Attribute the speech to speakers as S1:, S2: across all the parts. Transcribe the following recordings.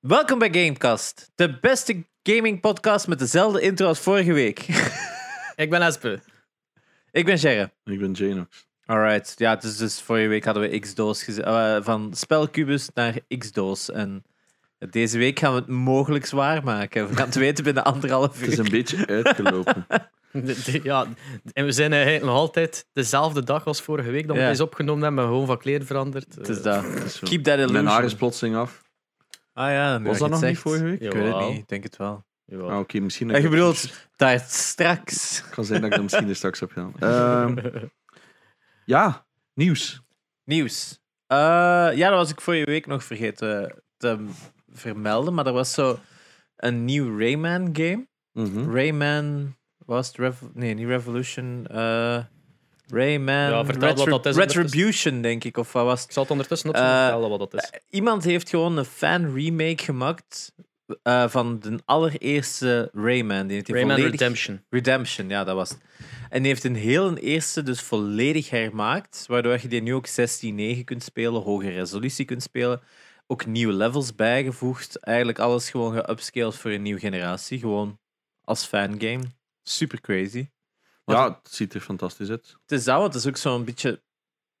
S1: Welkom bij Gamecast, de beste gaming podcast met dezelfde intro als vorige week.
S2: Ik ben Espe.
S1: ik ben Gerre.
S3: Ik ben Janox.
S1: Alright, ja, dus, dus vorige week hadden we X-Doos geze- eh, van spelcubus naar X-Doos. En deze week gaan we het mogelijk zwaar maken. We gaan het weten binnen anderhalf
S3: Het is
S1: uur.
S3: een beetje uitgelopen.
S2: Ja, en we zijn eigenlijk nog altijd dezelfde dag als vorige week dat we
S1: Ja.
S2: deze opgenomen hebben, maar gewoon van kleren veranderd. Eh,
S1: Het is dat.
S3: Het is zo.
S1: Keep that illusion.
S3: Mijn haar is plotseling af.
S1: Ah ja, nu
S3: Was
S1: je het
S3: dat nog
S1: zegt.
S3: niet vorige week?
S1: Ik weet het
S2: Jawel.
S1: niet, ik denk het wel.
S2: Ja.
S3: Ah, Oké, misschien. dat
S1: En je
S3: ik dat
S1: bedoelt daar straks.
S3: kan zijn dat ik dat misschien er straks op ga. Ehm, ja, nieuws.
S1: Nieuws. Eh, ja, dat was ik vorige week nog vergeten te vermelden, maar er was zo een nieuw Rayman-game.
S3: Mhm.
S1: Rayman was het Rev- nee, niet Revolution. eh, Rayman
S2: Ja, vertel wat dat is ondertussen.
S1: Retribution, denk ik, of wat was het?
S2: Ik zal het ondertussen op
S1: Eh,
S2: vertellen wat dat is.
S1: Iemand heeft gewoon een fan-remake gemaakt eh, van de allereerste Rayman. Die heeft hij
S2: Rayman
S1: volledig-
S2: Redemption.
S1: Redemption, ja, dat was het. En die heeft een heel eerste dus volledig hermaakt, waardoor je die nu ook 16.9 kunt spelen, hoge resolutie kunt spelen, ook nieuwe levels bijgevoegd, eigenlijk alles gewoon geupscaled voor een nieuwe generatie, gewoon als fangame. Super crazy.
S3: Ja, het ziet er fantastisch uit.
S1: Het is dat, want het is ook zo'n beetje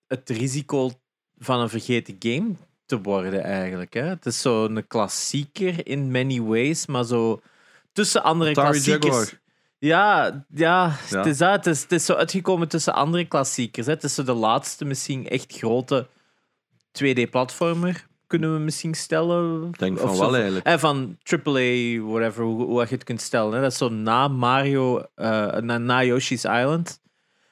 S1: het risico van een vergeten game te worden eigenlijk. Hè? Het is zo'n klassieker in many ways, maar zo tussen andere
S3: Atari
S1: klassiekers...
S3: Jaguar.
S1: Ja, ja,
S3: Ja.
S1: het is dat. Het is, het is zo uitgekomen tussen andere klassiekers. Hè. Het is zo de laatste, misschien echt grote 2D-platformer, kunnen we misschien stellen.
S3: Ik denk van
S1: Of zo-
S3: wel eigenlijk.
S1: hè, van AAA, whatever, hoe, hoe je het kunt stellen. Hè. Dat is zo na Mario, eh, na, na Yoshi's Island.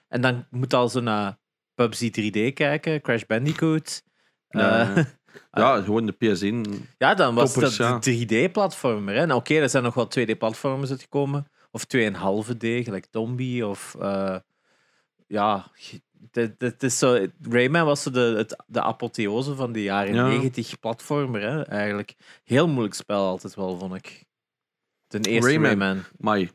S1: En dan moet al zo naar PUBG 3D kijken, Crash Bandicoot. Eh,
S3: Ja, ja. ja, gewoon de PS1.
S1: ja, dan was
S3: Toppers,
S1: dat de 3D-platformer. hè. En Oké, er zijn nog wel 2D-platformers uitgekomen. Of 2,5D, gelijk Tombi. Of eh, ja, dit, dit is zo, Rayman was zo de, het, de apotheose van de jaren
S3: Ja.
S1: 90 platformer. Hè, eigenlijk heel moeilijk spel altijd wel, vond ik. Ten eerste Rayman.
S3: Rayman. My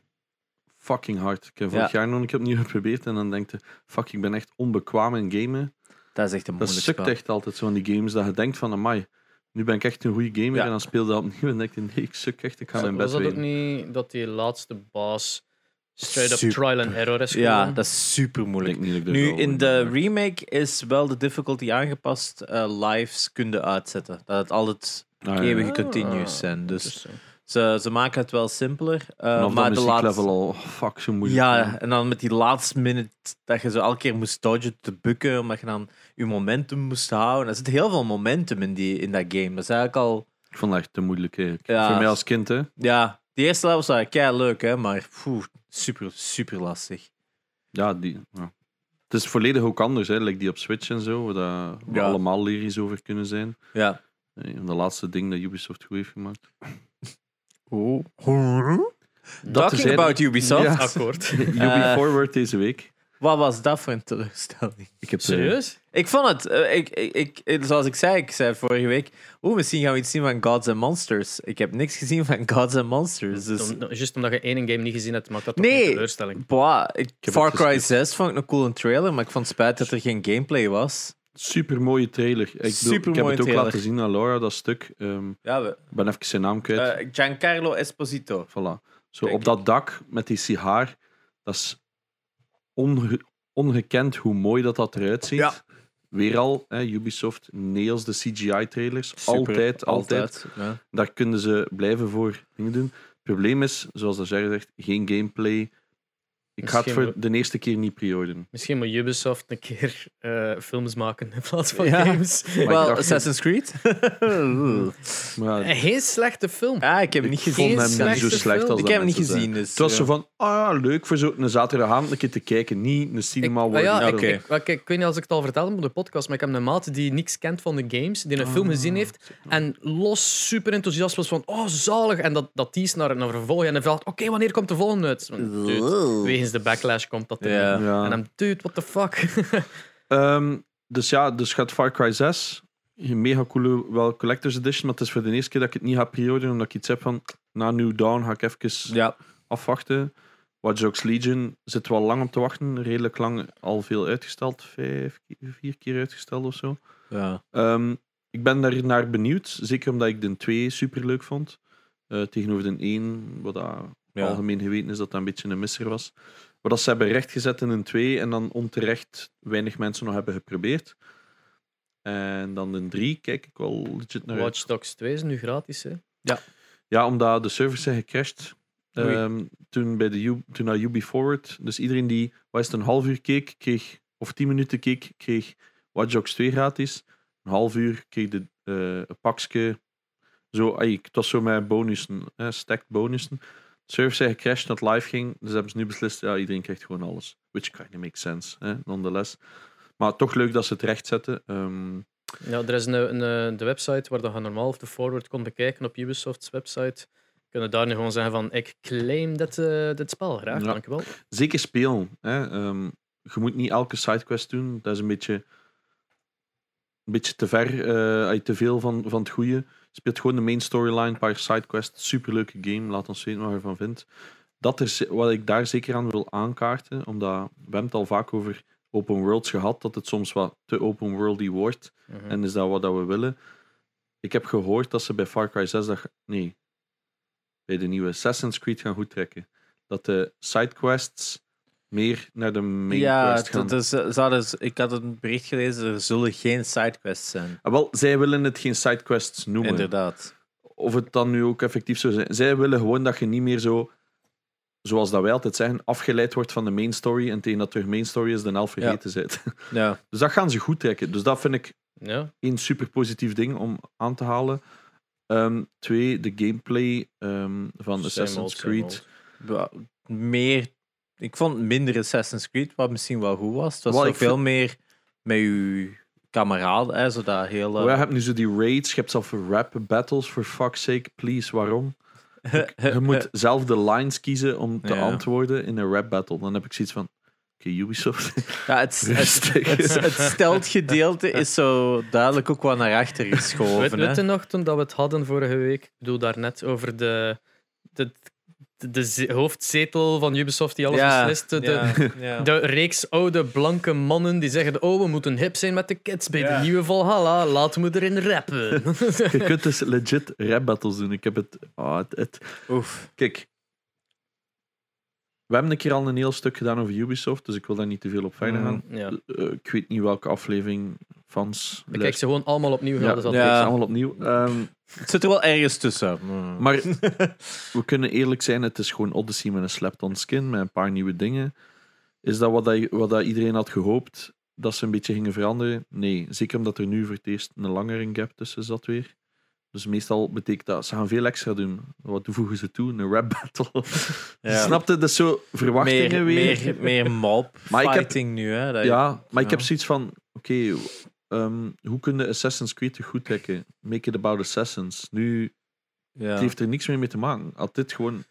S3: fucking hard. Ik heb vorig jaar nog een keer opnieuw geprobeerd en dan denk je, fuck, ik ben echt onbekwaam in gamen.
S1: Dat is echt een
S3: Dat
S1: moeilijk
S3: sukt
S1: spel.
S3: echt altijd zo aan die games, dat je denkt van, amai, nu ben ik echt een goede gamer
S1: Ja.
S3: en dan speel je dat opnieuw en denk je, nee, ik suk echt, ik ga mijn
S2: Was
S3: best
S2: dat ook
S3: doen.
S2: niet dat die laatste baas straight up
S1: Super.
S2: trial and error is
S1: Ja,
S2: geworden?
S1: dat is super
S3: Ik
S1: moeilijk.
S3: denk niet dat ik er
S1: Nu,
S3: wel
S1: in
S3: goed
S1: de
S3: ben.
S1: remake is wel de difficulty aangepast. eh, lives kunnen uitzetten. Dat het altijd
S3: Ah, ja.
S1: eeuwige
S2: Ah,
S1: continues zijn. Dus
S2: Interessant.
S1: ze, ze maken het wel simpeler. eh,
S3: Vanaf
S1: maar
S3: dat
S1: de laatste.
S3: muzieklevel al, oh, fuck, zo moeilijk.
S1: Ja, en dan met die laatste minute dat je zo elke keer moest dodgen te bukken, omdat je dan je momentum moest houden. Er zit heel veel momentum in, die, in dat game. Dat is eigenlijk al...
S3: Ik vond het echt te moeilijk eigenlijk.
S1: Ja.
S3: Voor mij als kind, hè.
S1: Ja, die eerste levels waren kei leuk, hè, maar poeh, super, super lastig.
S3: Ja, die, ja. Het is volledig ook anders, hè. Like die op Switch en zo, waar dat- waar
S1: Ja.
S3: allemaal lyrisch over kunnen zijn.
S1: Ja.
S3: Eh, De laatste ding dat Ubisoft goed heeft gemaakt.
S1: Oh.
S3: is
S1: Talking
S3: heel-
S1: about Ubisoft. Ah,
S3: Ja.
S2: Akkoord.
S3: Ubi
S1: Eh.
S3: Forward deze week.
S1: Wat was dat voor een teleurstelling?
S3: Ik heb, eh,
S2: Serieus?
S1: Ik vond het, eh, ik, ik, ik- eh, zoals ik zei, ik zei vorige week, oeh, misschien gaan we iets zien van Gods and Monsters. Ik heb niks gezien van Gods and Monsters. Dus,
S2: Om- Juist omdat je één game niet gezien hebt, maakt dat toch
S1: Nee.
S2: een teleurstelling.
S1: boah, ik-
S3: heb
S1: Far
S3: het
S1: Cry
S3: geskipt.
S1: 6 vond ik een coole trailer, maar ik vond het spijt dat er geen gameplay was.
S3: Supermooie trailer. Ik, bedoel, ik heb
S1: Supermooie
S3: het ook
S1: trailer.
S3: laten zien aan Laura, dat stuk. Ehm,
S1: Ja, we,
S3: ik ben even zijn naam kwijt.
S1: eh, Giancarlo Esposito.
S3: Voilà. Zo
S1: Denk
S3: op dat dak met die sigaar, dat is onge- ongekend hoe mooi dat, dat eruit ziet.
S1: Ja.
S3: Weer al, hè, Ubisoft, nails de CGI-trailers.
S1: Super,
S3: Altijd, altijd,
S1: Ja.
S3: Daar kunnen ze blijven voor dingen doen. Het probleem is, zoals dat Jerry zegt, geen gameplay. Ik ga het
S2: Misschien
S3: voor
S2: wel-
S3: de eerste keer niet pre-orderen.
S2: Misschien moet Ubisoft een keer eh, films maken in plaats van
S1: Ja.
S2: games.
S3: Maar ik
S1: Wel,
S3: dacht-
S1: Assassin's Creed?
S3: Maar
S2: Een heel slechte film.
S1: ah, ik heb hem niet
S3: ik
S1: gezien.
S3: vond
S2: Geen
S3: hem niet zo
S2: slechte
S3: slecht
S2: film.
S3: als
S1: ik
S3: dat
S1: heb hem niet
S3: mensen zeggen.
S1: gezien, dus...
S3: Het was
S1: ja.
S3: zo van, ah, ja, leuk voor zo'n zaterdagavond een keer te kijken. Niet een
S2: Ik,
S3: cinema
S2: ah
S3: worden.
S2: ja,
S1: Ja,
S2: ik,
S1: oké.
S2: ik, wel, kijk, ik weet niet als ik het al vertelde op de podcast, maar ik heb een maat die niks kent van de games, die een
S3: Ah,
S2: film gezien heeft en los super enthousiast was van oh zalig en dat, dat die is naar, naar vervolg en dan vraagt oké wanneer komt de volgende uit? Want, dude, Wegens de backlash komt dat er
S1: Ja.
S2: niet.
S3: Ja.
S2: En dan dude what the fuck.
S3: Ehm, dus ja, dus gaat Far Cry 6. Een mega coole wel collector's edition, maar het is voor de eerste keer dat ik het niet ga pre-orderen, omdat ik iets heb van, na New Dawn ga ik even
S1: Ja,
S3: afwachten. Watch Dogs Legion zit wel lang op te wachten, redelijk lang al veel uitgesteld, vijf, vier keer uitgesteld of zo.
S1: ja.
S3: Ehm, Ik ben daar naar benieuwd. Zeker omdat ik de 2 superleuk vond. eh, tegenover de 1, wat dat
S1: Ja.
S3: algemeen geweten is dat dat een beetje een misser was. Maar dat ze hebben rechtgezet in een 2 en dan onterecht weinig mensen nog hebben geprobeerd. En dan de 3 kijk ik wel legit naar uit.
S2: Watch Dogs 2 is nu gratis, hè?
S3: Ja, omdat de servers zijn gecrashed.
S2: Oei.
S3: Ehm, toen, bij de U, toen naar UB Forward. Dus iedereen die wat is het, een half uur keek, kreeg, of tien minuten keek, kreeg Watch Dogs 2 gratis. Een half uur kreeg de, eh, een pakje. Zo, ai, het was zo met bonussen, hè, stacked bonussen. De servers zijn gecrashed dat het live ging. Dus hebben ze nu beslist, ja, iedereen krijgt gewoon alles. Which kind of makes sense, hè, nonetheless. Maar toch leuk dat ze het recht zetten. Ehm,
S2: Ja, er is een, een, eh, de website waar dat je normaal of de forward kon bekijken op Ubisoft's website. Kunnen daar nu gewoon zeggen van ik claim dat, eh, dit spel graag,
S3: Ja.
S2: dankjewel.
S3: Zeker spelen. Hè. Ehm, je moet niet elke sidequest doen. Dat is een beetje, een beetje te ver, eh, ay, te veel van, van het goede. Speelt gewoon de main storyline, een paar sidequests. Superleuke game, laat ons weten wat je ervan vindt. Dat is wat ik daar zeker aan wil aankaarten, omdat we hebben het al vaak over open worlds gehad, dat het soms wat te open worldy wordt.
S2: Mhm.
S3: En is dat wat dat we willen? Ik heb gehoord dat ze bij Far Cry 6... Dat, ge- nee. Bij de nieuwe Assassin's Creed gaan goed trekken. Dat de sidequests meer naar de main
S1: ja,
S3: quest gaan.
S1: dat is, eh, ze hadden z- ik had een bericht gelezen, er zullen geen sidequests zijn.
S3: Ah, wel, zij willen het geen sidequests noemen.
S1: Inderdaad.
S3: Of het dan nu ook effectief zou zijn. Zij willen gewoon dat je niet meer zo... Zoals dat wij altijd zeggen, afgeleid wordt van de main story. En tegen dat er main story is, de helft
S1: Ja.
S3: vergeten zit.
S1: Ja.
S3: Dus dat gaan ze goed trekken. Dus dat vind ik
S2: Ja,
S3: één super positief ding om aan te halen. Ehm, twee, de gameplay ehm, van
S2: same
S3: Assassin's
S2: old, same
S3: Creed.
S2: old.
S1: Wa- Meer, ik vond minder Assassin's Creed, wat misschien wel goed was. Het was
S3: Wel,
S1: wel
S3: ik
S1: veel meer met uw kameraden, hè, zo dat hele...
S3: Oh ja, je hebt nu zo die raids, je hebt zelf rap battles, for fuck's sake, please, waarom? Ik-
S1: eh,
S3: je moet zelf de lines kiezen om te
S1: Ja.
S3: antwoorden in een rap battle. Dan heb ik zoiets van, oké Ubisoft,
S1: Ja, het, het,
S3: Rustig.
S1: het, het steltgedeelte is zo duidelijk ook wat naar achter
S2: Weet,
S1: geschoven.
S2: weet
S1: hè.
S2: je nog toen dat we het hadden vorige week? Ik bedoel daarnet over de, de, de, de ze- hoofdzetel van Ubisoft die alles
S1: Ja,
S2: beslist. De,
S1: ja, ja.
S2: de reeks oude blanke mannen die zeggen: Oh, we moeten hip zijn met de kids bij
S1: Ja.
S2: de nieuwe Valhalla. Laten we erin rappen.
S3: je kunt dus legit rap battles doen. Ik heb het, ah, het, het
S1: Oef.
S3: Kijk, we hebben een keer al een heel stuk gedaan over Ubisoft, dus ik wil daar niet te veel op verder gaan.
S2: ja.
S3: Eh, ik weet niet welke aflevering fans.
S2: Ik kijk ze gewoon allemaal opnieuw.
S3: Ja,
S2: Ja, dat is altijd
S1: ja.
S3: ja. allemaal opnieuw. Ehm,
S1: Het zit er wel ergens tussen. Hmm.
S3: maar we kunnen eerlijk zijn, het is gewoon Odyssey met een slept-on skin, met een paar nieuwe dingen. Is dat wat, dat wat dat iedereen had gehoopt, dat ze een beetje gingen veranderen? Nee, zeker omdat er nu voor het eerst een langere gap tussen zat weer. Dus meestal betekent dat, ze gaan veel extra doen. Wat voegen ze toe? Een rap battle.
S1: Ja.
S3: Snapte? Dat is zo
S1: meer,
S3: verwachtingen weer.
S1: meer, meer mob
S3: Maar ik heb-
S1: fighting nu. Hè, dat je-
S3: Ja, maar ik
S1: Ja.
S3: heb zoiets van: oké, ehm, hoe kunnen Assassin's Creed er goed trekken? Make it about Assassins. Nu,
S1: ja.
S3: het heeft er niks meer mee te maken. Had dit gewoon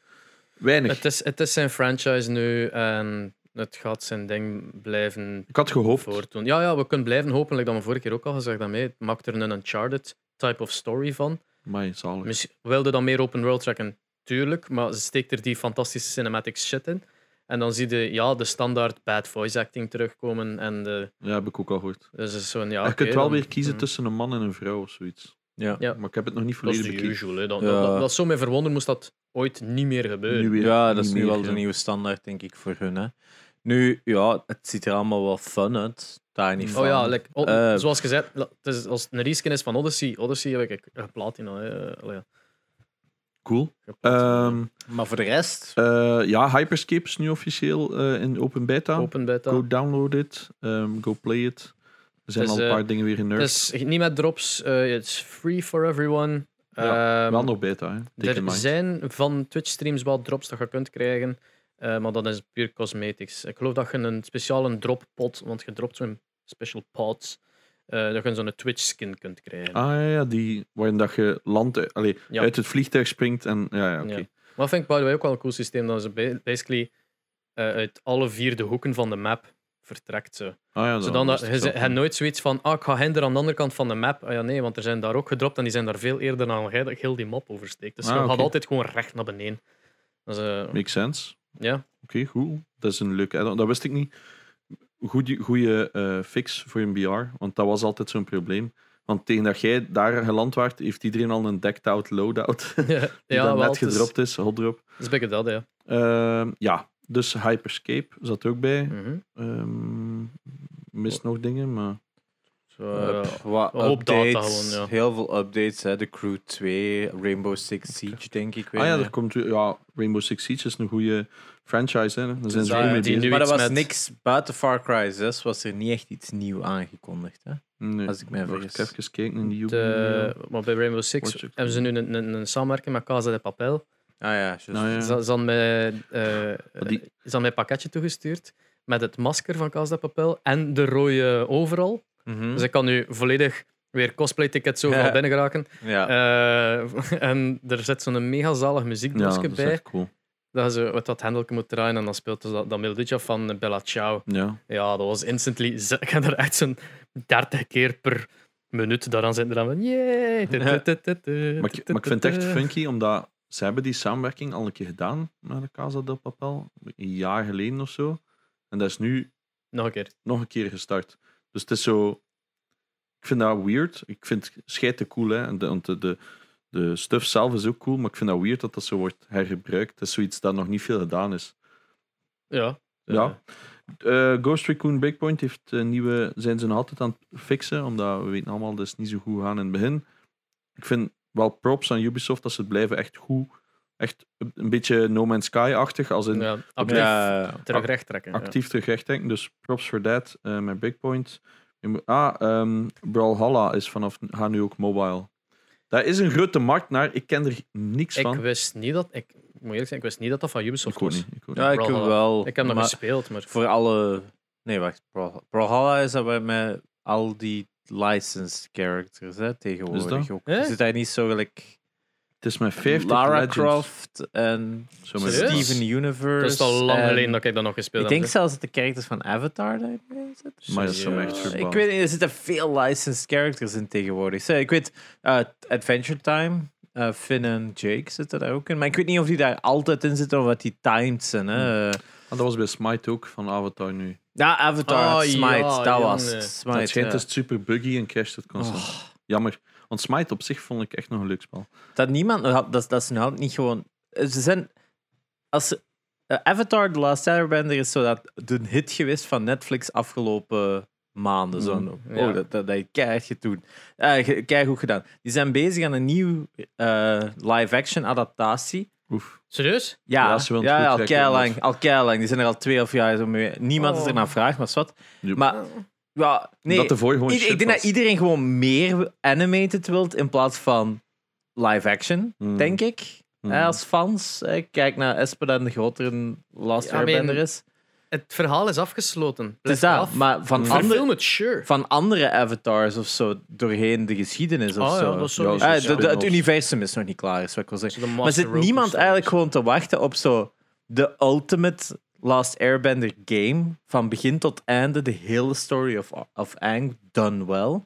S3: weinig.
S2: Het is, het is zijn franchise nu en het gaat zijn ding blijven
S3: ik had gehoopt.
S2: voortdoen. Ja, ja, we kunnen blijven hopen, like dat we vorige keer ook al gezegd hebben. hè. Het maakt er een Uncharted type of story van.
S3: Maar zalig.
S2: Misschien wilde dan meer open world trekken, tuurlijk, maar ze steekt er die fantastische cinematic shit in. En dan zie je ja, de standaard bad voice acting terugkomen. En de,
S3: Ja, heb ik ook al gehoord.
S2: dus het is zo'n, ja,
S3: je
S2: oké,
S3: kunt wel
S2: dan-
S3: weer kiezen
S2: mm.
S3: tussen een man en een vrouw of zoiets.
S1: Ja.
S2: Ja.
S3: Maar ik heb het nog niet
S2: Dat is
S3: volledig
S2: de
S3: bekeken.
S2: usual. Hè. Dat,
S1: Ja.
S2: dat, dat, dat is zo mij verwonder moest dat ooit niet meer gebeuren.
S3: Nu weer
S1: Ja, dat
S3: niet
S1: is nu
S3: meer,
S1: wel de
S3: ja.
S1: nieuwe standaard, denk ik, voor hun. Hè. Nu, ja, het ziet er allemaal wel fun uit. Daar niet van.
S2: Oh ja, like, o-
S1: Eh,
S2: zoals gezegd, la- het is, als het een reskin is van Odyssey, Odyssey heb ik eh, platina. hè. Eh, allee, ja,
S3: Cool.
S2: geplatina.
S3: Ehm,
S1: Maar voor de rest...
S3: eh, ja, Hyperscape is nu officieel eh, in open beta.
S2: Open beta.
S3: Go download it. ehm, go play it. Er zijn
S2: Dus,
S3: al een
S2: eh,
S3: paar dingen weer
S2: Het
S3: generd.
S2: is niet met drops, eh it's free for everyone.
S3: Ja,
S2: Ehm,
S3: wel nog beta, hè. Take in
S2: er
S3: mind.
S2: zijn van Twitch-streams wel drops dat je kunt krijgen, eh, maar dat is puur cosmetics. Ik geloof dat je een speciale droppot, want je dropt zo'n special pot, eh, dat je zo'n Twitch-skin kunt krijgen.
S3: Ah ja, ja, die waarin dat je land, eh, allee,
S2: Ja.
S3: uit het vliegtuig springt en ja, ja oké.
S2: Ja. Maar dat vind ik by the way ook wel een cool systeem, dat ze ba- basically eh, uit alle vier de hoeken van de map vertrekt. Zo.
S3: Ah, ja,
S2: Zodan dat,
S3: is
S2: je
S3: het
S2: ze-
S3: wel.
S2: hebt nooit zoiets van, ah, ik ga hinder aan de andere kant van de map. Ah ja, nee, want er zijn daar ook gedropt en die zijn daar veel eerder dan jij dat heel die map oversteekt. Dus
S3: Ah,
S2: je gaat
S3: oké.
S2: altijd gewoon recht naar beneden. Dus, eh,
S3: Makes sense.
S2: ja.
S3: Oké, goed. Dat is een leuke add-on. Dat wist eh, ik niet. Goeie, goeie eh, fix voor een BR, want dat was altijd zo'n probleem. Want tegen dat jij daar geland waart, heeft iedereen al een decked out loadout. die
S2: ja,
S3: dan
S2: wel,
S3: net
S2: het is-
S3: gedropt is, hot drop.
S2: Dat is beetje dat, ja.
S3: Ehm, ja, dus Hyperscape zat er ook bij.
S2: Mhm.
S3: Ehm mist nog dingen, maar...
S1: Eh,
S2: Zo, ja.
S1: wat
S2: een hoop data
S1: updates,
S2: gewoon, ja.
S1: heel veel updates. Hè. De Crew 2, Rainbow Six Siege, denk ik. weet
S3: Ah ja,
S1: niet.
S3: er komt, weer- ja, Rainbow Six Siege is een goede franchise. Hè. Daar zijn ze
S1: daar-
S3: goed mee
S2: die
S3: bezig.
S2: nu
S1: maar er
S2: iets
S1: was
S2: met-
S1: niks buiten Far Cry 6, was er niet echt iets nieuw aangekondigd.
S3: Ah
S1: Hè?
S3: Nee.
S1: Als ik mij
S3: Wacht,
S1: vergis.
S3: even kijken in de Ubi.
S2: De, maar eh, bij Rainbow Six
S3: Watch it.
S2: hebben ze nu een, een, een samenwerking met Casa de Papel.
S1: Ah ja, juist.
S3: Nou ja.
S2: Ze ze hadden mij, eh, eh,
S3: die-
S2: ze hadden mij een pakketje toegestuurd met het masker van Casa de Papel en de rode overal.
S1: Mhm.
S2: Dus ik kan nu volledig weer cosplay-tickets overal
S1: Ja.
S2: binnen geraken.
S1: ja.
S2: Eh, en er zit zo'n mega zalig
S3: Ja,
S2: muziekdoosje
S3: dat is
S2: bij.
S3: echt cool.
S2: Dat ze wat dat hendelke moet draaien en dan speelt dus dat, dat melodietje af van Bella Ciao.
S3: Ja.
S2: Ja, dat was instantly. ze- Ik heb er echt zo'n 30 keer per minuut daaraan zitten. Dan van, yay!
S1: Ja.
S3: Maar, ik, maar ik vind het echt funky, omdat ze hebben die samenwerking al een keer gedaan met de Casa del Papel. Een jaar geleden of zo. En dat is nu
S2: Nog een keer.
S3: nog een keer gestart. Dus het is zo... Ik vind dat weird. Ik vind het schijt cool, hè. En de, want de, de, de stuff zelf is ook cool, maar ik vind dat weird dat dat zo wordt hergebruikt. Dat is zoiets dat nog niet veel gedaan is.
S2: Ja.
S3: Ja. Eh, Ghost Recon Breakpoint heeft een nieuwe, zijn ze nog altijd aan het fixen, omdat we weten allemaal dat is niet zo goed gaan in het begin. Ik vind wel props aan Ubisoft dat ze het blijven echt goed, echt een beetje No Man's Sky-achtig, als in
S2: ja. Actief
S1: Ja,
S2: terug recht trekken. ja.
S3: actief terug rechttrekken. Dus props voor dat eh, met Breakpoint. Je moet- Ah, ehm Brawlhalla is vanaf gaat nu ook mobile. Daar is een grote markt naar, ik ken er niks
S2: Ik
S3: van.
S2: wist niet dat... Ik, moet eerlijk zijn, ik wist niet dat dat van Ubisoft
S3: ik ook
S2: was.
S3: niet. Ik ook
S1: ja,
S3: niet.
S1: ik heb wel.
S2: eh, Ik heb nog
S1: maar
S2: gespeeld, maar...
S1: Voor alle. Nee, wacht. Brawlh- Brawlhalla is dat wij met al die licensed characters hè, tegenwoordig
S3: Is
S1: ook.
S2: Hè?
S1: Zit hij niet zo gelijk.
S3: Het is met 50
S1: Lara
S3: Legends.
S1: Croft en
S3: Zo met-
S2: Serieus?
S1: Steven Universe.
S2: Het is al lang
S1: en-
S2: geleden dat ik dat nog gespeeld
S1: ehm, Ik
S2: heb.
S1: denk
S2: hè.
S1: zelfs dat de characters van Avatar daarin zitten.
S3: Maar dat is zo echt
S2: Ja,
S1: Ik
S3: verband.
S1: weet niet, er zitten veel licensed characters in tegenwoordig. Zo, Ik weet, eh, Adventure Time, eh, Finn en Jake zitten daar ook in. Maar ik weet niet of die daar altijd in zitten of wat die timed zijn. Hè. Eh,
S3: Ah, dat was bij Smite ook, van Avatar nu.
S1: Ja, Avatar,
S2: Oh,
S1: Smite,
S2: ja,
S1: dat
S2: jongen.
S1: was Smite.
S3: het schijnt
S1: ja. Oh.
S3: is het super buggy en crasht het constant. Jammer. Want Smite op zich vond ik echt nog een leuk spel.
S1: Dat niemand, dat, dat is nou niet gewoon. Ze zijn. Als, ze- eh, Avatar, The Last Airbender is zo dat de hit geweest van Netflix afgelopen maanden. Zo'n,
S2: Mm, ja.
S1: Oh, dat, dat, dat je keihard getoen. Eh, ge- keihard gedaan. Die zijn bezig aan een nieuw eh, live-action adaptatie.
S3: Oef.
S2: Serieus?
S1: Ja,
S3: Ja,
S1: ja,
S3: ze willen
S1: ja,
S3: het goed
S1: al
S3: trekken,
S1: keilang.
S3: of-
S1: Al keilang. Die zijn er al twee of jaar zo mee. Niemand is
S2: Oh.
S1: er naar vraag, maar wat.
S3: Joep.
S1: Maar ja, nee.
S3: dat de voor gewoon
S1: Ieder-
S3: shit
S1: ik denk
S3: was.
S1: dat iedereen gewoon meer animated wilt in plaats van live action,
S3: Mm.
S1: denk ik.
S3: Mm.
S1: Hè, als fans. Hè, kijk naar Espen en de grotere Last
S2: Ja, maar in-
S1: Airbender is.
S2: Het verhaal is afgesloten.
S1: Het is
S2: Blijf
S1: dat,
S2: af.
S1: maar van,
S3: Mm.
S1: andere,
S2: Verfilm het, sure.
S1: van andere avatars of zo doorheen de geschiedenis of
S2: Oh ja,
S1: zo.
S2: dat is
S3: Ja,
S2: sowieso.
S1: Hè,
S3: zo,
S2: Ja,
S1: de- de- het
S3: spin-offs.
S1: universum is nog niet klaar, is wat ik wil zeggen.
S2: Zo de
S1: Maar
S2: Master
S1: zit
S2: Roper
S1: niemand
S2: style.
S1: eigenlijk gewoon te wachten op zo de ultimate Last Airbender game van begin tot einde de hele story of, of Aang done well?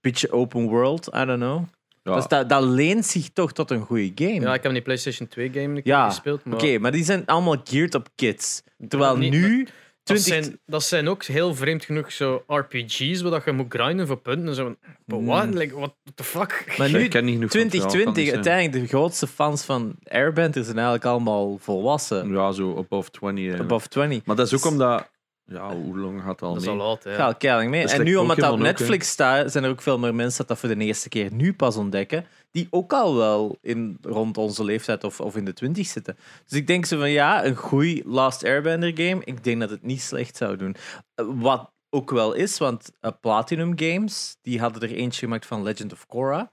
S1: Beetje open world, I don't know.
S3: Ja,
S1: Dus dat, dat leent zich toch tot een goede game.
S2: Ja, ik heb die PlayStation 2 game een keer
S1: Ja,
S2: gespeeld, maar...
S1: Oké, maar die zijn allemaal geared op kids. Terwijl
S2: Nee,
S1: nu... 20...
S2: Dat, zijn, dat zijn ook heel vreemd genoeg zo RPG's waar dat je moet grinden voor punten. en Zo, but what? Like, what the fuck?
S1: Hmm. Maar
S3: ik
S1: nu,
S3: ken niet genoeg van het verhaal, kan
S1: 2020,
S3: niet zijn.
S1: uiteindelijk de grootste fans van Airbender zijn eigenlijk allemaal volwassen.
S3: Ja, zo above 20. eh.
S1: Above Dus- 20.
S3: Maar dat is ook omdat... Ja, hoe lang gaat dat al
S2: dat is
S3: mee?
S2: al laat, hè.
S1: Ja, al keiling mee.
S3: Dat is
S1: en
S3: like
S1: nu, omdat dat op
S3: Pokémon ook, hè.
S1: Netflix staat, zijn er ook veel meer mensen dat dat voor de eerste keer nu pas ontdekken, die ook al wel in, rond onze leeftijd of, of in de twintig zitten. Dus ik denk ze van, ja, een goeie Last Airbender game, ik denk dat het niet slecht zou doen. Eh, Wat ook wel is, want eh, Platinum Games, die hadden er eentje gemaakt van Legend of Korra,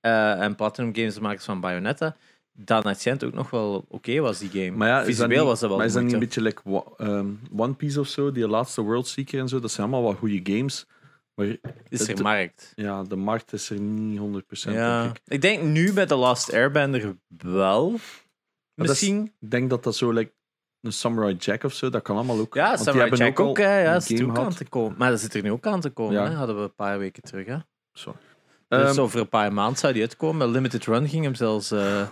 S1: eh, en Platinum Games, de makers van Bayonetta, dat recent ook nog wel oké was, die game.
S3: Maar ja, is
S1: Visueel
S3: dat niet,
S1: was dat wel
S3: Maar is dat niet
S1: moeite.
S3: een beetje like Wa- ehm, One Piece of zo? Die laatste World Seeker en zo? Dat zijn allemaal wel goede games. Maar
S1: Is er
S3: het-
S1: markt.
S3: ja, de markt is er niet 100%
S1: Ja.
S3: denk ik.
S1: ik. denk nu bij The Last Airbender wel.
S3: dat is-
S1: Misschien.
S3: Ik denk dat dat zo like een Samurai Jack of zo, dat kan allemaal ook.
S1: Ja,
S3: want die
S1: Samurai
S3: hebben
S1: Jack ook.
S3: al
S1: hè, ja,
S3: een
S1: zit er
S3: game
S1: ook
S3: gehad.
S1: aan te komen. Maar dat zit er nu ook aan te komen.
S3: Ja.
S1: Hè? Hadden we een paar weken terug. Hè?
S3: Sorry.
S1: Dus
S3: Ehm,
S1: over een paar maanden zou die uitkomen. Met Limited Run ging hem zelfs eh,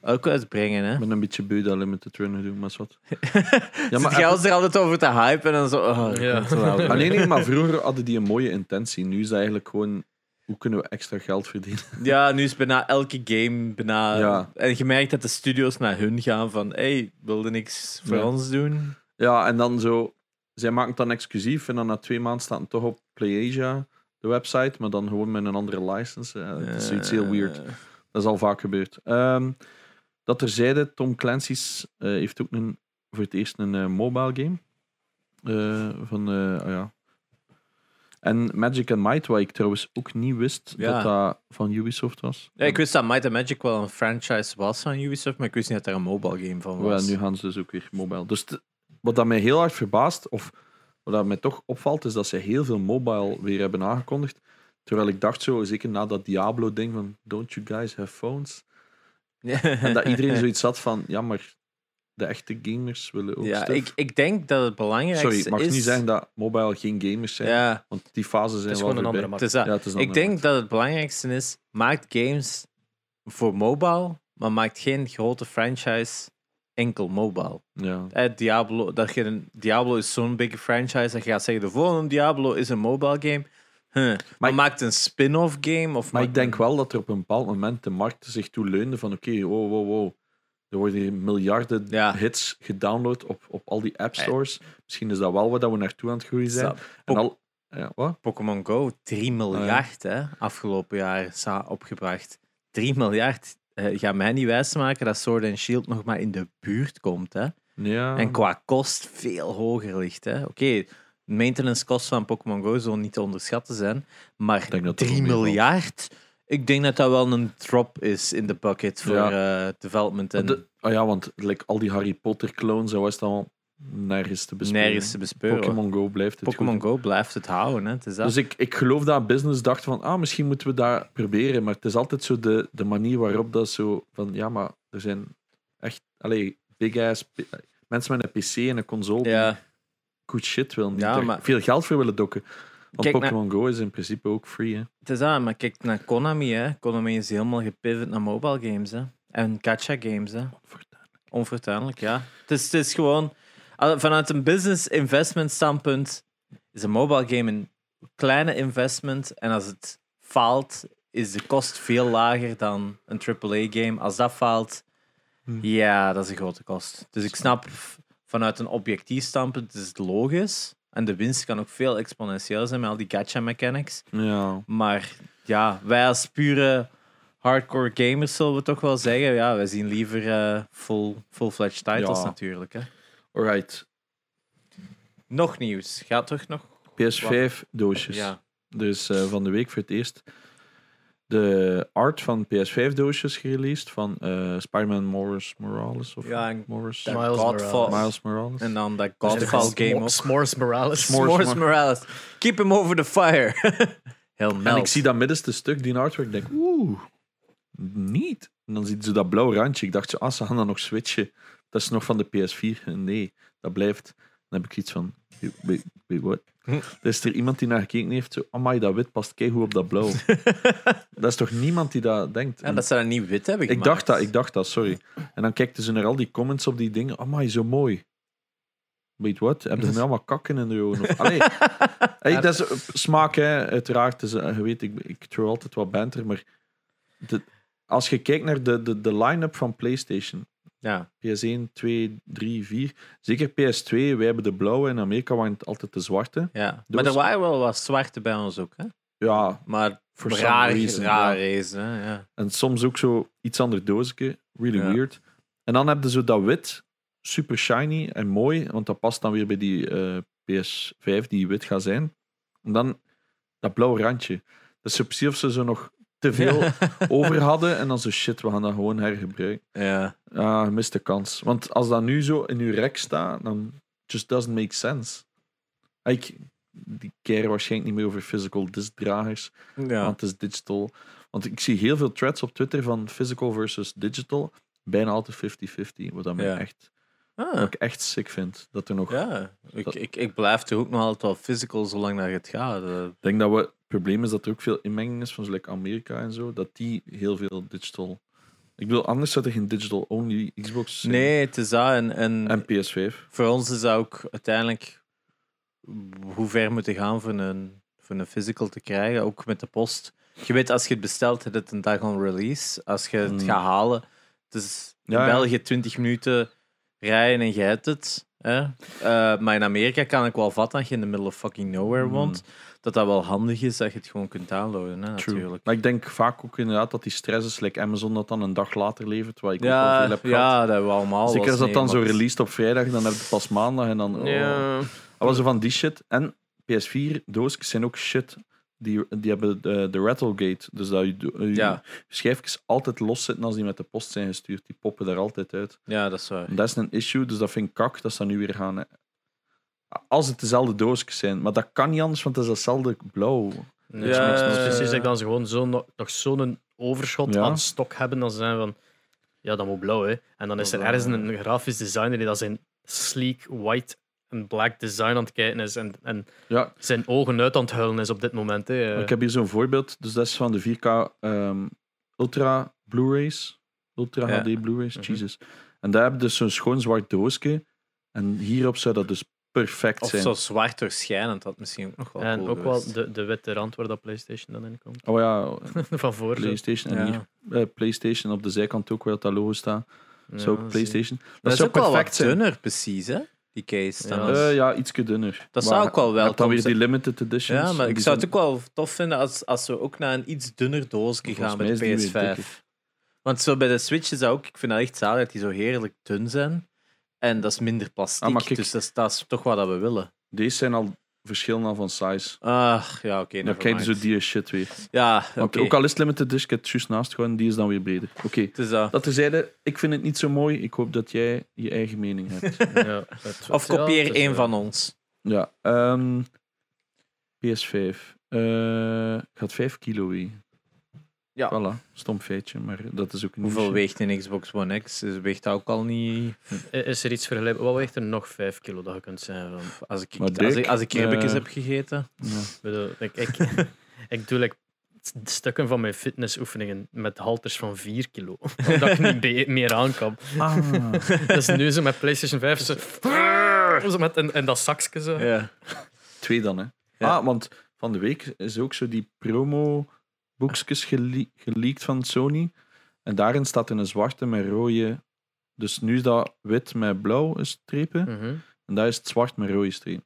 S1: ook uitbrengen. Hè?
S3: Ik ben een beetje beu dat Limited Runner doen, maar wat.
S1: Ja, maar Zit Apple... er altijd over te hypen en dan zo. Oh, dat
S2: Ja.
S1: komt wel weer.
S3: Ah, nee, nee, maar vroeger hadden die een mooie intentie. Nu is dat eigenlijk gewoon, hoe kunnen we extra geld verdienen?
S1: Ja, nu is bijna elke game bijna...
S3: Ja.
S1: En je merkt dat de studios naar hun gaan van... hey, wilde niks voor
S3: Ja.
S1: ons doen?
S3: Ja, en dan zo, zij maken het dan exclusief en dan na twee maanden staat het toch op PlayAsia, de website, maar dan gewoon met een andere license. Ja, dat is iets heel
S1: Eh,
S3: weird. Dat is al vaak gebeurd. Ehm, dat terzijde, Tom Clancy's eh, heeft ook een, voor het eerst een eh, mobile game. Eh, van, eh, ah ja. En Magic and Might, wat ik trouwens ook niet wist
S1: Ja.
S3: dat dat van Ubisoft was.
S1: Ja, ik wist dat Might and Magic wel een franchise was van Ubisoft, maar ik wist niet dat er een mobile game van
S3: Wel,
S1: was.
S3: nu gaan ze dus ook weer mobile. Dus t- wat dat mij heel hard verbaast, of wat dat mij toch opvalt, is dat ze heel veel mobile weer hebben aangekondigd. Terwijl ik dacht zo, zeker na dat Diablo-ding van Don't you guys have phones? En dat iedereen zoiets had van, ja, maar de echte gamers willen ook
S1: Ja,
S3: stuff.
S1: ik, ik denk dat het belangrijkste
S3: Sorry, ik mag
S1: is...
S3: niet zeggen dat mobile geen gamers zijn,
S1: Ja,
S3: want die fases zijn
S2: is
S3: wel
S2: gewoon een andere
S3: voorbij.
S1: het
S2: markt.
S1: is dat.
S3: Ja, het is een
S1: ik
S3: andere
S1: denk
S3: markt.
S1: dat het belangrijkste is, maak games voor mobile, maar maak geen grote franchise enkel mobile.
S3: Ja.
S1: Eh, Diablo, dat je een, Diablo is zo'n big franchise dat je gaat zeggen: de volgende Diablo is een mobile game. Huh. Maar,
S3: ik-
S1: maakt een spin-off game. Of
S3: Maar
S1: maakt-
S3: ik denk wel dat er op een bepaald moment de markt zich toe leunde van oké, wow, wow, wow. Er worden hier miljarden
S1: Ja.
S3: hits gedownload op, op al die app stores. Misschien is dat wel waar dat we naartoe aan het groeien zijn.
S1: Snap.
S3: En al, ja, wat?
S1: Pokémon Go, 3
S3: Ah,
S1: miljard hè, afgelopen jaar sa- opgebracht. 3 miljard. Eh ga mij niet wijsmaken dat Sword and Shield nog maar in de buurt komt. Hè.
S3: Ah. Ja.
S1: En qua kost veel hoger ligt. hè. Oké, maintenance kost van Pokémon Go zullen niet te onderschatten zijn. Maar
S3: denk dat dat
S1: 3
S3: wel meevalt.
S1: miljard, ik denk dat dat wel een drop is in de bucket voor eh, development en
S3: De- oh ja, want like, al die Harry Potter clones, dat was dan nergens te bespelen.
S1: nergens te bespeuren.
S3: Pokémon Go blijft het
S1: Pokémon
S3: goed.
S1: Go blijft het houden. Hè. Het is dat.
S3: Dus ik, ik geloof dat business dacht van, ah, misschien moeten we dat proberen. Maar het is altijd zo de, de manier waarop dat zo van, ja, maar er zijn echt, allee, big ass p- mensen met een PC en een console die
S1: ja.
S3: goed shit willen. Die
S1: Ja,
S3: er
S1: maar-
S3: veel geld voor willen dokken. Want
S1: Kijk naar-
S3: Pokémon Go is in principe ook free. Hè.
S1: Het is dat, maar kijk naar Konami. Hè. Konami is helemaal gepivot naar mobile games. Hè. En gacha games. Hè. Onvertuinlijk, ja. Het is, het is gewoon... al- Vanuit een business investment standpunt is een mobile game een kleine investment. En als het faalt, is de kost veel lager dan een AAA-game. Als dat faalt, ja, dat is een grote kost. Dus ik snap, f- vanuit een objectief standpunt is het logisch. En de winst kan ook veel exponentieel zijn met al die gacha-mechanics.
S3: Ja.
S1: Maar ja, wij als pure hardcore gamers zullen we toch wel zeggen, ja, wij zien liever eh, full, full-fledged titles
S3: Ja.
S1: natuurlijk. Hè.
S3: Alright.
S1: Nog nieuws. Gaat toch nog?
S3: PS5 doosjes.
S1: Ja.
S3: Dus eh, van de week voor het eerst de art van PS5 doosjes gereleased van eh Spider-Man Morris Morales of
S1: Ja, en
S3: Morris.
S1: dat
S2: Miles
S1: Godfall-
S2: Morales.
S3: Miles Morales.
S1: En dan dat
S2: Dus er
S1: Godfall
S2: is
S1: game
S2: Smo-
S1: ook.
S2: S'mores Morales.
S3: S'mores.
S1: Morris Morales. Keep him over the fire. Heel
S3: En
S1: meld.
S3: ik zie dat middenste stuk, die artwork, ik denk oeh, niet. En dan ziet ze dat blauw randje. Ik dacht zo, ah, ze gaan dan nog switchen. Dat is nog van de PS4. En Nee, dat blijft. Dan heb ik iets van, wait, wait what? Er is er iemand die naar gekeken heeft, zo, amai, dat wit past keigoed op dat blauw. dat is toch niemand die dat denkt?
S1: Ja, dat ze dat niet wit hebben
S3: ik
S1: gemaakt.
S3: dacht dat, ik dacht dat, sorry. En dan kijkten ze naar al die comments op die dingen, amai, zo mooi. Weet wat? Hebben ze nu allemaal kakken in de ogen? Of, allee, Hey, dat is eh, smaak, hè. uiteraard. Dus, eh, je weet, ik, ik throw altijd wat banter, maar de- als je kijkt naar de, de, de line-up van PlayStation,
S1: Ja.
S3: PS1, 2, 3, 4, zeker PS2, wij hebben de blauwe, in Amerika waren het altijd de zwarte.
S1: ja.
S3: Dus-
S1: Maar er waren wel wat zwarte bij ons ook. Hè?
S3: Ja,
S1: Maar
S3: For
S1: voor
S3: some
S1: raar,
S3: reason,
S1: raar is. Hè? Ja.
S3: en soms ook zo iets ander doosje, really
S1: Ja.
S3: weird. En dan hebben ze dat wit, super shiny en mooi, want dat past dan weer bij die eh, PS5 die wit gaat zijn. En dan dat blauwe randje. Dat is zo precies of ze zo nog te veel over hadden en dan zo shit, we gaan dat gewoon hergebruiken.
S1: ja.
S3: Ah, je mist de kans. Want als dat nu zo in uw rek staat, dan just doesn't make sense. Ik die keren waarschijnlijk niet meer over physical disc dragers,
S1: ja.
S3: want het is digital. Want ik zie heel veel threads op Twitter van physical versus digital, bijna altijd 50-50, wat dat mij
S1: Ja.
S3: echt,
S1: Ah.
S3: ik echt sick vind. Dat er nog,
S1: Ja, ik,
S3: Dat-
S1: ik, ik blijf toch ook nog altijd wel physical zolang dat het gaat. Eh,
S3: ik denk dat we, het probleem is dat er ook veel inmenging is van zoals Amerika en zo, dat die heel veel digital Ik bedoel, anders zat er geen digital-only Xbox zijn.
S1: Nee, het is dat. En, en
S3: En PS5.
S1: voor ons is dat ook uiteindelijk hoe ver moeten gaan voor een, voor een physical te krijgen, ook met de post. Je weet, als je het bestelt, heb je het een dag on release. Als je het
S3: Hmm.
S1: gaat halen, het is in
S3: Ja, ja.
S1: België 20 minuten rijden en je hebt het. Hè? Eh, maar in Amerika kan ik wel vatten dat je in de middle of fucking nowhere woont. Dat dat wel handig is dat je het gewoon kunt downloaden, hè,
S3: True.
S1: natuurlijk.
S3: Maar ik denk vaak ook inderdaad dat die stress is, like Amazon dat dan een dag later levert, waar ik ook al veel
S1: Ja,
S3: heb gehad.
S1: ja, dat we allemaal.
S3: Zeker
S1: wel
S3: als dat
S1: eens
S3: dan zo
S1: meegemaakt.
S3: released op vrijdag, dan heb je pas maandag en dan... oh.
S2: Ja.
S3: Dat was er van die shit. En PS4-doosjes zijn ook shit. Die, die hebben de, de rattlegate. Dus dat je, do- je
S1: Ja.
S3: schijfjes altijd los zitten als die met de post zijn gestuurd. Die poppen er altijd uit.
S1: Ja, dat is waar.
S3: En dat is een issue, dus dat vind ik kak dat ze dat nu weer gaan... eh, Als het dezelfde doosjes zijn. Maar dat kan niet anders, want het is datzelfde blauw.
S1: Ja,
S2: Ja,
S3: niks
S2: het
S3: mis
S2: is
S3: mee.
S2: precies dat ik dan ze gewoon zo, nog nog zo'n overschot
S3: Ja.
S2: aan stok hebben. Dan ze zijn van, ja, dat moet blauw, hè. En dan is er
S1: Dat is
S2: ergens een, een grafisch designer die dat zijn sleek, white en black design aan het kijken is en, en
S3: Ja,
S2: zijn ogen uit aan het huilen is op dit moment, hè.
S3: Ik heb hier zo'n voorbeeld. Dus dat is van de 4K ehm, Ultra Blu-rays. Ultra
S1: Ja.
S3: HD Blu-rays.
S2: Mhm.
S3: Jesus. En daar heb je dus zo'n schoon zwart doosje. En hierop zou dat dus perfect
S1: Of
S3: zijn.
S1: zo zwart doorschijnend, dat misschien ook nog wel
S2: en
S1: cool
S2: ook wel
S1: geweest.
S2: de, de witte rand waar dat PlayStation dan in komt.
S3: Oh ja,
S2: Van voor. zo.
S3: PlayStation. En
S1: Ja.
S3: hier eh, PlayStation op de zijkant ook, waar dat logo staat.
S2: Ja,
S3: zo
S2: zie.
S3: PlayStation. Dat,
S1: Dat, is
S3: zou
S1: ook wel
S3: perfect
S1: wat
S3: zijn.
S1: dunner, precies, hè? Die case. Dan
S2: Ja.
S1: als-
S3: Eh, ja, ietsje dunner.
S1: Dat zou ook wel
S3: je hebt dan
S1: welkom
S3: weer die
S1: zijn.
S3: limited editions.
S1: ja, maar
S3: Die
S1: ik zou het
S3: zijn-
S1: ook wel tof vinden als, als we ook naar een iets dunner doosje
S3: Volgens
S1: gaan
S3: mij
S1: met
S3: is die weer
S1: de PS5.
S3: dikker.
S1: Want zo bij de Switch is dat ook, ik vind dat echt zalig dat die zo heerlijk dun zijn. En dat is minder plastic,
S3: Ah, maar kijk.
S1: dus dat is, dat is toch wat dat we willen.
S3: Deze zijn al verschillen al van size.
S1: Ach, ja, oké.
S3: Dan
S1: never
S3: krijg je
S1: mind.
S3: zo die shit weer.
S1: Ja, oké.
S3: Want Ook al is het limited edition, ik heb het juist naast gewoon, die is dan weer breder. Oké.
S1: Het is dat.
S3: Dat terzijde, ik vind het niet zo mooi. Ik hoop dat jij je eigen mening hebt.
S2: Ja, het-
S1: Of
S2: ja,
S1: kopieer
S2: het is,
S1: één
S2: eh,
S1: van ons.
S3: ja, ehm, PS5. Eh, gaat 5 kilo wegen.
S1: Ja.
S3: Voilà, stom feitje, maar dat is ook een
S1: Hoeveel
S3: niche.
S1: weegt een Xbox One X? Dus weegt dat ook al niet...
S2: Is er iets vergelijkbaar? Wat weegt er nog 5 kilo dat je kunt zijn? Van?
S1: Als ik,
S3: Maar
S1: als ik, als
S3: dik,
S1: ik, ribbetjes
S3: eh,
S1: heb gegeten...
S3: Ja.
S2: Ik bedoel, ik, ik, ik doe like, st- stukken van mijn fitnessoefeningen met halters van 4 kilo. Omdat ik niet be- meer aan kan.
S3: Ah,
S2: Dus nu zo met PlayStation 5 zo, zo met, en, en dat zakje zo.
S1: Ja.
S3: twee dan, hè.
S1: Ja.
S3: Ah, want van de week is ook zo die promo-boekjes gele- geleakt van Sony. En daarin staat er een zwarte met rode... Dus nu is dat wit met blauw
S1: Hm.
S3: strepen.
S2: Mhm.
S3: En daar is het zwart met rode strepen.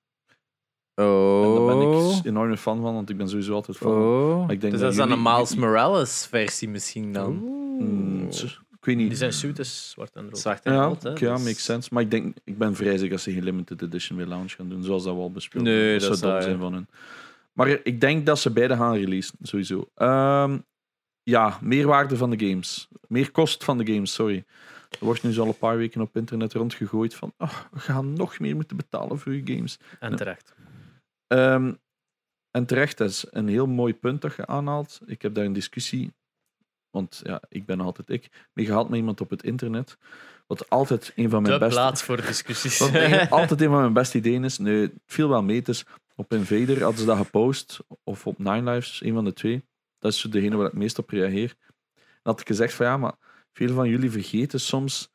S3: En daar
S1: Oh.
S3: ben ik enorm een fan van, want ik ben sowieso altijd fan.
S1: Oh.
S3: Maar ik
S1: dus
S3: denk dat
S1: dat is dan een
S3: jullie-
S1: Miles Morales versie misschien dan.
S3: Mm,
S2: Oeh.
S3: tss, ik weet niet.
S2: Die zijn suit is zwart en rood.
S1: Zwart en
S3: ja,
S1: rood, hè.
S3: oké, ja,
S1: dus-
S3: makes sense. Maar ik denk, ik ben vrij zeker als ze geen limited edition weer launch gaan doen, zoals dat we al besproken
S1: Nee,
S3: hebben.
S1: dat is
S3: zou dom
S1: waar,
S3: zijn
S1: ja.
S3: van hun. Maar ik denk dat ze beide gaan releasen, sowieso. Ehm, ja, meerwaarde van de games. Meer kost van de games, sorry. Er wordt nu zo al een paar weken op internet rondgegooid van oh, we gaan nog meer moeten betalen voor je games.
S2: En terecht.
S3: Ehm, en terecht, dat is een heel mooi punt dat je aanhaalt. Ik heb daar een discussie, want ja, ik ben altijd ik, mee gehad met iemand op het internet. Wat altijd een van mijn
S2: De
S3: beste...
S2: plaats voor discussies.
S3: Wat eigenlijk altijd een van mijn beste ideeën is. Nee, het viel wel mee. Dus op Invader hadden ze dat gepost, of op Nine Lives, een van de twee. Dat is zo degene waar ik het meest op reageer. En had ik gezegd van ja, maar veel van jullie vergeten soms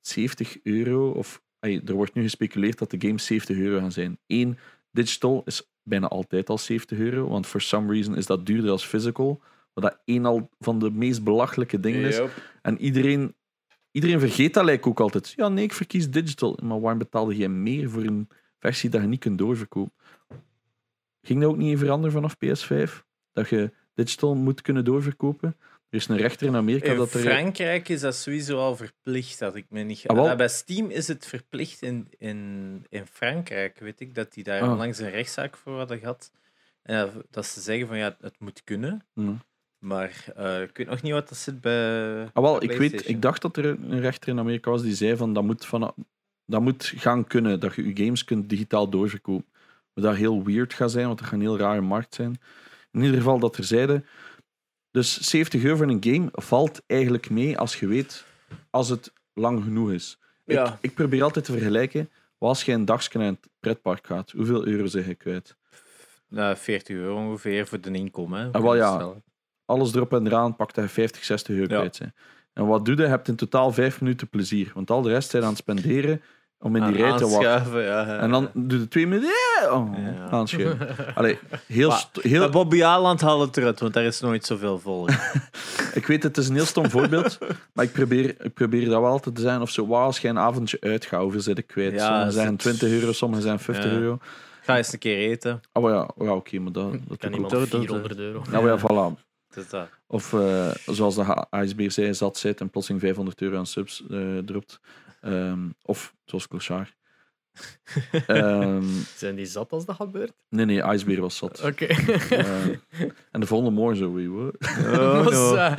S3: 70 euro, of ey, er wordt nu gespeculeerd dat de games 70 euro gaan zijn. Eén, digital is bijna altijd al 70 euro, want for some reason is dat duurder als physical. Wat dat één al van de meest belachelijke dingen is. En iedereen, iedereen vergeet dat lijkt ook altijd. Ja, nee, ik verkies digital. Maar waarom betaalde jij meer voor een versie dat je niet kunt doorverkopen? Ging dat ook niet veranderen vanaf PS5? Dat je digital moet kunnen doorverkopen? Er is een rechter in Amerika
S1: In
S3: dat er...
S1: Frankrijk is dat sowieso al verplicht, dat ik me niet...
S3: Ah, wel.
S1: Ah, bij Steam is het verplicht in, in, in Frankrijk, weet ik, dat die daar
S3: Ah.
S1: onlangs een rechtszaak voor hadden gehad. En dat- dat ze zeggen van, ja, het moet kunnen,
S3: Hm.
S1: maar eh, ik weet nog niet wat dat zit bij...
S3: Ah, wel,
S1: bij
S3: ik, weet,
S1: eh, PlayStation.
S3: ik dacht dat er een rechter in Amerika was die zei van dat moet, van, dat moet gaan kunnen, dat je je games kunt digitaal doorverkopen. Wat dat heel weird gaat zijn, want dat gaat een heel rare markt zijn. In ieder geval dat er zeiden. Dus 70 euro voor een game valt eigenlijk mee als je weet als het lang genoeg is. Ik,
S1: Ja.
S3: ik probeer altijd te vergelijken. wat Als je een dagje naar het pretpark gaat, hoeveel euro zeg je kwijt?
S1: Nou, 40 euro ongeveer voor de inkomen. hè.
S3: Ah, wel, ja.
S1: Stel.
S3: alles erop en eraan pakt dat je 50, 60 euro
S1: Ja.
S3: kwijt zijn. En wat doe je? Je hebt in totaal vijf minuten plezier. Want al de rest zijn aan het spenderen om in die rij te wachten.
S4: Aanschuiven, ja, ja.
S3: En dan doe je twee minuten... eh, Oh,
S4: Ja.
S3: aanschuiven. Allee, heel...
S1: Maar-
S3: sto- heel
S1: Maar Bobby Aland haal het eruit, want daar is nooit zoveel volk.
S3: Ik weet, het is een heel stom voorbeeld, maar ik probeer, ik probeer dat wel altijd te zijn. Of zo, wauw, als je een avondje uitgaat, hoeveel zit ik kwijt?
S1: Ja,
S3: sommigen
S1: dat
S3: zeggen
S1: is-
S3: 20 euro, sommigen zeggen 50
S1: Ja.
S3: euro.
S1: Ga eens een keer eten.
S3: Ah, maar ja, ja oké, maar dat, dat
S2: kan
S3: doe ik ook.
S1: dat-
S2: iemand
S1: dat-
S2: 400 euro.
S3: Ah, maar ja, voilà.
S1: Het is dat.
S3: Of eh, zoals de ASB zei, zat zit en plotseling 500 euro aan subs eh, dropt. Ehm, of, zoals Clochard. Ehm,
S2: Zijn die zat als dat gebeurt?
S3: nee, nee, IJsbeer was zat.
S2: Oké.
S3: Ehm, en de volgende morgen zo, wee, what?
S1: Oh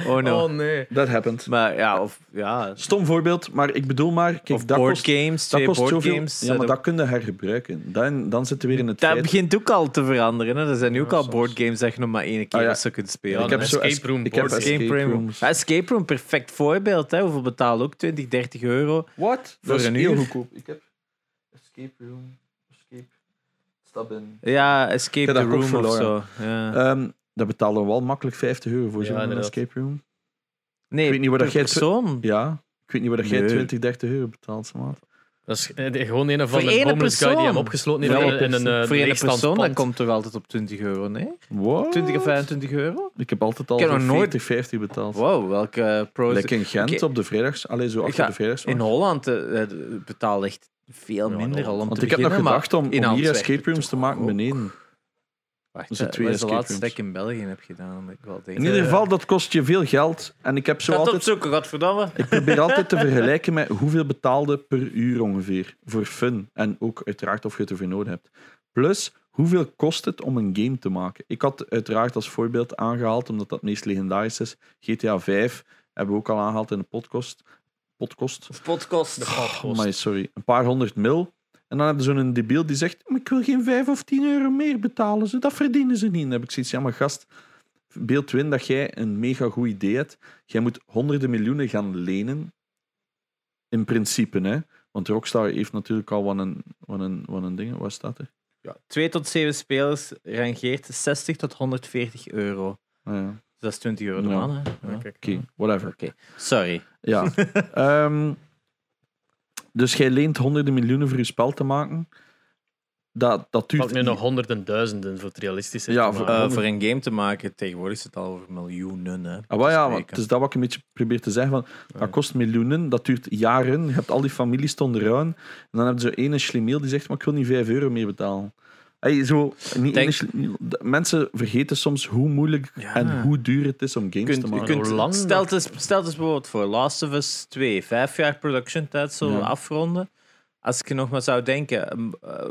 S1: no. Oh no.
S2: nee.
S3: That happened.
S1: Maar ja, of ja.
S3: Stom voorbeeld, maar ik bedoel maar... Kijk,
S1: of
S3: dat
S1: board
S3: kost-
S1: games,
S3: Dat
S1: twee
S3: kost
S1: board
S3: zoveel.
S1: games.
S3: ja,
S1: eh,
S3: maar
S1: dat-
S3: dat kun je hergebruiken. Dan, dan zitten we weer in het
S1: dat
S3: feit-
S1: begint ook al te veranderen. Hè. Er zijn nu ook
S2: Ja,
S1: al
S2: soms.
S1: boardgames dat je nog maar één keer
S3: Ah, ja.
S1: of zo kunt spelen.
S2: Ja,
S3: ik heb
S2: een
S3: zo
S2: escape
S3: es-
S2: room
S3: ik heb
S2: board
S3: escape,
S1: escape room.
S3: rooms.
S1: Ja, escape room, perfect voorbeeld. Hè. Hoeveel betalen ook? 20, 30 euro.
S3: Wat?
S1: Voor een uur.
S3: goedkoop. Ik heb escape room, escape, stap in.
S1: Ja, escape
S3: Ik heb
S1: the
S3: dat ook
S1: room of zo.
S3: verloren.
S1: Ja.
S3: Ehm daar betalen we wel makkelijk 50 euro voor
S2: Ja,
S3: zo'n
S2: inderdaad.
S3: escape room.
S1: nee,
S3: ik weet niet waar
S1: per
S3: dat jij het-
S1: persoon.
S3: Ja. Ik weet niet waar dat jij
S1: Nee.
S3: 20, 30 euro betaalt, maat.
S2: Dat is eh, de- gewoon een van
S1: Voor
S2: de
S1: één
S2: homeless guy die hem
S1: persoon.
S2: opgesloten
S1: Ja,
S2: heeft in een eh,
S1: Voor één
S2: leegstaand
S1: persoon, dat
S2: pand.
S1: komt toch altijd op 20 euro, nee?
S3: Wow.
S1: 20 of 25 euro?
S3: Ik heb altijd al
S1: Ik heb
S3: voor
S1: nog nooit-
S3: 40, 50 betaald.
S1: Wow, welke eh, pro's.
S3: Lekker in Gent
S1: Oké.
S3: op de vrijdags. Allee, zo achter
S1: ga
S3: de vrijdags.
S1: In Holland eh, eh, betaalt echt veel
S2: Ja, in
S1: minder al om
S3: Want
S1: te
S3: ik heb nog
S1: beginnen, maar
S3: gedacht
S1: in
S3: om, om hier
S1: Antwerpen
S3: escape rooms te
S1: toch
S3: maken
S1: ook.
S3: beneden.
S1: Wacht,
S3: Dus de
S1: eh,
S3: twee
S1: wat is de
S3: escape
S1: laatste dat
S3: rooms.
S1: ik in België heb gedaan? Dat Ik wel denk.
S3: In ieder geval, dat kost je veel geld. En ik heb zo
S1: Gaat
S3: altijd...
S1: opzoeken, godverdamme.
S3: Ik probeer altijd te vergelijken met hoeveel betaalde per uur ongeveer. Voor fun. En ook uiteraard of je het ervoor nodig hebt. Plus, hoeveel kost het om een game te maken? Ik had uiteraard als voorbeeld aangehaald, omdat dat het meest legendarisch is. GTA 5 hebben we ook al aangehaald in de podcast. Podcast?
S1: Podcast.
S3: Oh, my, sorry. Een paar honderd mil. En dan hebben ze zo'n debiel die zegt: "Maar Ik wil geen 5 of 10 euro meer betalen. Ze, dat verdienen ze niet. Dan heb ik zoiets: Ja, maar gast, beeld win dat jij een mega goed idee hebt. Jij moet honderden miljoenen gaan lenen. In principe, hè? Want Rockstar heeft natuurlijk al wat een, wat een, wat een ding. Wat staat er?
S1: Twee tot zeven spelers rangeert 60 tot 140 euro.
S3: Ah, ja.
S1: Dus dat is 20 euro de
S3: Ja.
S1: man. Hè? Ja.
S3: Oké, whatever.
S1: Sorry.
S3: Ja. Ehm, dus jij leent honderden miljoenen voor je spel te maken. Dat, dat duurt
S2: Pak nu nog honderden duizenden voor het realistische.
S3: Ja,
S2: te
S3: voor-
S1: Eh,
S2: maken.
S1: voor een game te maken, tegenwoordig is het al over miljoenen. Hè,
S3: Ah, wel ja,
S1: te
S3: maar
S1: spreken.
S3: het is dat wat ik een beetje probeer te zeggen. Van, dat kost miljoenen, dat duurt jaren. Je hebt al die families stonden ruim. En dan heb je zo ene schlimmeel die zegt, maar ik wil niet 5 euro meer betalen. Hey, zo, niet
S1: Denk-
S3: ene schlemiel. De- Mensen vergeten soms hoe moeilijk
S1: Ja.
S3: en hoe duur het is om games
S1: Je kunt,
S3: te
S1: je
S3: maken.
S2: kun-
S1: kunt,
S2: Hoe lang
S1: stel, het eens, stel het eens bijvoorbeeld voor Last of Us 2, vijf jaar production tijd zo
S3: Ja.
S1: afronden. Als ik nog maar zou denken, ehm, eh,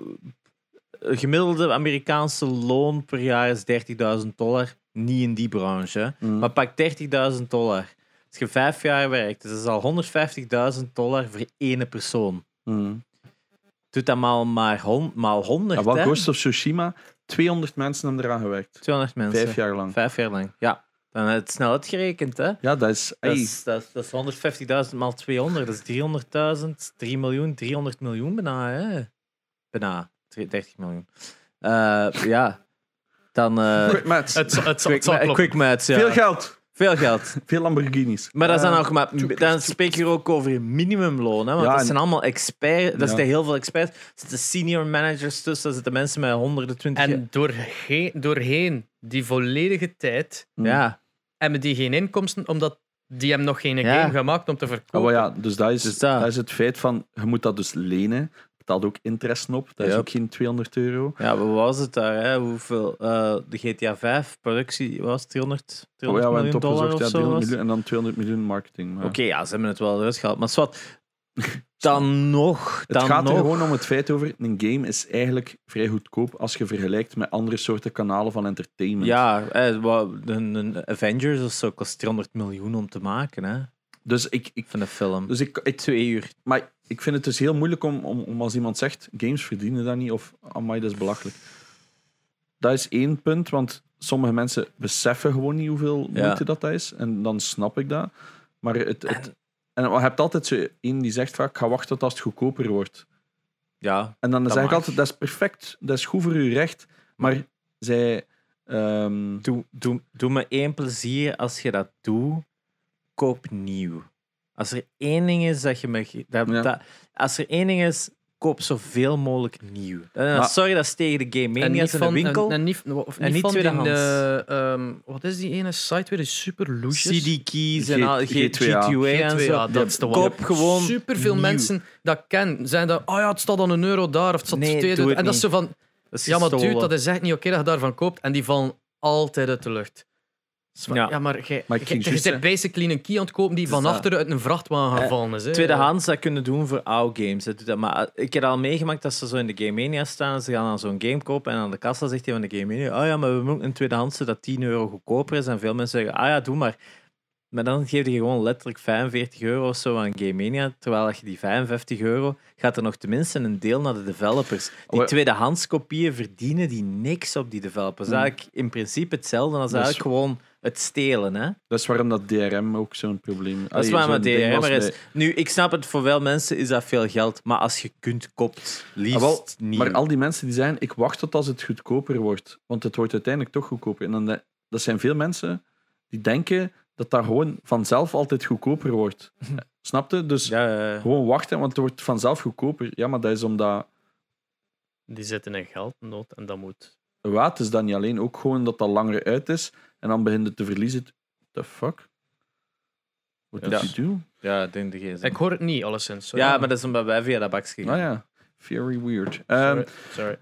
S1: een gemiddelde Amerikaanse loon per jaar is 30.000 dollar. Niet in die branche, hè.
S3: Mm.
S1: maar pak 30.000 dollar. Als je vijf jaar werkt, dus dat is al 150.000 dollar voor één persoon.
S3: Mm.
S1: Doe dat maal maar hon, maal 100,
S3: En Ah, wat
S1: hè.
S3: Ghost of Tsushima? 200 mensen hebben eraan gewerkt.
S1: 200 mensen.
S3: Vijf jaar lang.
S1: Vijf jaar lang, ja. Dan heb je het snel uitgerekend, hè.
S3: Ja, dat is...
S1: Dat
S3: ey,
S1: is, dat is, dat is 150.000 maal 200. Dat is 300.000, 3 miljoen, 300 miljoen bijna. Hè? Bijna, Drie- 30 miljoen. Eh, ja, dan... eh,
S3: quick maths.
S2: Het zal- het zal-
S1: quick,
S2: het zal
S1: ma-
S2: kloppen.
S1: quick maths, ja.
S3: Veel geld.
S1: Veel geld.
S3: Veel Lamborghinis.
S1: Maar dat is dan
S3: Eh,
S1: ook maar, dan spreek je hier ook over minimumloon. Hè? Want
S3: Ja,
S1: dat
S3: en-
S1: zijn allemaal experts.
S3: Ja.
S1: Daar zitten heel veel experts. Er zitten senior managers tussen. Daar zitten mensen met honderden twintig.
S2: En doorheen, doorheen die volledige tijd
S1: Ja,
S2: hebben die geen inkomsten, omdat die hem nog geen
S1: Ja.
S2: game gemaakt om te verkopen.
S3: Ah, maar ja, dus dat is,
S1: Dus
S3: dat.
S1: dat.
S3: is het feit van, je moet dat dus lenen. Je betaalt ook interesse op. Dat is
S1: Ja.
S3: ook geen 200 euro. Oh,
S1: ja, wat was het daar? Hè? Hoeveel? eh, de GTA 5 productie was 300, 300
S3: Oh ja, we hebben
S1: miljoen
S3: het
S1: dollar of
S3: opgezocht. Ja,
S1: zo.
S3: 300
S1: was.
S3: miljoen en dan 200 miljoen marketing. maar
S1: Oké, ja, ze hebben het wel eruit gehaald. Maar zwart, dan nog.
S3: Het
S1: Dan
S3: gaat
S1: nog.
S3: er gewoon om het feit over. Een game is eigenlijk vrij goedkoop als je vergelijkt met andere soorten kanalen van entertainment.
S1: Ja, eh, wat- een, een Avengers of zo kost 300 miljoen om te maken, hè?
S3: Dus ik, ik,
S1: Van een film.
S3: dus ik, ik,
S1: Twee uur.
S3: maar ik vind het dus heel moeilijk om, om, om als iemand zegt: games verdienen dat niet, of amai, dat is belachelijk. Dat is één punt, want sommige mensen beseffen gewoon niet hoeveel
S1: Ja.
S3: moeite dat, dat is. En dan snap ik dat. Maar het, het, en je hebt altijd zo één die zegt: vaak, ik ga wachten tot als het goedkoper wordt.
S1: Ja,
S3: En dan
S1: Dat
S3: zeg ik
S1: mag.
S3: altijd, dat is perfect, dat is goed voor uw recht, maar zij... ehm,
S1: doe, doe, doe me één plezier als je dat doet. Koop nieuw. Als er één ding is dat je me. ge- Dat,
S3: Ja.
S1: dat- als er één ding is, koop zoveel mogelijk nieuw. Eh,
S3: Maar-
S1: sorry, dat is tegen de Game Mania's in de winkel.
S2: En, en niet, of
S1: En
S2: niet
S1: niet
S2: van die,
S1: tweedehands.
S2: eh, ehm, wat is die ene site weer? Die super loesjes.
S1: CD keys en
S3: G-
S1: al, G-
S3: G2A.
S1: G2A, en zo.
S2: Ja, dat is de
S1: Koop gewoon
S2: Superveel
S1: nieuw.
S2: mensen dat kennen, zijn dat, oh ja, het staat dan een euro daar of het staat
S1: Nee,
S2: twee
S1: doe
S2: euro-
S1: het
S2: En dat is zo
S1: niet.
S2: van,
S1: Dat is
S2: ja, maar dude,
S1: gestolen.
S2: dat is echt niet oké dat je daarvan koopt. En die vallen altijd uit de lucht. Dat is van, Ja.
S1: Ja.
S2: maar jij-
S3: Maar ik
S2: jij-
S3: ging
S2: je
S3: juist
S2: zit basically een key aan het kopen die
S1: Dus
S2: van
S1: dat-
S2: achter uit een vrachtwagen
S1: Eh,
S2: gevallen is. hè.
S1: Tweedehands dat kunnen doen voor oude games. hè. Doe dat. Maar eh, ik heb al meegemaakt dat ze zo in de Game Mania staan. en Ze gaan dan zo'n game kopen en aan de kassa zegt hij van de Game Mania: Oh ja, maar we moeten een tweedehandse dat 10 euro goedkoper is. En veel mensen zeggen: Ah ja, doe maar. Maar dan geef je gewoon letterlijk 45 euro of zo aan Game Mania. Terwijl als je die 55 euro gaat er nog tenminste een deel naar de developers. Die
S3: Oh, ja.
S1: tweedehands kopieën verdienen die niks op die developers.
S3: Hmm.
S1: Eigenlijk in principe hetzelfde als
S3: Dat is-
S1: eigenlijk gewoon het stelen. Hè?
S3: Dat is waarom dat DRM ook zo'n probleem
S1: Dat is
S3: Allee,
S1: waar
S3: zo'n
S1: met
S3: ding was
S1: DRM'er is.
S3: met-
S1: Nu, ik snap het, voor veel mensen is dat veel geld. Maar als je kunt, koopt liefst
S3: Ah, wel,
S1: niet.
S3: maar al die mensen die zijn, ik wacht tot als het goedkoper wordt. Want het wordt uiteindelijk toch goedkoper. En dan, de- dat zijn veel mensen die denken dat dat gewoon vanzelf altijd goedkoper wordt. Snap je? Dus
S1: Ja, ja, ja.
S3: gewoon wachten, want het wordt vanzelf goedkoper. Ja, maar dat is omdat...
S2: Die zitten in geldnood en dat moet.
S3: Wat het is dat niet alleen? Ook gewoon dat dat langer uit is. En dan begint het te verliezen. The fuck? Wat
S1: Ja.
S3: did you do?
S1: ja, ik denk de gsm.
S2: Ik hoor het niet, alleszins. Sorry.
S1: Ja, maar dat is omdat wij via dat bakje
S3: Ah
S1: gaan.
S3: ja, very weird. Ehm,
S2: Sorry. Sorry.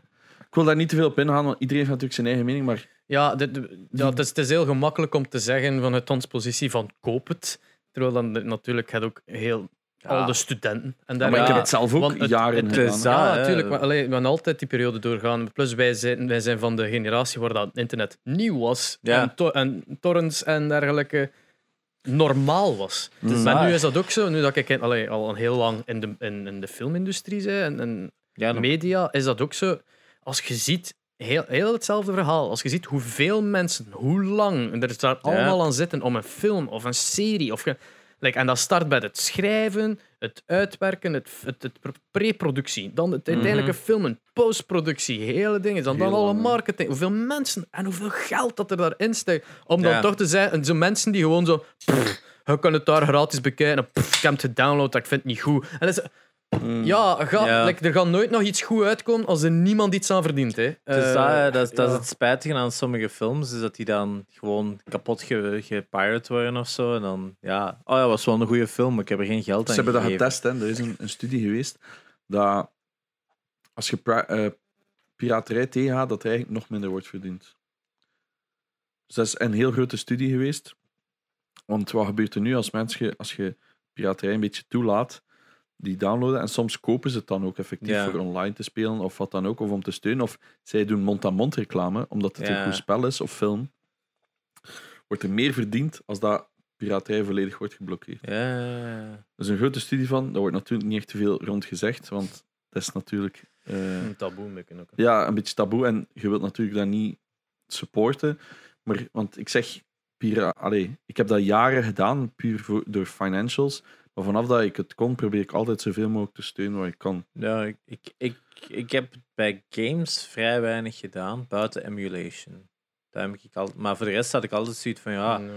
S3: ik wil daar niet te veel op ingaan, want iedereen heeft natuurlijk zijn eigen mening. Maar
S2: Ja, de- de- ja het, is, het is heel gemakkelijk om te zeggen vanuit ons positie van koop het. Terwijl dan de- natuurlijk gaat ook heel al de
S3: dus
S2: studenten en
S3: Maar ik
S2: dergelijke.
S3: heb het zelf ook
S2: Want het-
S3: jaren
S2: het
S1: is
S3: gedaan.
S1: dat-
S2: Ja,
S1: Ja,
S2: natuurlijk.
S1: ja.
S2: Maar allee, we gaan altijd die periode doorgaan. Plus, wij zijn, wij zijn van de generatie waar dat internet nieuw was.
S1: Ja.
S2: En, to- en torrents en dergelijke normaal was.
S3: Het is
S2: maar
S1: waar.
S2: nu is dat ook zo. Nu dat ik in- allee, al een heel lang in de, in, in de filmindustrie ben en, en
S1: Ja, dan-
S2: media, is dat ook zo. Als je ziet, heel, heel hetzelfde verhaal. Als je ziet hoeveel mensen, hoe lang en er is daar allemaal aan zitten om een film of een serie. Of ge- like, en dat start bij het schrijven, het uitwerken, het, het, het pre- pre-productie. Dan het uiteindelijke filmen, postproductie, hele dingen. Dan, dan
S3: Heel
S2: alle
S3: lang, hè.
S2: marketing. Hoeveel mensen en hoeveel geld dat er daarin steekt. Om dan
S1: Ja.
S2: toch te zijn, en zo mensen die gewoon zo. pff, je kan het daar gratis bekijken. Pff, ik heb het gedownload, dat ik vind het niet goed. En dat is, ja, ga,
S1: Hmm. Ja.
S2: like, er gaat nooit nog iets goed uitkomen als er niemand iets aan verdient. Hè.
S1: Het is
S2: Eh,
S1: dat, hè. dat, is- dat
S2: ja.
S1: is het spijtige aan sommige films, is dat die dan gewoon kapot ge gepirate worden of zo. En dan, ja, oh ja, was wel een goede film, maar ik heb er geen geld aan
S3: Ze hebben dat
S1: gegeven.
S3: getest. Hè. Er is een, een studie geweest dat als je pra- eh, piraterij tegengaat, dat er eigenlijk nog minder wordt verdiend. Dus dat is een heel grote studie geweest. Want wat gebeurt er nu als mensen, als je piraterij een beetje toelaat, die downloaden en soms kopen ze het dan ook effectief
S1: Ja.
S3: voor online te spelen of wat dan ook, of om te steunen. Of zij doen mond-aan-mond reclame, omdat het een
S1: Ja.
S3: goed spel is of film. Wordt er meer verdiend als dat piraterij volledig wordt geblokkeerd.
S1: Ja, ja, ja.
S3: Er is een grote studie van. Daar wordt natuurlijk niet echt te veel rond gezegd, want dat is natuurlijk eh,
S2: Een taboe maken ook.
S3: ja, een beetje taboe. En je wilt natuurlijk dat niet supporten. Maar, want ik zeg, pira, allee, ik heb dat jaren gedaan, puur voor, door financials. Maar vanaf dat ik het kon, probeer ik altijd zoveel mogelijk te steunen waar ik kan.
S1: Ja, Nou, ik, ik, ik, ik heb bij games vrij weinig gedaan, buiten emulation. Daar heb ik al, maar voor de rest had ik altijd zoiets van, ja,
S3: Hmm.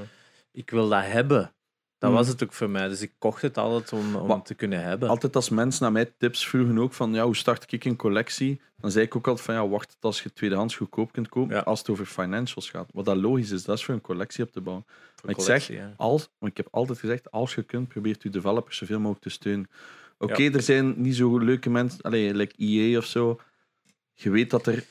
S1: ik wil dat hebben. Dat
S3: Mm.
S1: was het ook voor mij. Dus ik kocht het altijd om, om
S3: Maar-
S1: het te kunnen hebben.
S3: Altijd als mensen naar mij tips vroegen ook van, ja, hoe start ik een collectie? Dan zei ik ook altijd van, ja, wacht tot als je tweedehands goedkoop kunt kopen,
S1: Ja.
S3: als het over financials gaat. Wat dat logisch is, dat is voor een collectie op te bouwen.
S1: Voor
S3: maar ik
S1: collectie, ja.
S3: Als, want ik heb altijd gezegd, als je kunt, probeert je developers zoveel mogelijk te steunen. Oké,
S1: Ja.
S3: er zijn niet zo leuke mensen, allee, like EA of zo. Je weet dat er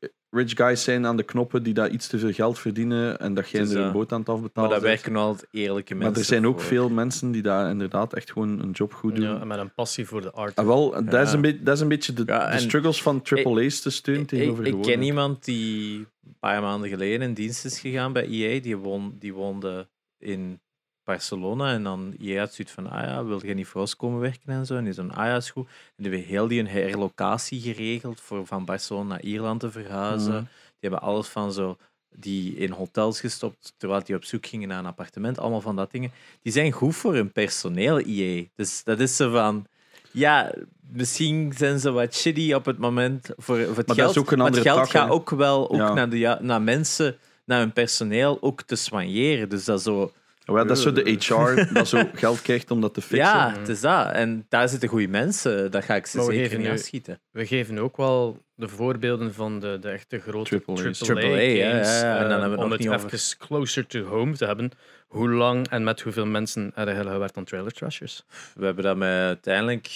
S3: eh, rich guys zijn aan de knoppen die daar iets te veel geld verdienen en dat jij
S1: Het is
S3: er een
S1: dat.
S3: boot aan het afbetalen
S1: Maar daar
S3: bent.
S1: werken altijd eerlijke mensen
S3: Maar er zijn ook
S1: voor.
S3: veel mensen die daar inderdaad echt gewoon een job goed doen.
S2: Ja, en met een passie voor de art.
S3: Ah, wel, dat, is
S1: Ja.
S3: een beetje, dat is een beetje de,
S1: Ja,
S3: de
S1: en-
S3: struggles van AAA's te steunen
S1: Ik- Ik,
S3: tegenover
S1: ik
S3: gewoon-
S1: ken iemand die een paar maanden geleden in dienst is gegaan bij EA. Die, won, die woonde in Barcelona. En dan EA had zoiets van, ah ja, wil jij niet voor ons komen werken en zo? En die zo'n, ah ja, is goed. En die hebben heel die een herlocatie geregeld voor van Barcelona naar Ierland te verhuizen.
S3: Mhm.
S1: Die hebben alles van zo... Die in hotels gestopt, terwijl die op zoek gingen naar een appartement. Allemaal van dat dingen. Die zijn goed voor hun personeel, EA. Dus dat is ze van... Ja, misschien zijn ze wat shitty op het moment voor, voor het
S3: dat
S1: geld.
S3: is ook een
S1: maar het
S3: andere
S1: geld
S3: tak, hè.
S1: gaat ook wel ook
S3: Ja.
S1: naar, de, ja- naar mensen, naar hun personeel, ook te soigneren. Dus dat zo...
S3: Ja, dat is zo de HR dat zo geld krijgt om dat te fixen.
S1: Ja, het is dat. En daar zitten goede mensen. Daar ga ik ze
S2: Mm. Maar we
S1: zeker
S2: geven
S1: niet
S2: nu-
S1: afschieten.
S2: We geven ook wel de voorbeelden van de, de echte grote
S3: Triple A's.
S2: AAA-games.
S1: Triple A, ja, ja, ja. En dan hebben we het
S2: Eh, om
S1: nog
S2: het
S1: niet
S2: even
S1: over-
S2: closer to home te hebben. Hoe lang en met hoeveel mensen er heel gewerkt aan trailer trashers?
S1: We hebben dat met uiteindelijk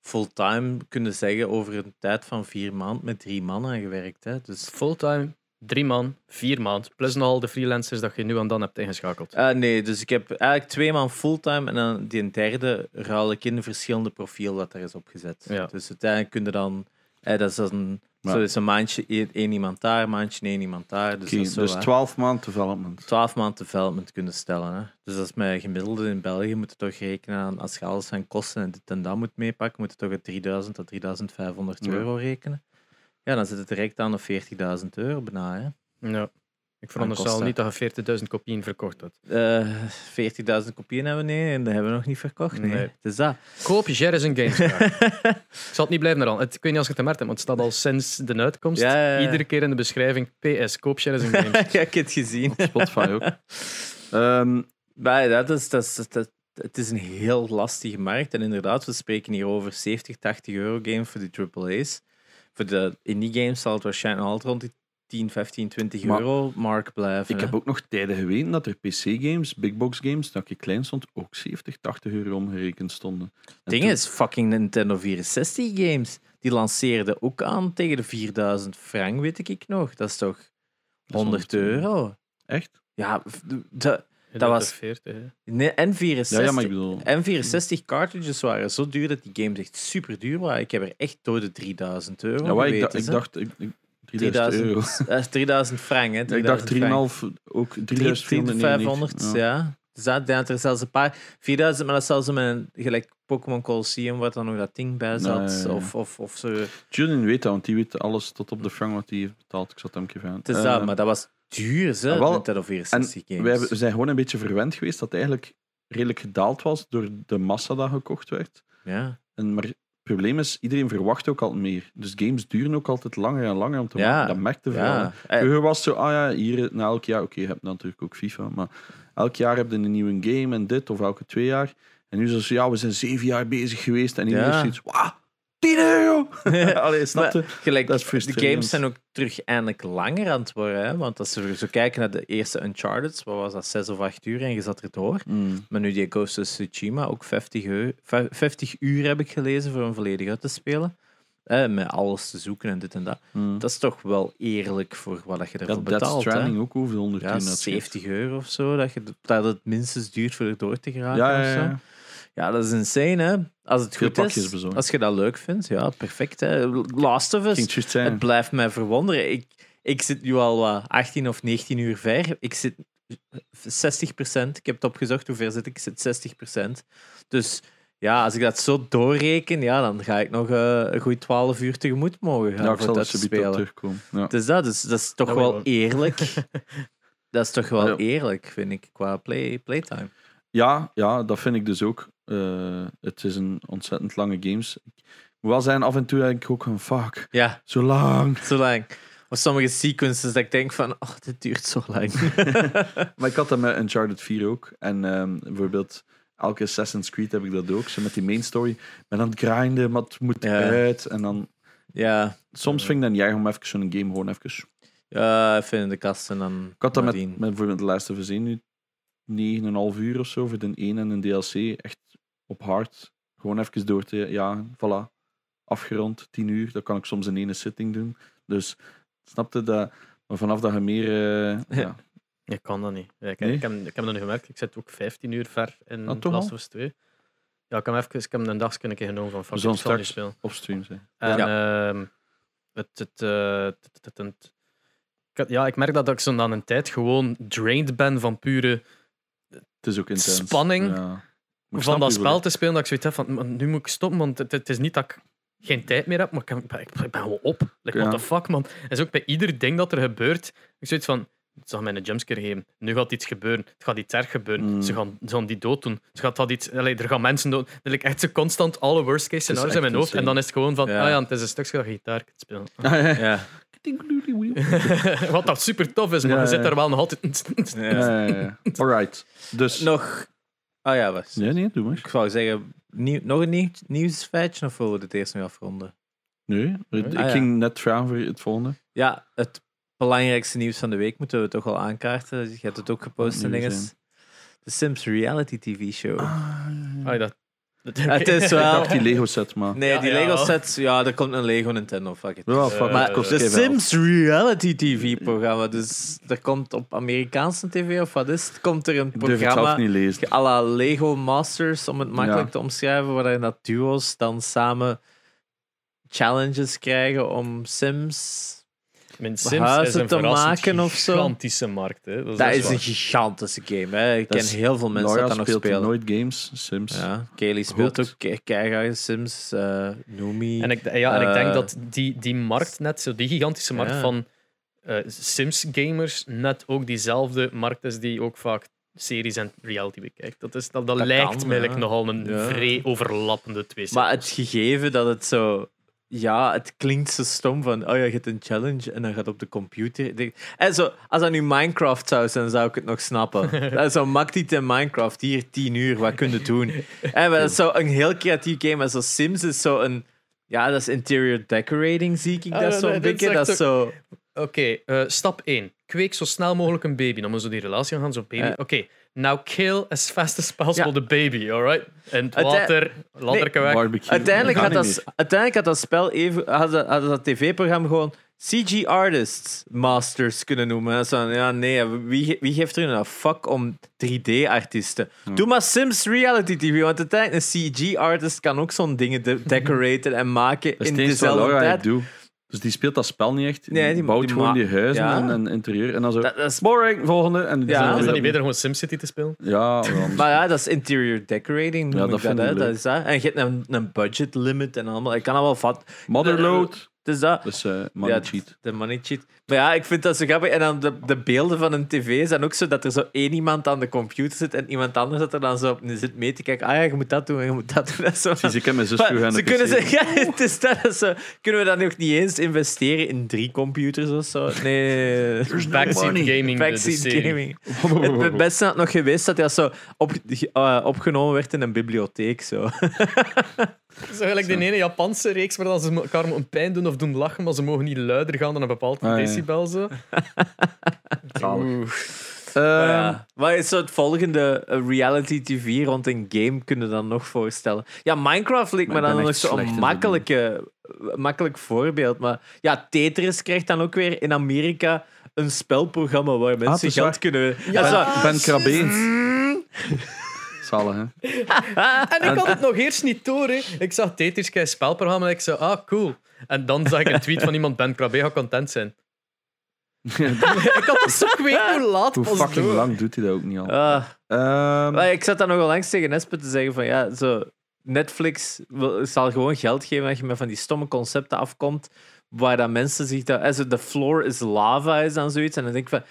S1: fulltime kunnen zeggen over een tijd van vier maanden met drie mannen gewerkt. Hè. Dus,
S2: Fulltime, drie man, vier maand. Plus nog al de freelancers dat je nu en dan hebt ingeschakeld.
S1: Ah, nee, dus ik heb eigenlijk twee maanden fulltime en dan die derde ruil ik in een verschillende profiel dat er is opgezet.
S2: Ja.
S1: Dus uiteindelijk kun je dan... Hè, dat is dan
S3: Maar-
S1: zo is een maandje één, één iemand daar, een maandje één iemand daar. Dus
S3: Oké,
S1: dat is zo,
S3: dus
S1: hè.
S3: 12 maand development.
S1: 12 maand development kunnen stellen. Hè. Dus dat is met gemiddelde in België moet je toch rekenen aan, als je alles aan kosten en dit en dat moet meepakken, moet je toch een 3000 tot 3500
S3: Ja.
S1: euro rekenen. Ja, dan zit het direct aan op 40.000 euro bijna. Hè.
S2: Ja. Ik veronderstel
S1: kosten.
S2: niet dat je 40.000 kopieën verkocht hebt.
S1: Eh, 14.000 kopieën hebben we nee, en dat hebben we nog niet verkocht. Nee,
S2: Nee.
S1: het is dat.
S2: Koop Jerry's een Gamestar. ik zal het niet blijven eraan. Het, ik weet niet als je het gemerkt hebt, want het staat al sinds de uitkomst.
S1: Ja, ja, ja.
S2: Iedere keer in de beschrijving. PS, koop Jerry's een Gamestar.
S1: ja, ik heb het gezien.
S3: Spotify ook. Ehm,
S1: Maar dat is, dat is, dat, dat- het is een heel lastige markt. En inderdaad, we spreken hier over 70, 80 euro game voor de AAA's. Voor de indie games zal het waarschijnlijk nog altijd rond die 10, 15, 20
S3: Maar-
S1: euro mark blijven.
S3: ik
S1: hè.
S3: heb ook nog tijden geweten dat er PC-games, bigbox-games, dat ik klein stond, ook 70, 80 euro omgerekend stonden. En
S1: Het ding
S3: toen-
S1: is, fucking Nintendo 64 games, die lanceerden ook aan tegen de 4000 frank, weet ik nog. Dat is toch
S3: is
S1: 100 euro?
S3: Echt?
S1: Ja, v- de, Dat was-
S2: 40, hè.
S1: nee, N64.
S3: Ja, ja, maar ik bedoel...
S1: N64 cartridges waren zo duur dat die games echt super duur waren. Ik heb er echt door de 3000 euro
S3: Ja, maar ik, dacht-
S1: geweten,
S3: ik
S1: ze.
S3: dacht... Ik, ik, 3000
S1: 3000,
S3: euro.
S1: eh, 3000 frank, hè?
S3: ik dacht
S1: 3000 frank.
S3: 3,5, ook
S1: 3500,
S3: 3.500.
S1: ja. Er zaten er zelfs een paar. 4000, maar dat zelfs met een gelijk Pokémon Colosseum, wat dan nog dat ding bij zat.
S3: Nee, ja, ja.
S1: Of, of, of zo. Het
S3: Julian weet dat, want die weet alles tot op de frank wat hij heeft betaald. Ik zat hem een keer aan.
S1: is
S3: Eh,
S1: dat, maar dat was duur, hè?
S3: Ah, wel,
S1: Nintendo
S3: En
S1: 64 games.
S3: wij hebben- we zijn gewoon een beetje verwend geweest dat het eigenlijk redelijk gedaald was door de massa dat gekocht werd.
S1: ja.
S3: En, maar het probleem is, iedereen verwacht ook altijd meer. Dus games duren ook altijd langer en langer om te
S1: Ja,
S3: maken. Dat merkte vooral.
S1: ja. Eh.
S3: Ja. Vroeger was het zo, ah ja, hier na elk jaar, oké, je hebt natuurlijk ook FIFA, maar elk jaar heb je een nieuwe game en dit, of elke twee jaar. En nu is het zo, ja, we zijn zeven jaar bezig geweest en iedereen
S1: Ja.
S3: heeft zoiets, wauw, 10 euro!
S1: Eh,
S3: Allee, snap je?
S1: Maar gelijk,
S3: Dat is
S1: de
S3: frustrerend.
S1: games zijn ook terug eindelijk langer aan het worden. Hè? Want als we zo kijken naar de eerste Uncharted, wat was dat, 6 of 8 uur en je zat er door.
S3: Mm.
S1: Maar nu die Ghost of Tsushima, ook 50 uur, 50 uur heb ik gelezen voor hem volledig uit te spelen. Eh, met alles te zoeken en dit en dat.
S3: Mm.
S1: Dat is toch wel eerlijk voor wat dat je
S3: Ja,
S1: ervoor
S3: Death
S1: betaalt. hè?
S3: Stranding ook hoeveel 110
S1: Ja,
S3: dat scheelt.
S1: 70 euro of zo. Dat, je, dat het minstens duurt voor er door te geraken.
S3: Ja, ja,
S1: of zo.
S3: ja.
S1: Ja, dat is insane, hè? Als het
S3: Veel
S1: goed
S3: pakjes
S1: is,
S3: bezorgd.
S1: als je dat leuk vindt, ja, perfect. Hè? Last of
S3: Ik ging
S1: Us,
S3: het juist
S1: het
S3: zeggen.
S1: blijft mij verwonderen. Ik, ik zit nu al wat 18 of 19 uur ver. Ik zit 60 Ik heb het opgezocht, hoe ver zit ik? Ik zit 60 Dus ja, als ik dat zo doorreken, ja, dan ga ik nog eh, een goed 12 uur tegemoet mogen gaan
S3: Ja,
S1: voor
S3: ik zal
S1: dat
S3: er
S1: te
S3: subiet op
S1: spelen.
S3: terugkomen. Ja.
S1: Het is dat, dus dat is toch
S2: Dat
S1: wel
S2: wil ik
S1: eerlijk. dat is toch wel
S3: Ja.
S1: eerlijk, vind ik, qua play, playtime.
S3: Ja, ja, dat vind ik dus ook. Eh, het is een ontzettend lange games. Ik moet wel zijn, af en toe denk ik ook van fuck,
S1: Ja,
S3: zo lang.
S1: zo lang. Of sommige sequences dat ik denk van, oh, dit duurt zo lang.
S3: Maar ik had dat met Uncharted 4 ook. En ehm, bijvoorbeeld elke Assassin's Creed heb ik dat ook. Zo met die main story. Maar dan het grinden, maar het moet
S1: Ja.
S3: uit. En dan,
S1: ja,
S3: soms vind ik dan jij om even zo'n game gewoon even...
S1: ja, even in de kast en dan
S3: Ik had dat met,
S1: nadien.
S3: met bijvoorbeeld The Last of Us 1 nu 9,5 uur of zo voor de 1 en een DLC. Echt op hard. Gewoon even door te... Ja, voilà. Afgerond, 10 uur. Dat kan ik soms in ene sitting doen. Dus snapte dat... Maar vanaf dat je meer... eh, ja.
S2: Ik kan dat niet. Ja, ik,
S3: Nee?
S2: ik, heb, ik heb dat nu gemerkt. Ik zit ook 15 uur ver in
S3: Ah, toch
S2: Last
S3: al?
S2: of Us 2. Ja, ik heb, even, ik heb een dag een keer genomen van fuck,
S3: We zullen
S2: ik zal nu
S3: straks-
S2: spelen.
S3: op stream zijn.
S2: En ehm, het... het, eh, het, het, het- het- ik had- ja, ik merk dat ik zo na een tijd gewoon drained ben van pure...
S3: Het is ook intens.
S2: Spanning
S3: Ja. Maar ik snap
S2: van dat
S3: je
S2: spel te spelen, dat ik zoiets heb van, "Man, nu moet ik stoppen, want het, het is niet dat ik geen tijd meer heb, maar ik, heb- ik ben- ik ben wel op. Like,
S3: Ja.
S2: what the fuck, man. En zo ook bij ieder ding dat er gebeurt, ik zoiets van, het zal mij een jumpscare geven, nu gaat iets gebeuren, het gaat iets erg gebeuren,
S3: Mm.
S2: ze, gaan, ze gaan die dood doen, ze gaat dat iets, allee, er gaan mensen dood. Dat ik echt zo constant alle worst case
S3: is
S2: scenario's in
S3: echt
S2: mijn hoofd, en
S3: insane.
S2: dan is het gewoon van,
S1: Ja.
S2: ah ja, het is een stukje dat je gitaar kunt spelen.
S3: wel.
S1: Ja,
S2: Wat dat super tof is, maar
S3: Ja,
S2: je zit
S3: ja.
S2: daar wel nog altijd.
S3: Ja, ja, ja. Alright. Dus.
S1: Nog. Ah ja, was.
S3: Nee, nee, doe maar.
S1: Ik wou zeggen, nieuw, nog een nieuw, nieuwsfeitje of willen we dit eerst nu afronden?
S3: Nee, ik
S1: ja.
S3: ging net vragen voor het volgende.
S1: Ja, het belangrijkste nieuws van de week moeten we toch al aankaarten. Je hebt het ook gepost en
S3: Nieuws,
S1: dinges. De Sims Reality TV Show.
S2: Ah, dat, dat
S1: Het is wel...
S3: Die Lego set, maar.
S1: Nee, die
S2: Ja, ja.
S1: Lego sets, ja, er komt een Lego Nintendo, fuck it.
S3: Wel, fuck,
S2: Eh,
S3: maar
S1: Maar
S3: het kost
S1: de
S3: geen geld.
S1: Sims Reality TV-programma, dus er komt op Amerikaanse tv of wat is het, komt er een
S3: Ik durf het zelf
S1: programma
S3: niet lezen.
S1: à la Lego Masters, om het makkelijk
S3: Ja.
S1: te omschrijven, waarin dat duo's dan samen challenges krijgen om Sims...
S2: Mijn Sims is
S1: Huizen
S2: een
S1: te
S2: verrassend
S1: maken of zo.
S2: gigantische markt. Hè. Dat is,
S1: Dat
S2: echt
S1: is
S2: waar.
S1: een gigantische game, hè. Ik
S3: Dat
S1: ken
S3: is-
S1: heel veel mensen
S3: Laura
S1: dat dat nog
S3: speelt
S1: spelen.
S3: nooit games, Sims.
S1: Ja, Kelly speelt
S3: Hooked.
S1: ook ke- keihard Sims, eh Noomi.
S2: En ik, ja, en ik denk
S1: Eh,
S2: dat die, die markt net, zo die gigantische markt
S1: Ja.
S2: van eh, Sims-gamers, net ook diezelfde markt is die ook vaak series en reality bekijkt. Dat, is, dat, dat,
S1: Dat
S2: lijkt
S1: kan,
S2: me eigenlijk
S1: ja.
S2: nogal een
S1: Ja.
S2: vrij overlappende twee
S1: Maar het gegeven dat het zo. Ja, het klinkt zo stom van. Oh ja, je hebt een challenge en dan gaat op de computer. Ik denk- En zo, als dat nu Minecraft zou zijn, zou ik het nog snappen. dat is zo mak dit in Minecraft, hier 10 uur, wat kun je doen? En maar dat is zo een heel creatief game. Maar zo Sims is zo een. Ja, dat is interior decorating, zie ik
S2: Ah,
S1: dat
S2: nee,
S1: zo'n
S2: nee, dit
S1: beetje.
S2: is
S1: Dat
S2: echt
S1: is zo.
S2: Oké, eh, stap 1. Kweek zo snel mogelijk een baby. Dan moeten we die relatie aan gaan, zo'n baby.
S1: Ja.
S2: Oké, now kill as fast as possible
S1: Eh. Ja. eh,
S2: the baby, alright? En het
S1: Uite-
S2: water, ladderke weg.
S3: Barbecue.
S1: Uiteindelijk
S3: Dat
S1: had
S3: kan
S1: dat,
S3: niet
S1: s- uiteindelijk had dat spel even, had dat, had dat tv-programma gewoon CG Artists Masters kunnen noemen. Dat is dan, ja, nee, wie, ge- wie geeft er nou een fuck om 3D-artiesten? Doe maar Sims Reality TV, want uiteindelijk een CG-artist kan ook zo'n dingen de- decoraten en maken
S3: Dat is
S1: in
S3: het enige wat
S1: dezelfde
S3: Laura
S1: tijd.
S3: doet. Dus die speelt dat spel niet echt.
S1: Nee,
S3: die,
S1: die-
S3: bouwt
S1: die
S3: gewoon
S1: ma-
S3: die huizen
S1: Ja.
S3: en, en interieur. En dan zo,
S1: Dat, dat is,
S3: boring, volgende. En die
S1: Ja.
S3: zijn
S2: Is
S3: weer-
S2: dat niet beter om gewoon SimCity te spelen?
S3: Ja, dan-
S1: maar ja, dat is interior decorating, noem
S3: Ja,
S1: ik
S3: dat
S1: dat,
S3: vind ik
S1: hè. dat
S3: leuk.
S1: is dat. En je hebt een, een budget limit en allemaal. Ik kan allemaal vat.
S3: Motherload.
S1: Het is dat.
S3: Dus eh money
S1: Ja,
S3: cheat.
S1: De money cheat. Maar ja, ik vind dat zo grappig. En dan de, de beelden van een tv zijn ook zo dat er zo één iemand aan de computer zit en iemand anders dat er dan zo op zit mee te kijken. Ah ja, je moet dat doen en je moet dat doen. Dat is zo.
S3: Precies, ik heb mijn zus
S1: Maar
S3: toe gaan
S1: ze kunnen ze, ja, het is dat, dat is zo. Kunnen we dan nog niet eens investeren in drie computers of zo? Nee, nee, nee, nee.
S2: Backseat Gaming. de- de
S1: Backseat
S2: serie.
S1: gaming. Het beste had nog geweest dat dat zo op, ge- eh, opgenomen werd in een bibliotheek. Zo.
S2: Zo gelijk de ene Japanse reeks waar dan ze elkaar een pijn doen of doen lachen, maar ze mogen niet luider gaan dan een bepaald
S3: Ah, ja.
S2: decibel. Zo. Oeh.
S3: Ehm,
S1: Ehm, Maar ja. Wat is zo het volgende eh, reality TV rond een game kunnen we dan nog voorstellen? Ja, Minecraft leek me
S3: Maar ik ben
S1: dan nog
S3: echt
S1: zo'n
S3: slecht in zo'n
S1: makkelijke, eh, makkelijk voorbeeld. Maar ja, Tetris krijgt dan ook weer in Amerika een spelprogramma waar mensen
S3: Ah, is
S1: geld
S3: waar.
S1: kunnen.
S2: Ja.
S1: En zo,
S2: Ah,
S3: ben Krabeens. Zalig, hè?
S2: En ik had het nog eerst niet door. Hè. Ik zag Tetris kei spelprogramma en ik zei, ah, cool. En dan zag ik een tweet van iemand, Ben Krabbe gaat content zijn. ik had dat zo kwijt hoe laat
S3: Hoe
S2: pas
S3: fucking
S2: door.
S3: lang doet hij dat ook niet al?
S1: Ah.
S3: Ehm,
S1: Maar ik zat dan nogal langs tegen Espen te zeggen van ja, zo, Netflix wil- zal gewoon geld geven als je met van die stomme concepten afkomt, waar dat mensen zich dat, also, the floor is lava is dan zoiets. En dan denk ik van,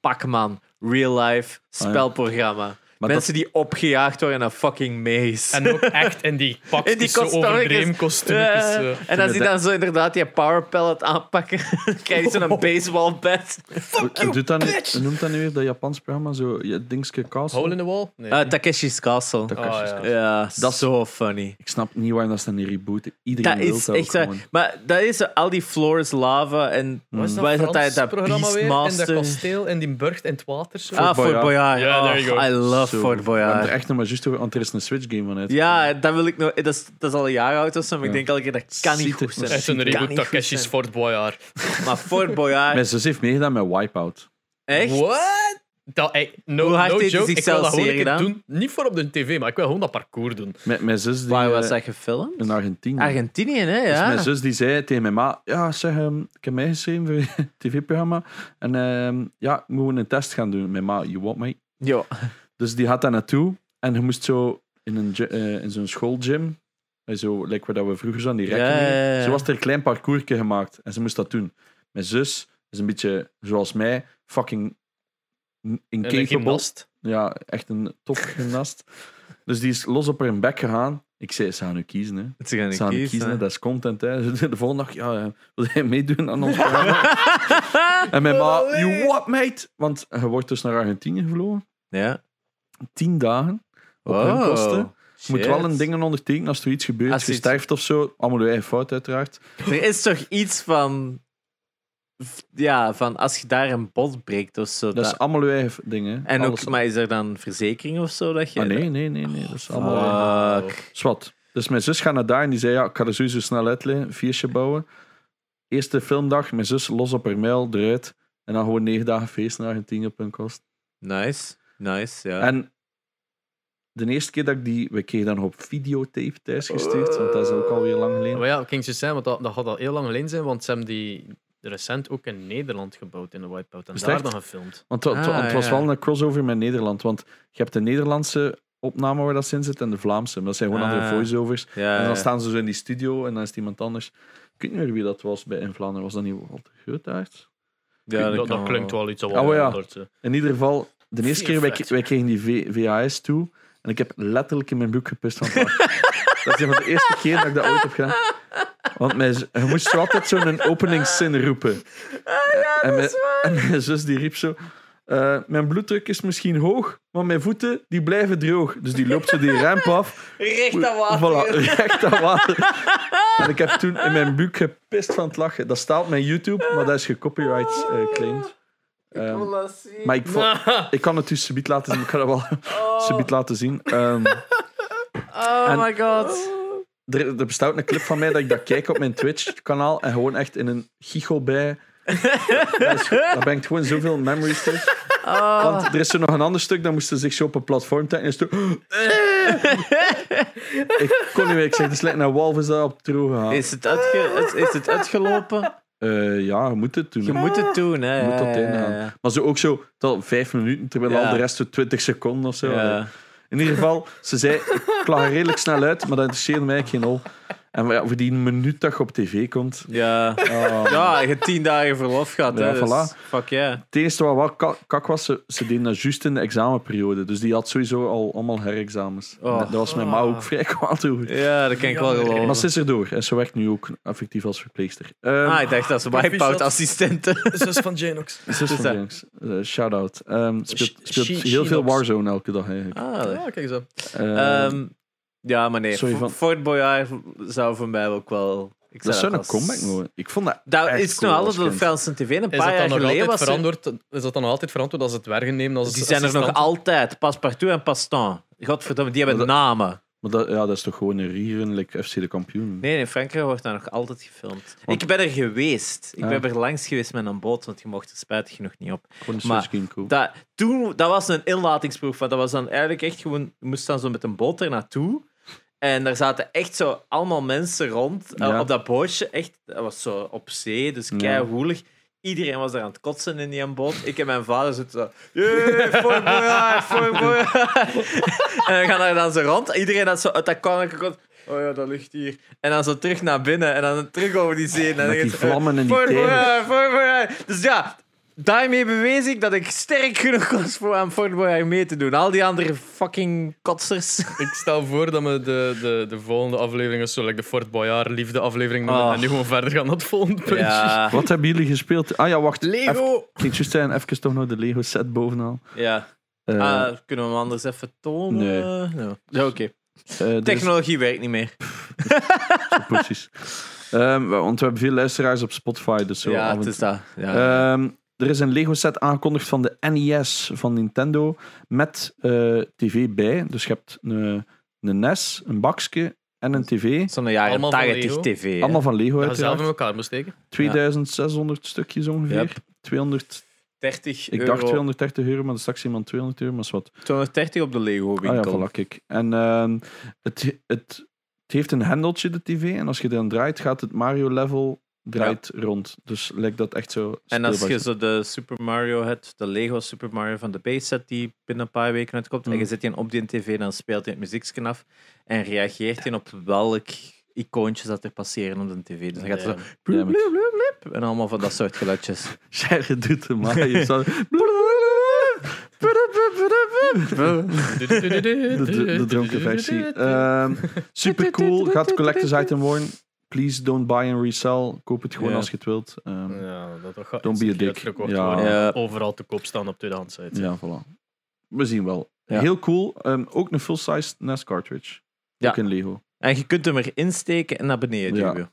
S1: pak man, real life spelprogramma.
S3: Maar
S1: mensen die opgejaagd worden naar fucking maze.
S2: En ook echt in die pakjes,
S1: In die
S2: zo
S1: kostuumjes.
S2: overdreven kostuumjes.
S1: Ja.
S2: eh, zo.
S1: en als die dan zo inderdaad die power pellet aanpakken, dan krijg je
S2: Oh.
S1: zo'n baseball bat.
S3: hoe- doet dat nu, hoe noemt dat nu weer dat Japans programma? Zo, je dingske Castle?
S2: Hole in the wall? Nee.
S1: Eh, Takeshi's Castle.
S3: Dat-
S2: Ah, ja.
S1: ja, dat is zo funny.
S3: Ik snap niet waarom dat ze dat niet rebooten. Iedereen
S1: Dat
S3: wil
S1: is
S3: dat ook
S1: echt waar.
S3: gewoon. Mm.
S1: Maar dat is eh, al die floors lava en
S2: Wat is dat,
S1: waar is dat daar
S2: Frans
S1: dat
S2: programma weer? In dat
S1: Beastmaster?
S2: kasteel, in die burcht, in het water. Zo.
S1: Ah, Fort
S3: Boyard.
S1: Boyard.
S2: Ja,
S1: Oh,
S2: there you go.
S1: I love
S3: Zo,
S1: Fort
S3: we hebben er
S1: Boyard.
S3: echt nog maar juist over, want er is een Switch game van uit.
S1: Ja, dat wil ik nog. Dat is, dat is al een jaar oud of zo, maar ik
S3: Ja.
S1: denk elke keer dat kan niet
S3: Ziet
S1: goed
S3: het-
S1: zijn.
S2: Echt een
S1: Kan
S2: reboot
S1: niet goed
S2: Takeshi's
S1: zijn.
S2: Fort Boyard.
S1: Maar Fort Boyard,
S3: Mijn zus heeft meegedaan met Wipeout.
S1: echt?
S2: What? Dat, ey, no,
S1: Hoe hard
S2: no
S1: heeft hij
S2: joke, ik wil
S1: zichzelf
S2: dat gewoon een
S1: zeer
S2: keer
S1: gedaan?
S2: doen. Niet voor op de tv, maar ik wil gewoon dat parcours doen.
S3: Mijn, mijn zus die,
S1: Waar was
S3: eh,
S1: dat gefilmd?
S3: in Argentinië.
S1: Argentinië, hè?
S3: Dus
S1: Ja.
S3: mijn zus die zei tegen mijn ma, ja zeg, ehm, ik heb meegeschreven voor het tv-programma en ehm, ja, ik moet gewoon een test gaan doen. Mijn ma, you want me?
S1: Jo.
S3: Dus die gaat daar naartoe en je moest zo in, een, gy- eh, in zo'n schoolgym, eh, zo, like waar dat we vroeger zo aan die rekken
S1: Ja, ja,
S3: hingen.
S1: ja, ja.
S3: Zo was er een klein parcours gemaakt en ze moest dat doen. Mijn zus is een beetje, zoals mij, fucking
S2: En een
S3: incapable.
S2: gymnast.
S3: Ja, echt een topgymnast. Dus die is los op haar bek gegaan. Ik zei, ze gaan nu kiezen, hè.
S1: Ze gaan
S3: Ze
S1: niet
S3: gaan nu
S1: kiezen.
S3: kiezen, hè.
S1: hè.
S3: dat is content. Hè. De volgende dag, ja, eh, wil jij meedoen aan ons programma? en mijn ma, you what, mate? Want je wordt dus naar Argentinië gevlogen.
S1: Ja.
S3: Tien dagen. Op hun
S1: Wow.
S3: kosten. Je moet
S1: Shit.
S3: wel een dingen ondertekenen als er iets gebeurt.
S1: Als
S3: je
S1: iets-
S3: sterft of zo. Allemaal je eigen fout, uiteraard.
S1: Er is toch iets van. Ja, van als je daar een bot breekt of zo.
S3: Dat
S1: dat-
S3: is allemaal je eigen dingen. hè.
S1: en
S3: Alles-
S1: ook, maar is er dan verzekering of zo? Dat je,
S3: Ah, nee, nee, nee, nee. Dat is allemaal... je-
S1: Fuck.
S3: Zwat. Dus mijn zus gaat naar daar en die zei: Ja, ik ga er sowieso snel uitleggen, een feestje bouwen. Eerste filmdag, mijn zus los op haar mijl, eruit. En dan gewoon negen dagen feest naar Argentinië op hun kost.
S1: Nice. Nice, ja.
S3: En de eerste keer dat ik die. We kregen dan nog op videotape thuis gestuurd, want dat is ook alweer lang geleden.
S2: Oh. Maar ja, Kings of Sam, want dat, dat gaat al heel lang geleden zijn, want ze hebben die recent ook in Nederland gebouwd in de Wipeout en
S3: Is het
S2: daar
S3: echt?
S2: dan gefilmd.
S3: Want het,
S1: Ah,
S3: het was
S1: ja.
S3: wel een crossover met Nederland. Want je hebt de Nederlandse opname waar dat ze in zit en de Vlaamse. Maar dat zijn gewoon andere
S1: Ah.
S3: voiceovers.
S1: ja,
S3: En
S1: ja.
S3: dan staan ze zo in die studio en dan is het iemand anders. Ik weet niet meer wie dat was bij in Vlaanderen. Was dat niet Walter Geutaert?
S1: Ja,
S2: dat, dat
S1: kan
S2: klinkt wel iets.
S3: Ah,
S2: Oh,
S3: maar ja.
S2: ja.
S3: In ieder geval, de eerste keer wij,
S2: Vierfluit.
S3: wij kregen die V- VHS toe. En ik heb letterlijk in mijn broek gepist van het lachen. Dat is een van de eerste keer dat ik dat ooit heb gedaan. Want mijn, z- je moest zo altijd zo'n openingszin roepen. en, mijn, en mijn zus die riep zo... eh, mijn bloeddruk is misschien hoog, maar mijn voeten die blijven droog. Dus die loopt zo die ramp af.
S1: Recht aan
S3: Voilà, recht aan water. En ik heb toen in mijn buik gepist van het lachen. Dat staat op mijn YouTube, maar dat is gecopyright eh, claimed. Ehm, maar ik, vo- ik kan het dus subiet laten zien. Ik ga dat wel subiet laten zien. Ehm,
S1: Oh
S3: en-
S1: my god.
S3: er, er bestaat een clip van mij dat ik dat kijk op mijn Twitch-kanaal en gewoon echt in een gichel bij. Dat is- Daar brengt gewoon zoveel memories terug.
S1: Oh.
S3: Want er is zo nog een ander stuk, dan moesten ze zich zo op een platform trekken. En is het zo- ik kon niet meer. Ik zeg, de slecht naar Wolf is daar op terug gegaan.
S1: Is het, uitge- is, is het uitgelopen?
S3: Eh, ja, je moet het doen.
S1: Je
S3: hè.
S1: moet het doen, hè?
S3: Je moet dat
S1: Ja, ja,
S3: ingaan.
S1: ja.
S3: Maar zo ook zo, tot vijf minuten, terwijl
S1: Ja.
S3: al de rest zo 20 seconden of zo.
S1: Ja.
S3: In ieder geval, ze zei, ik lag er redelijk snel uit, maar dat interesseerde mij eigenlijk geen hol. En ja, voor die minuut dat je op tv komt.
S1: Ja.
S3: ah.
S1: Ja, je hebt tien dagen verlof gehad.
S3: Ja,
S1: hè, dus
S3: voilà.
S1: Fuck yeah.
S3: Het eerste wat wel ka- kak was, ze, ze deden dat juist in de examenperiode. Dus die had sowieso al allemaal herexamens.
S1: Oh.
S3: Daar was mijn ma ook vrij kwaad over.
S1: Ja, dat kan ik wel
S2: Jammer.
S1: geloven.
S3: Maar ze is erdoor en ze werkt nu ook effectief als verpleegster. Ehm,
S1: Ah, ik dacht dat ze wipeout assistenten.
S2: Zus van Janox.
S3: zus van
S1: dat-
S3: Jenks, eh, shout-out. Ehm, speelt
S2: Sh-
S3: speelt
S2: She-
S3: heel veel
S2: She-Nox.
S3: Warzone elke dag eigenlijk.
S1: Ah,
S2: Ja, kijk zo.
S3: Ehm,
S1: Ehm, ja, maar nee.
S3: sorry,
S1: Fo-
S3: van-
S1: Fort Boyard zou voor mij ook wel. Ik
S3: dat
S1: zou
S3: zou een
S1: als-
S3: comeback mogen. Ik vond dat
S1: Dat
S3: echt
S1: is
S3: cool
S1: nou
S3: als
S1: alles door
S3: kind.
S1: Franse TV. Een
S2: Is dat,
S1: paar jaar
S2: dan nog
S1: geleden
S2: altijd
S1: was er,
S2: verantwoord, is dat dan nog altijd verantwoord als ze het werken nemen? Als
S1: Die zijn er nog
S2: assistant?
S1: altijd. Paspartout en Pastan. Godverdomme, die hebben
S3: Maar dat-
S1: namen.
S3: Maar dat, ja, dat is toch gewoon een rerun, like FC de kampioen.
S1: Nee, in Frankrijk wordt daar nog altijd gefilmd.
S3: Want-
S1: Ik ben er geweest. Ik
S3: Ah.
S1: ben er langs geweest met een boot, want je mocht er spijtig genoeg niet op.
S3: Gewoon een
S1: Maar
S3: switchscreen kopen.
S1: Dat, toen, dat was een inlatingsproef, want dat was dan eigenlijk echt gewoon... Je moest dan zo met een boot er naartoe. En daar zaten echt zo allemaal mensen rond eh,
S3: Ja.
S1: op dat bootje. Echt, dat was zo op zee, dus
S3: Ja.
S1: keihoelig. Iedereen was daar aan het kotsen in die boot. Ik en mijn vader zitten zo... "Jee, Fort Boyard, Fort Boyard." en we gaan daar dan zo rond. Iedereen had zo uit dat kornetje komt... Oh ja, dat ligt hier. En dan zo terug naar binnen en dan terug over die zee. En dan
S3: Met
S1: denk
S3: die
S1: je,
S3: vlammen en die
S1: voor,
S3: tegels.
S1: vooruit, voor, vooruit. Dus ja, daarmee bewees ik dat ik sterk genoeg was voor aan Fort Boyard mee te doen. Al die andere fucking kotsers.
S2: Ik stel voor dat we de, de, de volgende aflevering, dus zo like de Fort Boyard liefde aflevering, noemen
S1: Ah.
S2: en nu gewoon verder gaan naar het volgende puntje.
S1: Ja,
S3: Wat hebben jullie gespeeld? Ah ja, wacht. Even,
S2: Lego!
S3: ik ging juist zeggen, even toch nog de Lego set bovenaan.
S1: ja.
S3: Eh,
S1: Ah, kunnen we hem anders even tonen?
S3: Nee.
S1: Ja. Ja, Oké.
S3: eh, er is-
S1: Technologie werkt niet meer.
S3: precies. Ehm, want we hebben veel luisteraars op Spotify, dus zo af
S1: ja,
S3: en
S1: het is
S3: toe.
S1: dat. Ja.
S3: Ehm, er is een Lego set aangekondigd van de NES van Nintendo met eh, tv bij. Dus je hebt een, een NES, een bakje en een tv.
S1: Zo'n jaren
S2: allemaal van
S1: 80
S2: Leo.
S1: tv. hè.
S3: Allemaal van Lego
S2: Dat je zelf in
S3: uiteraard.
S2: elkaar moet steken.
S3: 2600 stukjes ongeveer.
S1: Yep.
S3: 200,
S1: 30
S3: ik
S1: euro.
S3: dacht 230 euro, maar dat is straks iemand 200 euro, maar is wat.
S1: 230 op de
S3: Ah ja,
S1: Lego-winkel.
S3: voilà, kijk. En ehm, het, het, het heeft een hendeltje, de tv. En als je dan draait, gaat het Mario-level draait rond. Dus lijkt dat echt zo
S1: En als je
S3: speelbaar.
S1: zo de Super Mario hebt, de Lego Super Mario van de base set die binnen een paar weken uitkomt, en
S3: Mhm.
S1: je zet die op die tv, dan speelt hij het muziekje af en reageert hij op welk icoontje dat er passeren op de tv. Dus dan gaat het zo
S3: Damn it.
S1: bloep, bloep, bloep, bloep, en allemaal van dat soort geluidjes.
S3: Jij doet de Mario. zo. De, de, de dronken versie. Ehm, super cool. Gaat collectors item worden. Please don't buy and resell. Koop het gewoon
S1: Ja.
S3: als je het wilt. Ehm,
S2: Ja, dat toch gaat
S3: Don't be a
S2: instant
S3: dick.
S2: uitverkocht
S3: Ja.
S2: worden.
S1: Ja.
S2: Overal te koop staan op tweedehands sites.
S3: ja, voilà. We zien wel.
S1: Ja.
S3: Heel cool. Ehm, ook een full-size NES cartridge.
S1: Ja.
S3: Ook in Lego.
S1: En je kunt hem erin steken en naar beneden
S3: Ja.
S1: duwen.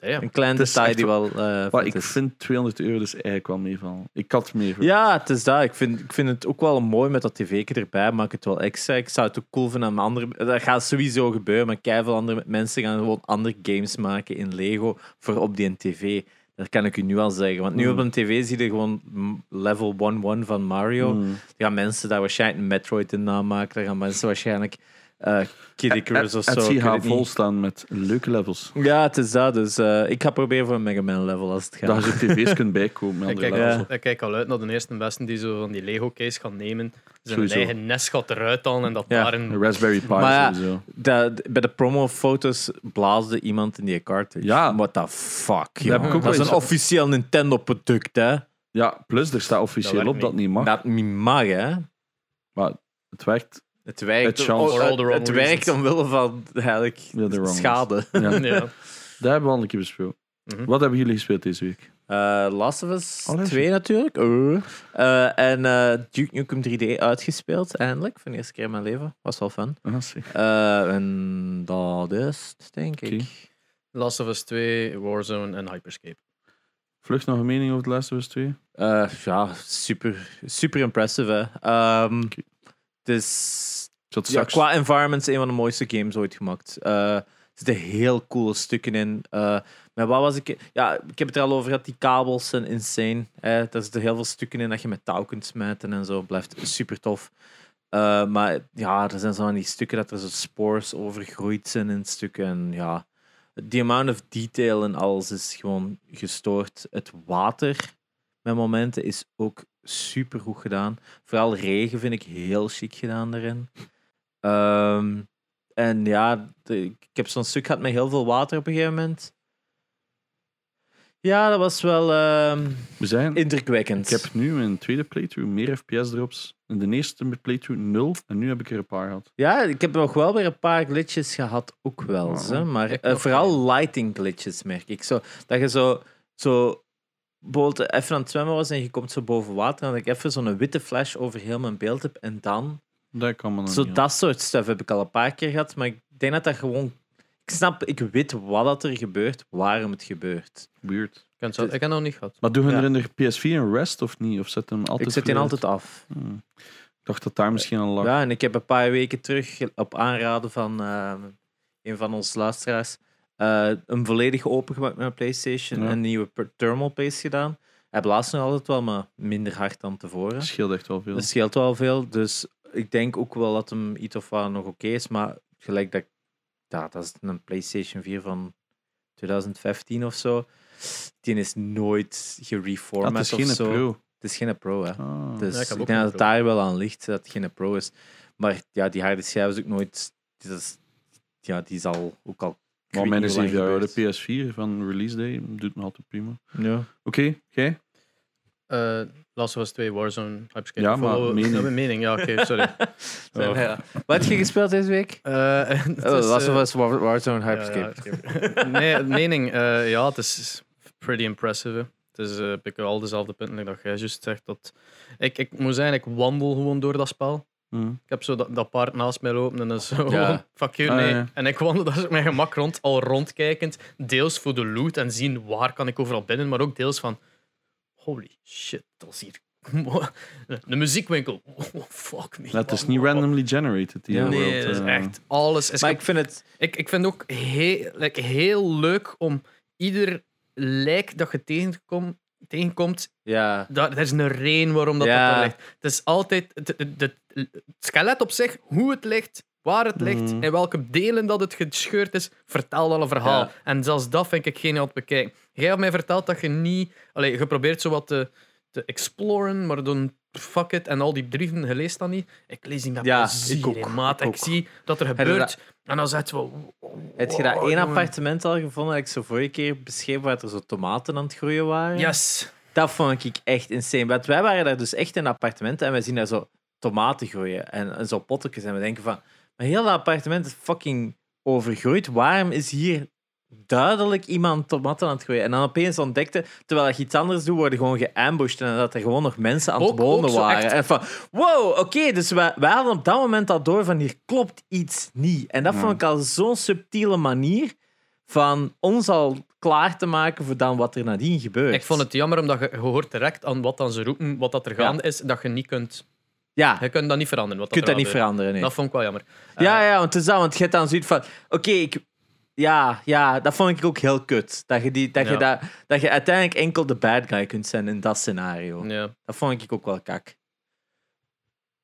S2: Damn.
S1: Een klein
S3: Het is
S1: detail
S3: echt
S1: die wel. eh,
S3: Maar
S1: vet
S3: ik
S1: is.
S3: vind 200 euro dus eigenlijk wel meevallen. Ik had meer. verwacht.
S1: Ja, het is dat. Ik vind, ik vind het ook wel mooi met dat tv'tje erbij. Maak het wel extra. Ik zou het ook cool vinden aan mijn andere... Dat gaat sowieso gebeuren, maar keiveel andere mensen gaan gewoon andere games maken in Lego voor op die tv. Dat kan ik u nu al zeggen. Want nu
S3: Mm.
S1: op een tv zie je gewoon mm, level 1-1 van Mario.
S3: Mm.
S1: Dan gaan mensen daar waarschijnlijk een Metroid in namaken. Dan gaan mensen waarschijnlijk eh Kid Icarus of zo.
S3: Het
S1: ik
S3: zie
S1: weet
S3: haar
S1: het niet.
S3: vol staan met leuke levels.
S1: Ja, het is dat. Dus eh, ik ga proberen voor een Mega Man level als het gaat.
S3: Daar je tv's kunt bijkomen. met
S2: Ik
S3: andere
S2: kijk,
S3: levels.
S1: Ja.
S2: ik kijk al uit naar de eerste beste die zo van die Lego-case gaan nemen. Zijn
S3: Sowieso.
S2: eigen nest gaat eruit halen en dat
S1: Ja.
S2: daar
S3: Een
S2: een...
S3: Raspberry Pi
S1: Maar ja,
S3: sowieso.
S1: Dat- bij de promofoto's blaasde iemand in die cartridge.
S3: Ja.
S1: What the fuck,
S3: heb ik
S1: jongen.
S3: ook wel
S1: Dat is
S3: eens-
S1: een officieel Nintendo-product, hè.
S3: Ja, plus er staat officieel
S2: Dat werkt
S3: op dat het niet mag.
S1: Dat niet mag, hè.
S3: Maar het werkt.
S1: Het werkt,
S3: Het chance.
S2: For all the wrong
S1: het werkt
S2: reasons.
S1: omwille van eigenlijk
S3: the wrong
S1: schade.
S3: Ja.
S2: Ja.
S3: Daar hebben we al een keer besproken.
S2: Mhm.
S3: Wat hebben jullie gespeeld deze week?
S1: Eh Last of Us
S3: Oh, leuk.
S1: 2 natuurlijk. Eh. Eh, en eh, Duke Nukem 3D uitgespeeld, eindelijk. Voor de eerste keer in mijn leven. Was wel fun.
S3: Ah, zeg.
S1: Eh, en dat is het, denk
S3: Oké.
S1: ik.
S2: Last of Us 2, Warzone en Hyperscape.
S3: Vlucht nog een mening over The Last of Us 2?
S1: Eh, ja, super, super impressive, hè. Ehm,
S3: Oké.
S1: Het is
S3: Zat
S1: Ja,
S3: straks.
S1: qua environments een van de mooiste games ooit gemaakt. Eh, er zitten heel coole stukken in. Eh maar wat was ik... Ja, ik heb het er al over gehad. Die kabels zijn insane. Eh, daar zitten heel veel stukken in dat je met touw kunt smijten en zo. Blijft super tof. Eh, maar ja, er zijn zo van die stukken dat er zo spores overgroeid zijn in stukken. En ja, the amount of detail en alles is gewoon gestoord. Het water met momenten is ook super goed gedaan. Vooral regen vind ik heel chic gedaan daarin. Ehm, en ja, de- ik heb zo'n stuk gehad met heel veel water op een gegeven moment. Ja, dat was wel ehm,
S3: We zijn. Ik
S1: indrukwekkend.
S3: heb nu mijn tweede playthrough meer FPS drops. In de eerste playthrough 0. En nu heb ik er een paar gehad.
S1: Ja, ik heb nog wel weer een paar glitches gehad, ook wel.
S3: Oh.
S1: Hè? Maar
S2: Ik
S1: eh,
S2: nog
S1: vooral lighting glitches merk ik. Zo, dat je zo, zo bijvoorbeeld even aan het zwemmen was en je komt zo boven water. En dat ik even zo'n witte flash over heel mijn beeld heb. En dan
S3: Dat kan me nog
S1: Zo
S3: niet aan.
S1: dat soort stuff heb ik al een paar keer gehad, maar ik denk dat dat gewoon... Ik snap, ik weet wat dat er gebeurt, waarom het gebeurt.
S3: Weird.
S2: Ik heb het- ik heb nog niet gehad.
S3: Maar doen we
S1: Ja.
S3: er in de PS4 een rest of niet? Of zet hem altijd
S1: ik zet die
S3: vooruit?
S1: altijd af.
S3: Hmm. Ik dacht dat daar misschien al lag.
S1: Ja, en ik heb een paar weken terug op aanraden van eh, een van onze luisteraars eh, een volledig opengemaakt met mijn PlayStation
S3: Ja.
S1: en een nieuwe per- thermal paste gedaan. Hij blaast nog altijd wel, maar minder hard dan tevoren.
S3: Het scheelt echt wel veel.
S1: Dat scheelt wel veel. Dus ik denk ook wel dat hem iets of wat nog oké is. Maar gelijk dat... ik- Ja, dat is een PlayStation 4 van 2015 of zo. Die is nooit
S3: Ah,
S1: gereformat
S3: het is
S1: of
S3: geen
S1: zo.
S3: pro.
S1: Het is geen pro, hè.
S3: Ah.
S1: Dus
S2: Ja, ik
S1: ik,
S2: heb ook
S1: denk dat
S2: een
S1: het
S2: Pro.
S1: daar wel aan ligt, dat het geen pro is. Maar ja, die harde schijf is ook nooit... Dat is, ja, die is al... Ook al ik
S3: Maar
S1: weet
S3: mijn
S1: niet
S3: is
S1: hoe lang
S3: even jou, de
S1: gebeurd.
S3: PS4 van release day doet me altijd prima. Oké,
S1: Ja.
S3: jij?
S2: Eh, Last of Us 2, Warzone, Hyperscape.
S3: Ja, maar
S2: Follow-
S3: mening.
S2: Ja, mijn mening. Ja, oké, sorry.
S1: Ja, ja. Wat heb je gespeeld deze week?
S2: Eh, het
S1: Oh,
S2: is,
S1: Last
S2: eh,
S1: of Us War- Warzone
S2: ja,
S1: Hyperscape.
S2: ja, Hyperscape. nee, mening. eh, ja, het is pretty impressive. hè. Het is eh, ik heb al dezelfde punten like dat jij juist zegt. Dat ik, ik moet zeggen, ik wandel gewoon door dat spel.
S3: Hm.
S2: Ik heb zo dat, dat paard naast mij lopen en dan zo
S1: Ja.
S2: gewoon, fuck you,
S3: Ah,
S2: nee.
S3: ja.
S2: En ik wandel daar op mijn gemak rond, al rondkijkend. Deels voor de loot en zien waar kan ik overal binnen, maar ook deels van... Holy shit, dat is hier... De muziekwinkel. Oh, fuck me.
S3: Ja, het is niet randomly generated. Die
S1: Nee,
S2: Nee,
S3: world,
S2: dat is
S3: eh.
S2: echt alles. Is
S1: Maar ik vind het...
S2: ik, ik vind ook heel, like, heel leuk om ieder lijk dat je tegenkom, tegenkomt,
S1: Ja...
S2: daar, er is een reden waarom dat,
S1: Ja.
S2: dat er ligt. Het is altijd het, het, het- het skelet op zich, hoe het ligt, waar het ligt,
S1: Mm.
S3: Mhm.
S2: in welke delen dat het gescheurd is, vertelt al een verhaal.
S1: Ja.
S2: En zelfs dat vind ik geniaal te bekijken. Jij hebt mij verteld dat je niet... Allee, je probeert zo wat te, te exploren, maar dan fuck it. En al die brieven, je leest dat niet. Ik lees die met
S1: Ja,
S2: plezier,
S1: ik ook,
S2: hè, maat.
S1: ik
S2: Ik,
S1: ook.
S2: zie dat er
S1: je
S2: gebeurt.
S1: dat-
S2: En dan zegt wel...
S1: Heb je dat
S2: Wow,
S1: één
S2: jongen.
S1: appartement al gevonden dat ik zo vorige keer beschreef waar er zo tomaten aan het groeien waren?
S2: Yes.
S1: Dat vond ik echt insane. Want wij waren daar dus echt in een appartement en wij zien daar zo tomaten groeien en, en zo pottekjes. En we denken van, maar heel dat appartement is fucking overgroeid. Waarom is hier duidelijk iemand tomaten aan het groeien? En dan opeens ontdekte, terwijl ik iets anders doe, worden gewoon geambushed en dat er gewoon nog mensen aan
S2: Ook-
S1: het wonen
S2: ook zo
S1: waren.
S2: echt.
S1: En van, wow, oké, dus wij, wij hadden op dat moment al door van hier klopt iets niet. En dat
S3: Ja.
S1: vond ik al zo'n subtiele manier van ons al klaar te maken voor dan wat er nadien gebeurt.
S2: Ik vond het jammer omdat je, je hoort direct aan wat dan ze roepen, wat dat er gaande is, dat je niet kunt.
S1: Ja, je
S2: Je kunt dat niet veranderen. Wat
S1: kunt dat
S2: er
S1: niet
S2: gaande is.
S1: veranderen. Nee.
S2: Dat vond ik wel jammer.
S1: Ja, ja, want het is dat, want je hebt dan zoiets van... Oké, ik... Ja, ja, dat vond ik ook heel kut. Dat je, die, dat, je
S2: Ja.
S1: dat, dat je uiteindelijk enkel de bad guy kunt zijn in dat scenario.
S2: Ja.
S1: Dat vond ik ook wel kak.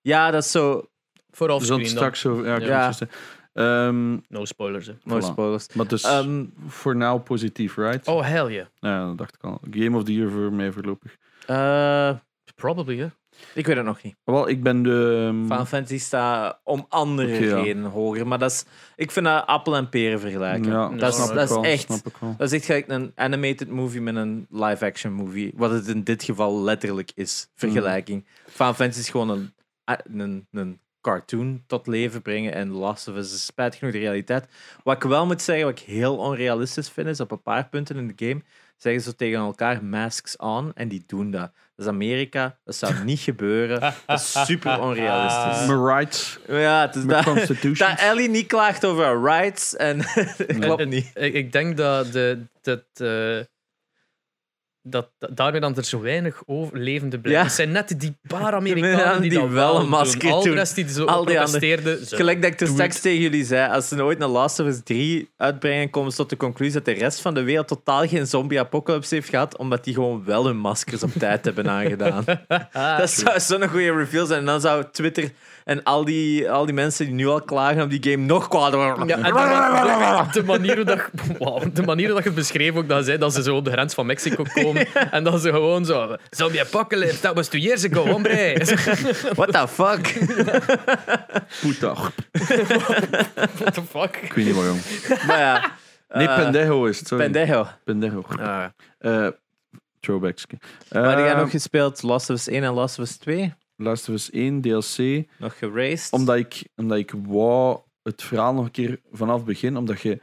S1: Ja, dat is zo...
S2: Vooral
S3: Dus dan straks over. Ja, ik
S1: Ja.
S3: moet zo zeggen. Ehm,
S2: No spoilers. Hè.
S1: No
S3: Voilà.
S1: spoilers.
S3: maar dus
S1: Ehm,
S3: voor nu positief, right?
S2: Oh, hell yeah.
S3: Ja, dat dacht ik al. Game of the Year voor mij voorlopig.
S1: eh,
S2: Probably, hè.
S1: ik weet het nog niet.
S3: Wel, ik ben de. ehm,
S1: Final Fantasy staat om andere
S3: Oké, ja.
S1: redenen hoger. Maar dat is... Ik vind dat appel en peren vergelijken.
S3: ja,
S2: dat
S1: dat is,
S3: snap ik
S1: dat is
S3: wel,
S1: echt...
S3: Snap ik wel.
S1: Dat is echt gelijk een animated movie met een live-action movie. Wat het in dit geval letterlijk is. Vergelijking. Final Fantasy is gewoon een, eh, een, een cartoon tot leven brengen. En The Last of Us is spijtig genoeg de realiteit. Wat ik wel moet zeggen, wat ik heel onrealistisch vind, is op een paar punten in de game zeggen ze tegen elkaar masks on en die doen dat. Dat is Amerika, dat zou niet gebeuren. Dat is super onrealistisch.
S3: Mijn rights,
S1: Ja, het is
S3: mijn
S1: dat,
S3: constitution.
S1: dat Ellie niet klaagt over haar rights en klopt niet.
S2: Ik, ik denk dat, de, dat, eh, dat, dat daarmee dan er zo weinig over levende blijven.
S1: Ja.
S2: Het zijn net die paar
S1: Ja,
S2: Amerikanen die,
S1: die
S2: dat
S1: wel een
S2: doen.
S1: masker
S2: Al de
S1: doen.
S2: rest die zo
S1: Al die anderen.
S2: protesteerden. ze-
S1: Gelijk dat ik er
S2: Doe
S1: straks
S2: het.
S1: tegen jullie zei, als ze ooit een Last of Us 3 uitbrengen, komen ze tot de conclusie dat de rest van de wereld totaal geen zombie-apocalypse heeft gehad, omdat die gewoon wel hun maskers op tijd hebben aangedaan. dat zou zo'n goede reveal zijn. En dan zou Twitter en al die, al die mensen die nu al klagen op die game nog kwaad worden.
S2: Ja, en dan- de, de manier hoe dat, wauw, de manier hoe dat je beschreef ook dat, zei, dat ze zo op de grens van Mexico komen en dat ze gewoon zo zombie apocalypse, that was two years ago, hombre.
S1: What the fuck?
S3: Puta.
S2: What the fuck?
S3: Ik weet niet waarom.
S1: maar ja, eh,
S3: Nee, pendejo is het. sorry.
S1: pendejo.
S3: Pendejo.
S1: Ah.
S3: Eh, throwbacks. Eh,
S1: Maar die jij nog gespeeld Last of Us 1 en Last of Us 2?
S3: Last of Us 1, DLC.
S1: Nog geraced?
S3: Omdat ik, omdat ik wou het verhaal nog een keer vanaf het begin, omdat je...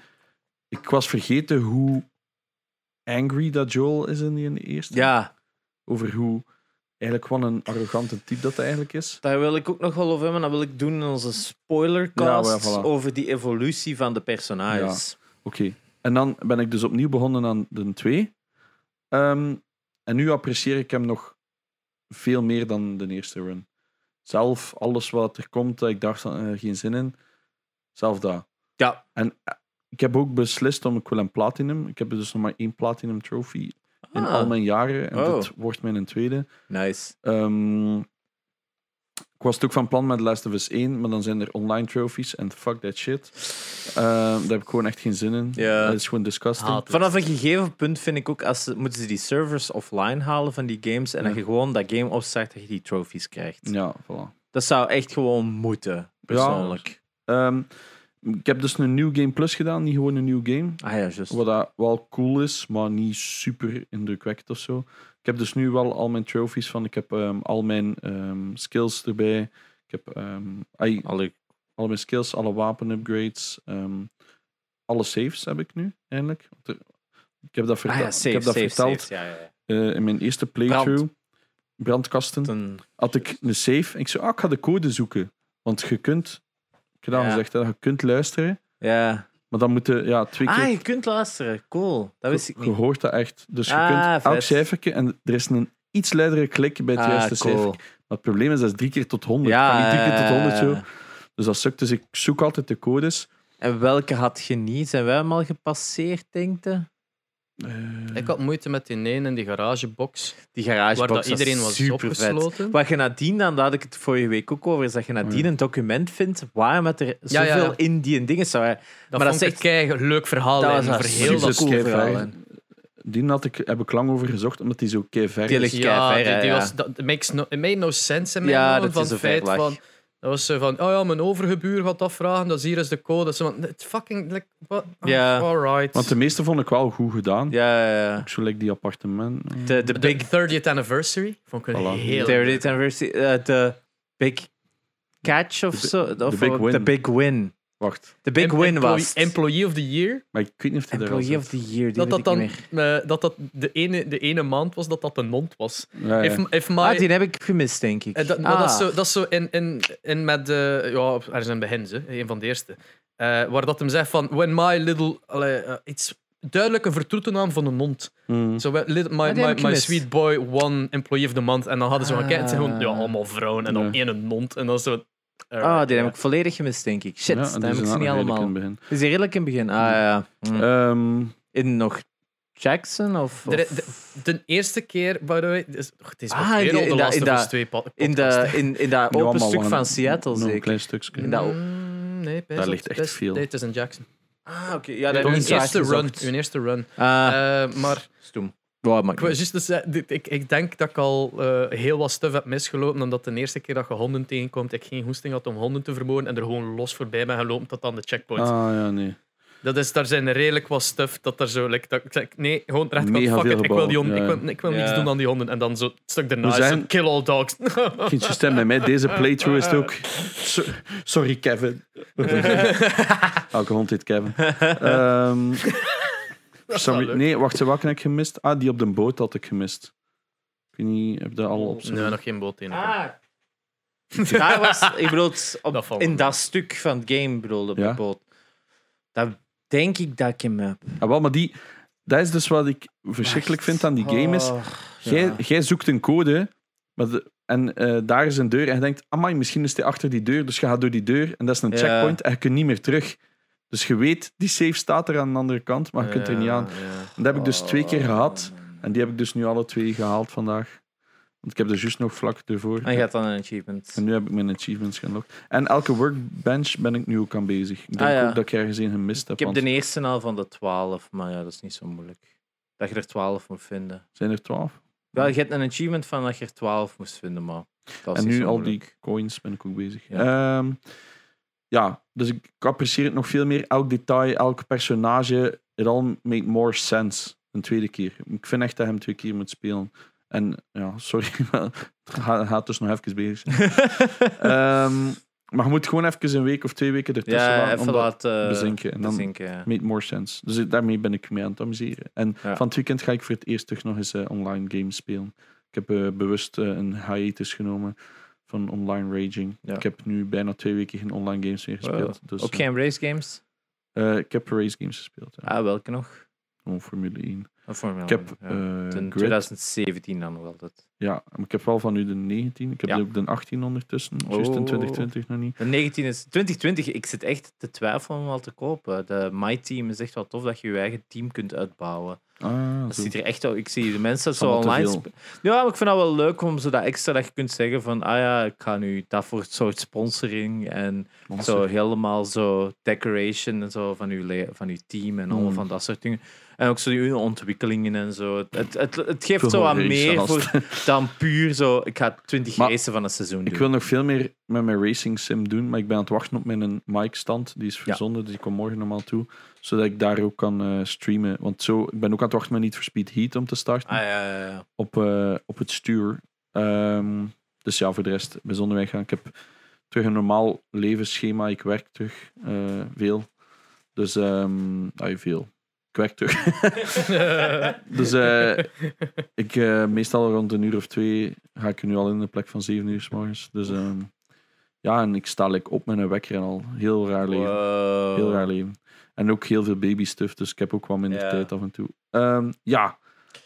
S3: Ik was vergeten hoe angry dat Joel is in die eerste.
S1: Ja,
S3: Over hoe... Eigenlijk wat een arrogante type dat hij eigenlijk is.
S1: Daar wil ik ook nog wel over hebben. Dat wil ik doen in onze spoilercast
S3: Ja, wel, voilà.
S1: over die evolutie van de personages.
S3: Oké. En dan ben ik dus opnieuw begonnen aan de 2. Ehm, en nu apprecieer ik hem nog veel meer dan de eerste run. Zelf, alles wat er komt, dat ik dacht, eh, geen zin in. Zelf dat.
S1: Ja.
S3: En eh, ik heb ook beslist om, ik wil een platinum. Ik heb dus nog maar één platinum trophy in
S1: Ah,
S3: al mijn jaren. En
S1: Oh.
S3: dat wordt mijn tweede.
S1: Nice.
S3: Ehm, ik was het ook van plan met Last of Us 1, maar dan zijn er online trophies en fuck that shit. Ehm, daar heb ik gewoon echt geen zin in.
S1: Ja.
S3: Dat is gewoon disgusting.
S2: Haat.
S1: Vanaf een gegeven punt vind ik ook, als ze, moeten ze die servers offline halen van die games en dat
S3: Ja.
S1: je gewoon dat game opstart, dat je die trophies krijgt.
S3: Ja, voilà.
S1: Dat zou echt gewoon moeten, persoonlijk.
S3: Ehm, ik heb dus een New Game Plus gedaan, niet gewoon een nieuw game.
S1: Ah ja, juist.
S3: Wat dat wel cool is, maar niet super indrukwekkend of zo. Ik heb dus nu wel al mijn trophies van. Ik heb ehm, al mijn ehm, skills erbij. Ik heb ehm, ai,
S1: Alle-
S3: alle mijn skills, alle wapen-upgrades, ehm, alle saves heb ik nu eindelijk. Want er- Ik heb dat,
S1: Ah
S3: verta-
S1: ja,
S3: ik
S1: safe,
S3: heb dat
S1: safe,
S3: verteld
S1: safe. Ja, ja, ja.
S3: eh, in mijn eerste playthrough. Brandkasten.
S1: Toen-
S3: Had ik een save. En ik zei, ah, ik ga de code zoeken. Want je kunt, ik heb dat al
S1: Ja.
S3: gezegd, hè, je kunt luisteren.
S1: ja.
S3: Maar dan moeten ja, twee keer...
S1: Ah, je kunt luisteren. Cool. Dat wist ik
S3: Je
S1: niet.
S3: hoort dat echt. Dus je
S1: Ah,
S3: kunt elk
S1: vet.
S3: cijfertje... En er is een iets luidere klik bij het
S1: Ah,
S3: juiste cijfer.
S1: cool.
S3: Maar het probleem is, dat is drie keer tot honderd.
S1: Ja, eh,
S3: Ja, niet drie keer tot
S1: ja,
S3: honderd,
S1: ja, ja.
S3: zo. Dus dat sukt. Dus ik zoek altijd de codes.
S1: En welke had je niet? Zijn wij hem al gepasseerd, denk je?
S3: Eh,
S2: Ik had moeite met die neen in die garagebox,
S1: Die garagebox
S2: waar dat iedereen was
S1: super vet.
S2: opgesloten.
S1: Wat je nadien, dan, daar had ik het vorige week ook over, is dat je
S3: Oh
S1: nadien een document vindt waarom dat er
S2: Ja,
S1: zoveel
S2: ja, ja.
S1: indie en dingen zou zijn.
S2: Dat
S1: Maar dat
S2: maar vond
S1: is
S2: ik
S1: echt-
S2: een kei leuk verhaal.
S1: Dat
S2: en
S1: was een
S2: voor heel
S1: super
S2: dat
S3: cool
S1: cool
S3: verhaal,
S1: verhaal.
S3: hè. Die had ik, heb ik lang over gezocht, omdat die zo kei ver
S1: Die
S3: is.
S1: ligt-
S2: ja,
S1: kei ver,
S2: die, die
S1: ja.
S2: was, dat it makes no, it made no sense in mijn
S1: Ja,
S2: ogen
S1: dat
S2: van
S1: is
S2: het
S1: een
S2: feit
S1: verlag.
S2: van Dat was ze van, oh ja, mijn overgebuur gaat afvragen, dat is hier is de code. Dat is van, het fucking, like, what? Oh,
S1: Ja.
S2: alright.
S3: Want de meeste vond ik wel goed gedaan.
S1: Ja, ja, ja.
S3: Ook zo like die appartement.
S1: De, de
S2: De
S1: Big
S2: 30th anniversary vond ik een
S3: Voilà.
S2: heel...
S1: Terry Anniversary. eh, De Big Catch of
S3: De bi-
S1: zo. Of
S3: de big
S1: wat?
S3: win.
S1: De Big Win.
S3: Wacht,
S1: De Big
S2: Em-
S1: Win
S2: employee-
S1: was. het.
S2: Employee of the Year.
S3: maar ik weet niet of hij er al
S1: Employee of
S3: zit.
S1: the Year. Die
S2: Dat
S1: weet
S2: dat
S1: ik
S2: dan
S1: niet meer.
S2: eh, dat dat de, ene, de ene maand was dat dat een nond was.
S3: Ja, ja.
S2: If, if my,
S1: Ah, die heb ik gemist, denk ik. Ah.
S2: eh, dat, maar dat is zo, dat is zo in, in, in met... eh ja, op- er zijn begin, hè, een van de eerste. Eh, waar dat hem zegt van, when my little... allee, eh, iets duidelijk een vertroete naam van een nond.
S3: Mm.
S2: Zo, we- lit- my,
S1: heb ik
S2: my, my
S1: gemist.
S2: sweet boy won employee of the month. En dan hadden ze van, kijk, het zijn gewoon ja,
S1: Ah.
S2: allemaal vrouwen en dan
S3: Ja.
S2: één een nond. En dan zo... alright,
S1: Ah, die
S2: ja.
S1: heb ik volledig gemist, denk ik. Shit,
S3: Ja,
S1: dat
S3: die
S1: heb
S3: zijn
S1: ik ze niet
S3: eigenlijk in
S1: allemaal.
S3: het begin.
S1: Is die redelijk in het begin? Ah, ja. Hm.
S3: Ehm,
S1: In nog Jackson of...
S2: Er-
S1: of-
S2: De eerste keer, by the way... dit is- och, Het is
S1: Ah,
S2: weer
S1: in die-
S2: al de
S1: in dat-
S2: laatste
S1: in
S2: van
S1: dat-
S2: de twee po-
S1: in, de,
S2: podcasts, hè.
S1: in, in dat
S3: ja,
S1: open
S3: maar
S1: stuk
S3: wel
S1: van
S3: een-
S1: Seattle,
S3: nog Een
S1: zeker.
S3: klein stukje.
S1: In dat-
S2: Mm, nee,
S3: Daar ligt echt veel.
S2: Dit is een Jackson.
S1: Ah, oké. Ja,
S2: Uw
S1: dat heb ik
S2: eerste,
S1: niet
S2: run,
S1: uitgezocht.
S2: uw eerste run.
S1: Ah,
S2: Eh, maar
S1: stoem. Wow,
S2: ik,
S1: maakt
S2: wou
S1: niet
S2: juist dus, zeggen, dit- ik, ik denk dat ik al eh, heel wat stuff heb misgelopen. Omdat de eerste keer dat je honden tegenkomt, ik geen hoesting had om honden te vermoorden. En er gewoon los voorbij ben gelopen tot aan de checkpoint.
S3: Ah ja, nee.
S2: Dat is, daar zijn redelijk wat stuff dat er zo... Like, dat, ik zeg, nee, gewoon rechtkant,
S3: Mega
S2: fuck
S3: veel
S2: it, ik wil, die
S3: gebouwen,
S2: honden,
S3: ja,
S2: ik
S3: ja.
S2: wil, ik wil
S1: Ja.
S2: niets doen aan die honden. En dan zo het stuk daarna
S3: We
S2: is zo,
S3: zijn-
S2: kill all dogs.
S3: Kindje stem bij mij. Deze playthrough is het ook. So- sorry, Kevin. Elke Ah, hond heet Kevin. Ehm, sorry.
S2: leuk.
S3: Nee, wacht, wat heb ik gemist? Ah, die op de boot had ik gemist. Ik weet niet, heb je dat al op zo'n...
S2: nee, nog geen boot in.
S1: Ah. Daar was, ik bedoel, het op,
S2: Dat valt
S1: in
S2: wel.
S1: dat stuk van het game, bedoel, op
S3: Ja.
S1: de boot. Dat denk ik dat ik hem heb.
S3: Ah, wel, maar die... Dat is dus wat ik verschrikkelijk vind aan die game is...
S1: Oh,
S3: Jij,
S1: ja.
S3: jij zoekt een code maar de- en eh, daar is een deur. En je denkt, amai, misschien is die achter die deur. Dus je gaat door die deur en dat is een
S1: Ja.
S3: checkpoint en je kunt niet meer terug. Dus je weet, die safe staat er aan de andere kant, maar je kunt er niet aan. En dat heb ik dus twee
S1: Oh.
S3: keer gehad. En die heb ik dus nu alle twee gehaald vandaag. Want ik heb er juist nog vlak ervoor.
S1: En je gaat dan een achievement.
S3: En nu heb ik mijn achievements gelokt. En elke workbench ben ik nu ook aan bezig. Ik denk
S1: Ah, ja.
S3: ook dat ik ergens een gemist heb.
S1: Ik heb
S3: want
S1: de eerste al van de 12, maar ja, dat is niet zo moeilijk. Dat je er 12 moet vinden.
S3: Zijn er twaalf?
S1: Wel, je hebt een achievement van dat je er 12 moest vinden, maar dat is
S3: En
S1: niet
S3: nu
S1: zo
S3: al die
S1: moeilijk.
S3: coins ben ik ook bezig.
S1: Ja.
S3: Ja, Ehm, ja dus ik, ik apprecieer het nog veel meer. Elk detail, elk personage, it all made more sense. Een tweede keer. Ik vind echt dat je hem twee keer moet spelen. En ja, sorry, maar het gaat gaat dus nog even bezig zijn. Ehm, maar je moet gewoon even een week of twee weken ertussen
S1: ja,
S3: laten.
S1: even
S3: omdat-
S1: laten eh,
S3: bezinken en dan-
S1: bezinken, ja.
S3: Made more sense. Dus daarmee ben ik mee aan het amuseren. En
S1: Ja.
S3: van het weekend ga ik voor het eerst terug nog eens eh, online games spelen. Ik heb eh, bewust eh, een hiatus genomen van online raging.
S1: Ja.
S3: Ik heb nu bijna twee weken geen online games meer gespeeld. Dus,
S1: Ook
S3: eh,
S1: geen race games?
S3: eh, ik heb race games gespeeld. Ja.
S1: Ah, welke nog?
S3: Gewoon Formule 1.
S1: Een Formule
S3: Ik heb
S1: 1, ja.
S3: eh,
S1: Ten
S3: Grid.
S1: 2017 dan nog altijd.
S3: Ja, maar ik heb wel van nu de 19. Ik heb
S1: Ja.
S3: ook de 18 ondertussen. Juist in
S1: Oh.
S3: 2020 nog niet.
S1: De 19 is 2020. Ik zit echt te twijfelen om al te kopen. De My Team is echt wel tof dat je je eigen team kunt uitbouwen.
S3: Ah,
S1: Dat
S3: zo.
S1: ziet er echt wel- Ik zie de mensen zo
S3: Allemaal te
S1: online.
S3: veel.
S1: spe- Ja, maar ik vind dat wel leuk om zo dat extra dat je kunt zeggen van ah ja, ik ga nu dat voor het soort sponsoring en
S3: Monster.
S1: zo helemaal zo decoration en zo van uw, le- van uw team en allemaal
S3: Mm.
S1: van dat soort dingen. En ook zo die ontwikkelingen en zo. Het, het, het, het
S3: Veel
S1: geeft zo wat
S3: race
S1: meer
S3: haast.
S1: voor, dan puur zo. Ik ga 20
S3: Maar
S1: racen van een seizoen doen.
S3: Ik wil nog veel meer met mijn racing sim doen, maar ik ben aan het wachten op mijn mic-stand. Die is verzonden, dus ik kom morgen normaal toe. Zodat ik daar ook kan eh, streamen. Want zo, ik ben ook aan het wachten met Need for Speed Heat om te starten
S1: Ah, ja, ja, ja.
S3: op, eh, op het stuur. Ehm, dus ja, voor de rest bijzonder weggaan. Ik heb terug een normaal levensschema. Ik werk terug eh, veel. Dus, ehm ah, veel. Ik werk terug. Dus eh, ik, eh, meestal rond een uur of twee ga ik er nu al in de plek van zeven uur s morgens. Dus ehm, ja, en ik sta like, op met een wekker en al. Heel raar leven.
S1: Wow.
S2: Eh,
S3: Heel raar leven. En ook heel veel babystuff, dus ik heb ook wat minder
S1: Ja.
S3: tijd af en toe. Ehm, ja,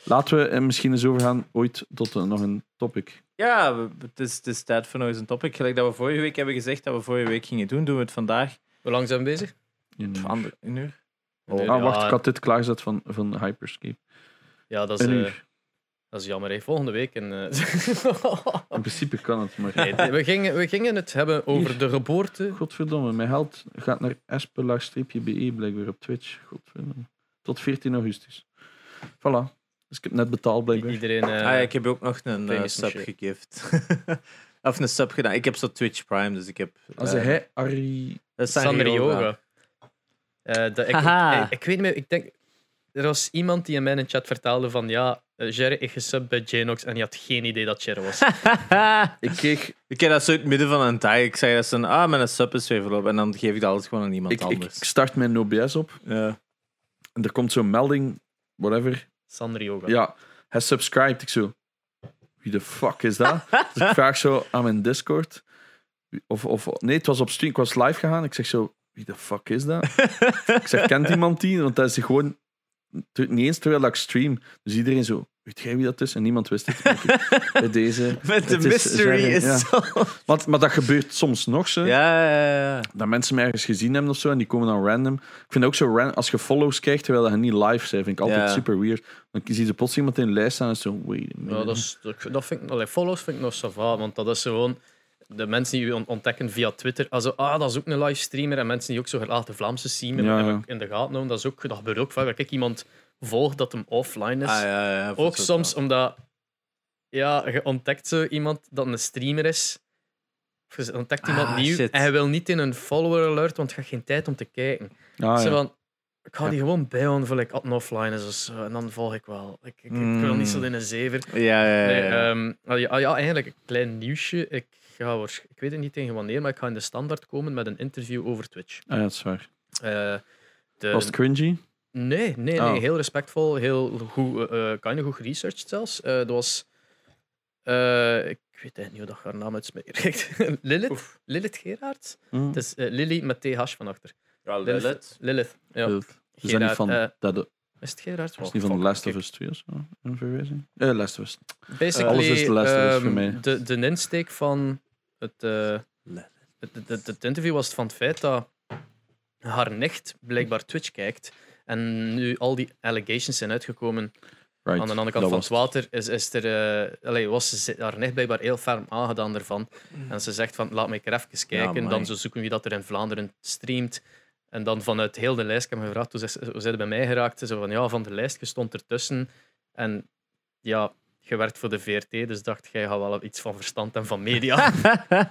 S3: laten we eh, misschien eens overgaan ooit tot een- nog een topic.
S1: Ja, we- het is, het is tijd voor nog eens een topic. Gelijk dat we vorige week hebben gezegd dat we vorige week gingen doen, doen we het vandaag.
S2: Hoe lang zijn we bezig?
S3: In-
S1: Een ander- een uur.
S2: Een uur.
S3: Ah, wacht,
S2: Ja,
S3: ik had dit klaargezet van, van Hyperscape.
S2: Ja, dat is,
S3: Een
S2: eh,
S3: uur.
S2: dat is jammer. Hè. Volgende week. En, eh,
S3: In principe kan het, maar...
S2: nee, nee, we, gingen, we gingen het hebben over
S3: Hier.
S2: de geboorte.
S3: Godverdomme, mijn held gaat naar espelaar-be blijkbaar op Twitch. Godverdomme. Tot 14 augustus. Voilà. Dus ik heb net betaald blijkbaar.
S2: Iedereen. eh,
S1: ah, ja, ik heb ook nog een eh,
S2: Famous
S1: sub
S2: shit.
S1: gegift. Of een sub gedaan. Ik heb zo Twitch Prime, dus ik heb...
S3: Als
S1: eh,
S3: hij Ari...
S1: dat is
S2: Sander
S1: Sanrioga.
S2: Yoga. Eh, dat- ik,
S1: Haha.
S2: ik, ik weet niet meer, ik denk... Er was iemand die in mijn chat vertelde van ja, eh, Jerry is gesubbed bij Janox en die had geen idee dat Jerry was.
S3: Ik keek,
S1: Ik heb dat zo in het midden van een dag. Ik zeg dat ze een, ah, mijn sub is weer verlopen. En dan geef ik dat altijd gewoon aan iemand
S3: ik, ik
S1: anders.
S3: start mijn OBS op
S1: ja.
S3: en er komt zo'n melding, whatever.
S2: Sander Yoga.
S3: Ja, hij subscribed. Ik zo, wie de fuck is dat? dus ik vraag zo aan mijn Discord. Of, of, nee, het was op stream, ik was live gegaan. Ik zeg zo, wie de fuck is dat? ik zeg, kent iemand die? Want dat is gewoon, niet eens terwijl ik stream. Dus iedereen zo, weet jij wie dat is? En niemand wist het. Maar ik- Bij deze...
S1: Met de
S3: Het is-
S1: mystery
S3: zeggen,
S1: is
S3: ja.
S1: zo...
S3: Maar, maar dat gebeurt soms nog, zo.
S1: Ja, ja, ja.
S3: dat mensen me ergens gezien hebben of zo en die komen dan random. Ik vind ook zo ran- als je follows krijgt terwijl je niet live zijn, vind ik
S1: Ja.
S3: altijd super weird. Dan zie je plots iemand in de lijst staan en zo, wait a minute.
S2: Ja, dat, is, dat dat vind ik, allee, follows vind ik nog zo va, want dat is gewoon de mensen die je on- ontdekken via Twitter. Also, ah, dat is ook een livestreamer. En mensen die ook zo graag de Vlaamse scene
S3: Ja,
S2: hebben
S3: ja.
S2: in de gaten houden. Dat, is ook, dat gebeurt ook vaak. Kijk, iemand volgt dat hem offline is.
S1: Ah, ja, ja, ja,
S2: Ook
S1: zo-
S2: soms omdat ja, je ontdekt zo iemand dat een streamer is. Of je ontdekt iemand
S1: Ah,
S2: nieuw
S1: shit.
S2: en hij wil niet in een follower alert, want je hebt geen tijd om te kijken.
S3: Ah,
S2: Zo
S3: ja.
S2: van, ik ga die gewoon bijhouden voor like, ad en offline is of zo, en dan volg ik wel. Ik, ik, ik wil
S1: Mm.
S2: niet zo in een zever.
S1: Ja, ja, ja.
S2: Nee,
S1: ja.
S2: ehm, ah, ja, ah ja, eigenlijk een klein nieuwsje. Ik, ga waarsch- ik weet het niet tegen wanneer, maar ik ga in de standaard komen met een interview over Twitch.
S3: Ah, ja, dat is waar.
S2: Eh, de-
S3: Was het cringy?
S2: Nee, nee,
S3: Oh.
S2: nee, heel respectvol, heel goed, eh eh, kind of goed geresearched zelfs. Eh dat was, eh, ik weet eigenlijk niet hoe dat haar naam uitspreekt. Lilith? Lilith Gerard?
S3: Hm.
S2: Het is eh, Lily met TH van achter.
S1: Ja,
S2: Lilith. Lilith, ja.
S3: Lilith. Is dat niet
S2: Gerard,
S3: van,
S2: eh,
S3: dat, dat
S2: is het Gerard?
S3: is niet van
S2: Oh,
S3: The Last
S2: fuck,
S3: of Us 2 of zo? Een verwijzing? Eh, Last of Us.
S2: Basically,
S3: Alles is de Last of Us voor
S2: ehm,
S3: mij.
S2: De, de insteek van het, eh,
S1: Lilith.
S2: het, het- het- het interview was het van het feit dat haar nicht blijkbaar Twitch kijkt. En nu al die allegations zijn uitgekomen
S3: Right.
S2: aan de andere
S3: dat
S2: kant van
S3: was
S2: het water, is, is er, eh, allee, was ze haar nicht blijkbaar heel ferm aangedaan daarvan. En ze zegt van, laat me er even kijken.
S1: amai.
S2: dan zo zoeken wie dat er in Vlaanderen streamt. En dan vanuit heel de lijst, ik heb me gevraagd, hoe ze- hoe zijn ze bij mij geraakt? Ze zei van, ja, van de lijst, je stond ertussen. En ja, je werkt voor de VRT, dus dacht, jij gaat wel iets van verstand en van media.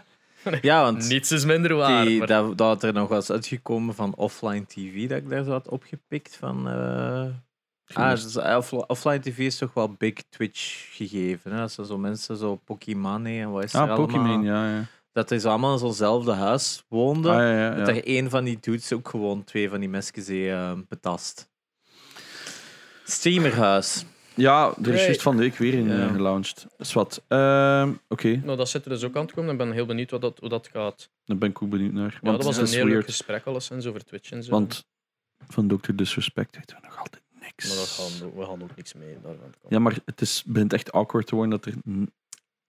S1: ja, want
S2: Niets is minder waar.
S1: die,
S2: maar-
S1: dat, dat had er nog was uitgekomen van offline TV, dat ik daar zo had opgepikt van... eh, Ah,
S3: gemist.
S1: dus off- offline TV is toch wel big Twitch gegeven. Hè? Als er zo mensen, zo Pokémon en wat is er
S3: ah,
S1: allemaal.
S3: Pokémon, ja. ja.
S1: Dat is allemaal in zo'nzelfde huis woonden.
S3: Ah, ja, ja, ja.
S1: Dat er één van die dudes ook gewoon twee van die mesjes heeft eh, betast. Streamerhuis.
S3: Ja, er is
S2: Nee.
S3: juist van de week weer in
S1: Ja.
S3: eh, gelaunched. Dat is wat. Ehm, Oké,
S2: Nou, dat zit er dus ook aan te komen. Ik ben heel benieuwd wat dat, hoe dat gaat.
S3: daar ben ik ook benieuwd naar.
S2: Ja,
S3: Want
S2: dat was
S3: dat
S2: een
S3: is
S2: heel leuk
S3: weird.
S2: gesprek, alleszins, over Twitch en zo.
S3: Want van Dr. Disrespect weten we nog altijd niks.
S2: Maar daar gaan, we gaan ook niks mee daarvan komen.
S3: Ja, maar het is, begint echt awkward te worden dat er n-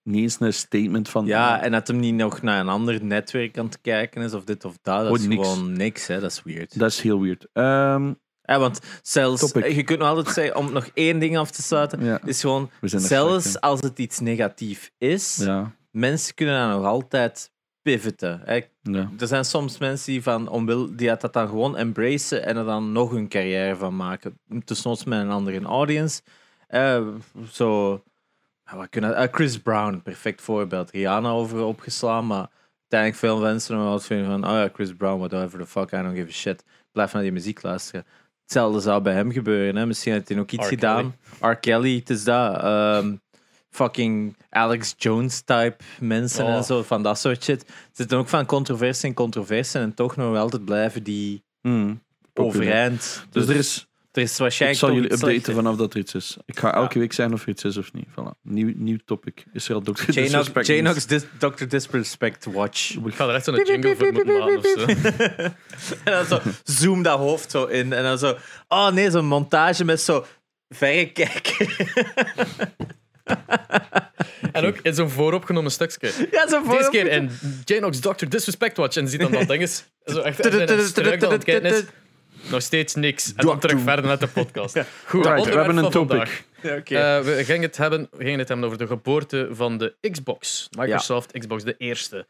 S3: niet eens een statement van...
S1: Ja, en dat hem niet nog naar een ander netwerk aan het kijken is, of dit of dat. Dat
S3: Oh,
S1: is
S3: niks.
S1: gewoon niks, hè. Dat is weird.
S3: Dat is heel weird. Ehm,
S1: Ja, want zelfs...
S3: Topic.
S1: Je kunt nog altijd zeggen, om nog één ding af te sluiten,
S3: ja,
S1: is gewoon...
S3: we zijn er
S1: Zelfs
S3: slecht
S1: als het iets negatief is,
S3: in. Ja,
S1: mensen kunnen daar nog altijd pivoten. hè.
S3: ja.
S1: Er zijn soms mensen die, van, omwil, die dat dan gewoon embracen en er dan nog een carrière van maken. Tussennoods met een andere audience. Eh, zo, ja, wat kunnen, eh, Chris Brown, perfect voorbeeld. Rihanna over opgeslaan, maar uiteindelijk veel mensen nog altijd vinden van, oh ja, Chris Brown, whatever the fuck, I don't give a shit. Blijf naar die muziek luisteren. Hetzelfde zou bij hem gebeuren. Hè? Misschien heeft hij ook iets
S2: R.
S1: gedaan. R. Kelly, het is dat. Ehm, fucking Alex Jones-type mensen
S2: Oh.
S1: en zo, van dat soort shit. Het zitten ook van controverse in controverse en toch nog wel altijd blijven die
S3: Hmm.
S1: overeind.
S3: Dus er is...
S1: er is
S3: Ik
S1: waarschijnlijk
S3: zal
S1: toch
S3: jullie
S1: iets
S3: updaten
S1: slechter.
S3: vanaf dat er iets is. Ik ga elke week zeggen of er iets is of niet. Voilà. Nieuw, nieuw topic. Is er al Dr. Disrespect?
S1: Janox Dis Dr. Disrespect Watch.
S2: Ik ga er echt zo'n jingle voor moeten maken of zo.
S1: En dan zo, zoom dat hoofd zo in. En dan zo, oh nee, zo'n montage met zo verrekijken.
S2: En ook in zo'n vooropgenomen stukje.
S1: ja, zo
S2: Deze
S1: voor-
S2: keer in Janox Dr. Disrespect Watch. En ziet dan dat ding is. Zo echt en in een struik dat aan het kijken is. Nog steeds niks. En dan terug verder met de podcast. Goed,
S3: Right, we
S2: onderwerp
S3: hebben
S2: van
S3: een topic.
S2: vandaag.
S1: Ja, oké.
S2: Eh, we gingen het, hebben, we gingen het hebben over de geboorte van de Xbox. Microsoft Xbox, de eerste.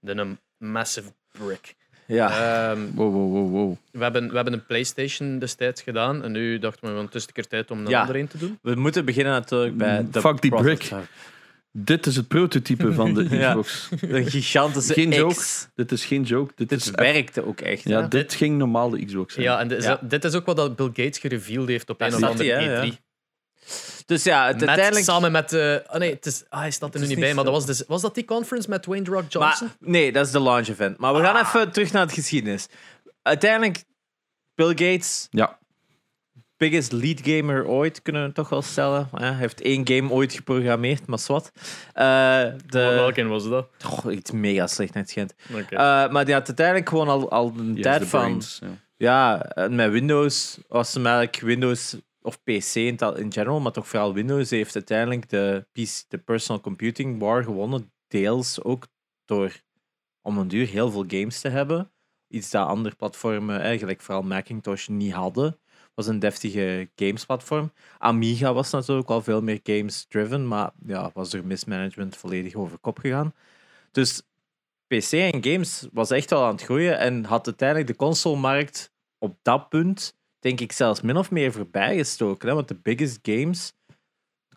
S2: De een massive brick.
S1: ja.
S2: Ehm,
S3: Wow, wow, wow, wow.
S2: we, hebben, we hebben een PlayStation destijds gedaan. En nu dachten we, het is een keer tijd om een
S1: Ja.
S2: andere een te doen.
S1: We moeten beginnen natuurlijk bij...
S3: Fuck die brick. Dit is het prototype van de
S1: Ja.
S3: Xbox.
S1: Een gigantische
S3: Geen joke.
S1: X.
S3: Dit is geen joke. Dit,
S1: Dit
S3: is echt-
S1: werkte ook echt.
S3: Ja,
S1: hè?
S3: dit ging normaal de Xbox zijn.
S2: Ja, en dit is-
S1: Ja.
S2: dit is ook wat dat Bill Gates gereveeld heeft op
S1: Daar
S2: een of
S1: zat
S2: andere E
S1: hij, hè,
S2: E3.
S1: ja. Dus ja, het
S2: Met-
S1: uiteindelijk...
S2: Samen met... eh ah nee, het is, ah, hij staat er nu
S1: is
S2: niet
S1: niet
S2: bij, maar
S1: zo.
S2: dat was, dus, was dat die conference met Dwayne The Rock
S1: Maar,
S2: Johnson?
S1: nee, dat is de launch event. Maar we gaan
S3: Ah.
S1: even terug naar het geschiedenis. Uiteindelijk, Bill Gates,
S3: Ja.
S1: biggest lead gamer ooit, kunnen we toch wel stellen. hè. Hij heeft één game ooit geprogrammeerd, maar zwart. Eh, de...
S2: was dat?
S1: Goh, iets mega slecht net schijnt.
S2: Oké.
S1: Eh, maar die had uiteindelijk gewoon al, al een
S3: Yes,
S1: tijd
S3: the
S1: van...
S3: brains, ja.
S1: Ja, en met Windows was hem eigenlijk Windows of PC in, ta- in general, maar toch vooral Windows heeft uiteindelijk de, PC, de personal computing war gewonnen. Deels ook door om een duur heel veel games te hebben. Iets dat andere platformen, eigenlijk vooral Macintosh, niet hadden. Was een deftige gamesplatform. Amiga was natuurlijk al veel meer games-driven, maar ja, was door mismanagement volledig over kop gegaan. Dus PC en games was echt wel aan het groeien en had uiteindelijk de consolemarkt op dat punt, denk ik, zelfs min of meer voorbij gestoken. Hè? Want de biggest games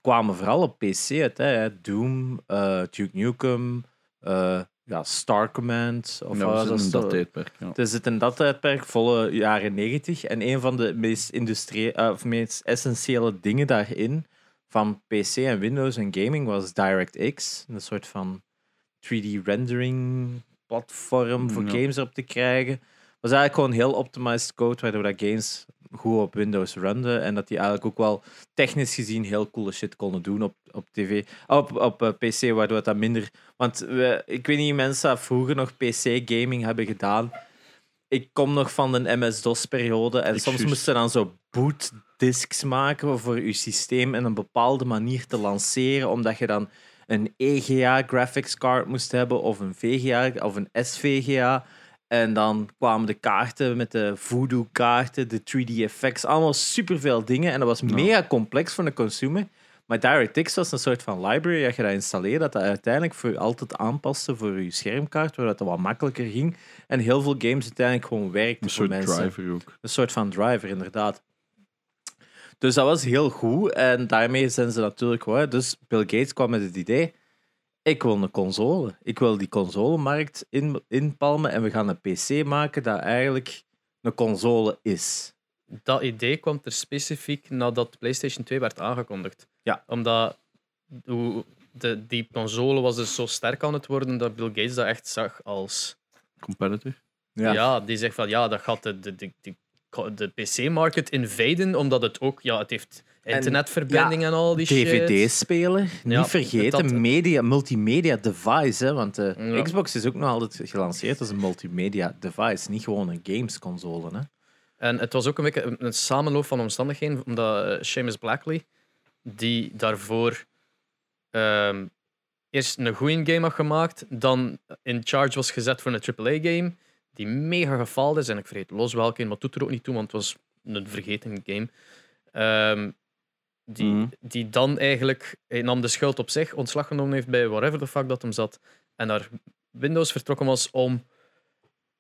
S1: kwamen vooral op PC uit. Hè? Doom, eh, Duke Nukem, eh, ja, Star Command. Of,
S3: Ja,
S1: eh,
S3: we zitten
S1: is
S3: in
S1: zo-
S3: dat tijdperk. Ja.
S1: er zit in dat tijdperk, volle jaren 90. En een van de meest, industrie- eh, of meest essentiële dingen daarin van PC en Windows en gaming was DirectX. Een soort van 3D rendering platform voor
S3: Ja.
S1: games op te krijgen. was eigenlijk gewoon heel optimized code, waardoor dat games goed op Windows runden. En dat die eigenlijk ook wel technisch gezien heel coole shit konden doen op, op tv. Op, op eh, PC, waardoor dat minder. Want we, ik weet niet, mensen dat vroeger nog PC-gaming hebben gedaan. Ik kom nog van de MS-DOS-periode en
S3: Ik
S1: soms
S3: juist.
S1: moesten dan zo bootdisks maken voor je systeem in een bepaalde manier te lanceren, omdat je dan een EGA graphics card moest hebben of een VGA of een SVGA. En dan kwamen de kaarten met de voodoo-kaarten, de 3D-effects, allemaal superveel dingen. En dat was mega complex voor de consumer. Maar DirectX was een soort van library dat je dat installeerde, dat dat uiteindelijk voor je altijd aanpaste voor je schermkaart, waardoor dat wat makkelijker ging. En heel veel games uiteindelijk gewoon werkten
S3: Een
S1: voor
S3: soort
S1: mensen.
S3: driver ook.
S1: Een soort van driver, inderdaad. Dus dat was heel goed. En daarmee zijn ze natuurlijk... wel- Dus Bill Gates kwam met het idee... Ik wil een console. Ik wil die consolemarkt in, inpalmen. En we gaan een PC maken dat eigenlijk een console is.
S2: Dat idee kwam er specifiek nadat PlayStation 2 werd aangekondigd.
S1: Ja.
S2: Omdat hoe- de, die console was dus zo sterk aan het worden dat Bill Gates dat echt zag als...
S3: Competitor.
S2: Ja, die zegt van ja, dat gaat de, de, de, de, de PC-market invaden, omdat het ook... Ja, het heeft internetverbinding en, al die shit.
S1: DVD-speler.
S2: Ja,
S1: Niet vergeten,
S2: dat-
S1: media, multimedia device. Hè, want de
S2: Ja.
S1: Xbox is ook nog altijd gelanceerd als een multimedia device. Niet gewoon een gamesconsole. Hè.
S2: En het was ook een beetje een, een samenloop van omstandigheden, omdat eh, Seamus Blackley, die daarvoor ehm, eerst een goede game had gemaakt, dan in charge was gezet voor een AAA-game, die mega gefaald is. En ik vergeet los welke, maar het doet er ook niet toe, want het was een vergeten game. Ehm, die,
S3: Mhm.
S2: die dan eigenlijk, hij nam de schuld op zich, ontslag genomen heeft bij whatever the fuck dat hem zat, en naar Windows vertrokken was om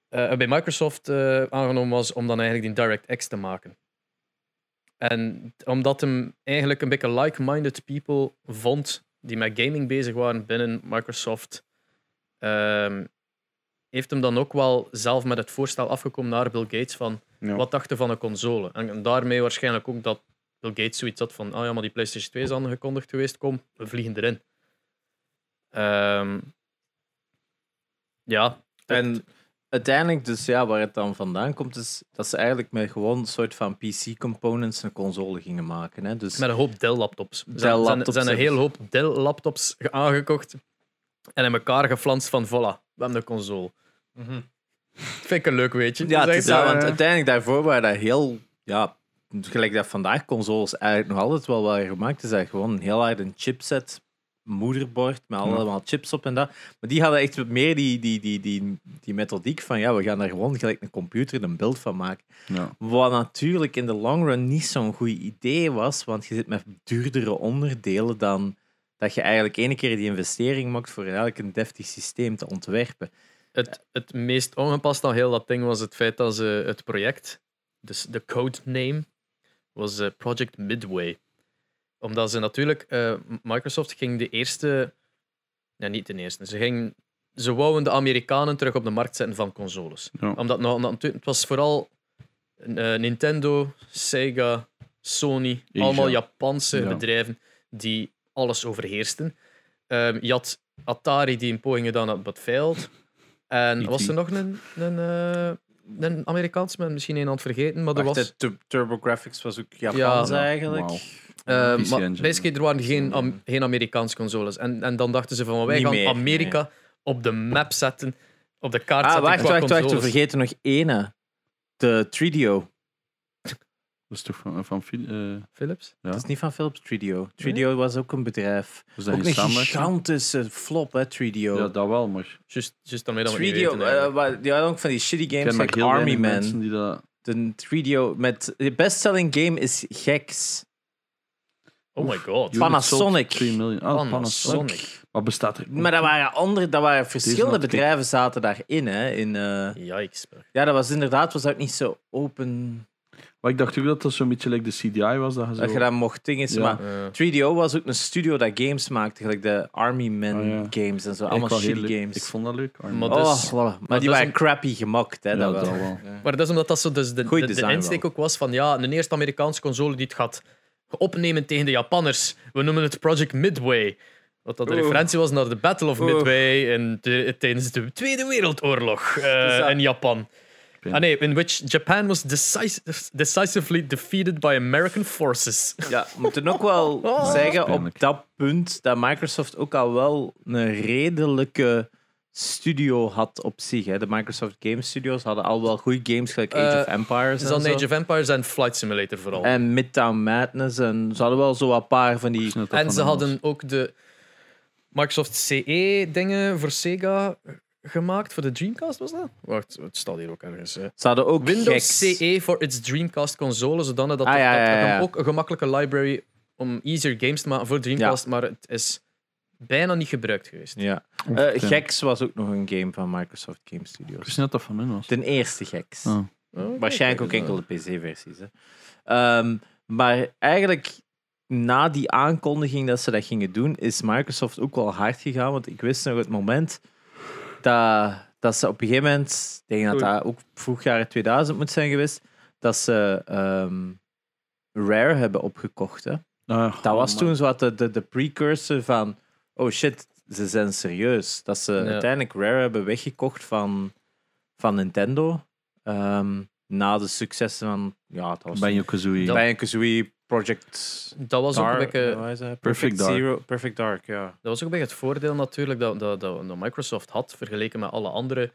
S2: eh, bij Microsoft eh, aangenomen was om dan eigenlijk die DirectX te maken. En t- omdat hem eigenlijk een beetje like-minded people vond die met gaming bezig waren binnen Microsoft, ehm, heeft hem dan ook wel zelf met het voorstel afgekomen naar Bill Gates van
S3: Ja.
S2: wat dacht je van een console? En, en daarmee waarschijnlijk ook dat Bill Gates zoiets had van, ah ja, maar die PlayStation 2 is aangekondigd geweest, kom, we vliegen erin. Ehm, ja.
S1: En uiteindelijk, dus ja, waar het dan vandaan komt, is dat ze eigenlijk met gewoon een soort van PC-components een console gingen maken. Hè? Dus
S2: Met een hoop Dell-laptops. Er zijn,
S1: Dell-laptops,
S2: zijn, zijn een
S1: hè.
S2: heel hoop Dell-laptops ge- aangekocht en in elkaar geflanst van voilà, we hebben een console. Vind ik een leuk weetje.
S1: ja, het
S2: Dat
S1: is
S2: echt,
S1: dat,
S2: eh,
S1: want uiteindelijk daarvoor waren dat heel, ja, gelijk dat vandaag consoles eigenlijk nog altijd wel wel gemaakt is, dat gewoon een heel hard een chipset moederbord met allemaal chips op en dat. Maar die hadden echt wat meer die, die, die, die, die methodiek van ja, we gaan daar gewoon gelijk een computer een beeld van maken.
S3: Ja.
S1: Wat natuurlijk in de long run niet zo'n goed idee was, want je zit met duurdere onderdelen dan dat je eigenlijk ene keer die investering maakt voor eigenlijk een deftig systeem te ontwerpen.
S2: het, het meest ongepast aan heel dat ding was het feit dat ze het project, dus de codename, was eh, Project Midway. Omdat ze natuurlijk, eh, Microsoft ging de eerste Nee, niet ten eerste. Ze, ging, ze wouden de Amerikanen terug op de markt zetten van consoles.
S3: Ja.
S2: Omdat, nou, omdat het was vooral eh, Nintendo, Sega, Sony,
S3: Asia.
S2: allemaal Japanse
S3: Ja.
S2: bedrijven die alles overheersten. Ehm, je had Atari die een poging gedaan had, but failed.
S1: E
S2: En
S3: E.T..
S2: was er nog een, een, eh, een Amerikaans, maar misschien een aan het vergeten, maar er was...
S1: Wacht, was... Turbo Graphics was ook Japans
S3: Ja.
S1: eigenlijk.
S3: Wauw.
S2: Eh,
S3: PC
S2: maar
S3: Engine.
S2: basically, er waren geen, Am- geen Amerikaanse consoles. En, en dan dachten ze van, wij
S1: Niet
S2: gaan
S1: meer,
S2: Amerika op de map zetten, op de kaart
S1: Ah,
S2: zetten
S1: wacht,
S2: qua
S1: wacht, wacht. We
S2: consoles.
S1: vergeten nog ene. De 3DO.
S3: Dat is toch van... van Phil- eh,
S2: Philips?
S3: Ja.
S1: Dat is niet van Philips, 3DO. 3DO was ook een bedrijf.
S3: was dat
S1: Ook
S3: geen
S1: een
S3: samenwerking?
S1: gigantische flop, hè, 3DO.
S3: Ja, dat wel, maar...
S2: Juist juist daarmee dat we
S1: 3DO,
S2: het niet weten,
S1: eh,
S2: eigenlijk.
S1: wa- ja, ook van die shitty
S3: Ik
S1: games
S3: ken maar
S1: like
S3: heel
S1: Army
S3: weinig
S1: Man.
S3: mensen die dat...
S1: De 3DO met... De bestselling game is geks. eh,
S2: Oh my god.
S1: Oef. Panasonic.
S3: Units sold 2 miljoen. Ah, Panasonic.
S2: Panasonic.
S3: Wat bestaat er?
S1: Maar dat waren, andere, dat waren verschillende
S3: not good.
S1: bedrijven zaten daarin, hè. In, eh,
S2: Yikes. man.
S1: ja, dat was inderdaad was dat ook niet zo open...
S3: Maar ik dacht ook dat dat zo'n beetje like de CDI was. Dat je zo...
S1: Dat je dat mocht dingen.
S3: Ja.
S1: Maar
S2: Eh,
S1: 3DO was ook een studio dat games maakte. Gelijk de Army Men
S3: Oh, ja.
S1: games en zo.
S3: Ik
S1: Allemaal
S3: wou heel
S1: shitty
S3: leuk-
S1: games.
S3: Ik vond dat leuk. Armin.
S2: Maar
S1: Oh,
S2: dus-
S1: voilà. maar,
S2: dat
S1: die
S2: is
S1: waren
S2: een-
S1: crappy gemokt, hè,
S3: Ja,
S1: dat wel.
S3: dat wel.
S2: Maar dat is omdat dat zo dus de,
S1: Goeie
S2: de, de
S1: design
S2: insteek
S1: wel.
S2: ook was van ja, de eerste Amerikaanse console die het gaat opnemen tegen de Japanners. We noemen het Project Midway. Wat dat de
S1: Oeh.
S2: referentie was naar de Battle of
S1: Oeh.
S2: Midway in de- tijdens de Tweede Wereldoorlog eh,
S1: Dus dat-
S2: in Japan.
S3: Pin.
S2: Ah nee, in which Japan was decisive, decisively defeated by American forces.
S1: Ja, we moeten ook wel
S2: Oh.
S1: zeggen op
S3: Pijnlijk.
S1: dat punt dat Microsoft ook al wel een redelijke studio had op zich. Hè. De Microsoft Game Studios hadden al wel goede games, gelijk Age
S2: Eh,
S1: of Empires
S2: Dus
S1: en
S2: dan
S1: zo.
S2: Age of Empires en Flight Simulator vooral.
S1: En Midtown Madness. En ze hadden wel zo een paar van die...
S2: En ze hadden ook de Microsoft CE-dingen voor Sega gemaakt. Voor de Dreamcast was dat? Wacht, het staat hier ook ergens. hè.
S1: Ze hadden ook
S2: Windows E.
S1: geks.
S2: CE voor its Dreamcast console, zodanig dat
S1: Ah,
S2: er-
S1: ja,
S2: dat
S1: ja,
S2: er
S1: ja.
S2: hem ook een gemakkelijke library om easier games te maken voor Dreamcast, maar het is bijna niet gebruikt geweest.
S1: Ja.
S3: Oef,
S1: Eh
S3: ja.
S1: geks was ook nog een game van Microsoft Game Studios.
S3: Ik wist niet dat dat van hen was.
S1: Ten eerste geks.
S3: Ah.
S2: Oh,
S1: Waarschijnlijk ook enkele PC-versies. hè. Ehm, maar eigenlijk na die aankondiging dat ze dat gingen doen, is Microsoft ook wel hard gegaan. Want ik wist nog het moment dat, dat ze op een gegeven moment, ik denk dat dat ook vroeg jaren 2000 moet zijn geweest, dat ze ehm, Rare hebben opgekocht. Hè.
S3: Ah,
S1: Dat was
S2: Oh,
S3: man.
S1: toen zo wat de, de, de precursor van, oh shit, ze zijn serieus. Dat ze
S2: Ja.
S1: uiteindelijk Rare hebben weggekocht van, van Nintendo. Ehm, na de successen van, ja, dat was
S3: Ben je Kazooie.
S2: Dat-
S1: Banjo-Kazooie, Project
S2: Dat was, ook
S1: Dark,
S2: een beetje,
S1: eh, wat is dat? Perfect,
S3: Dark.
S1: Zero, Perfect Dark, ja.
S2: dat was ook een beetje het voordeel natuurlijk dat, dat, dat, dat Microsoft had vergeleken met alle andere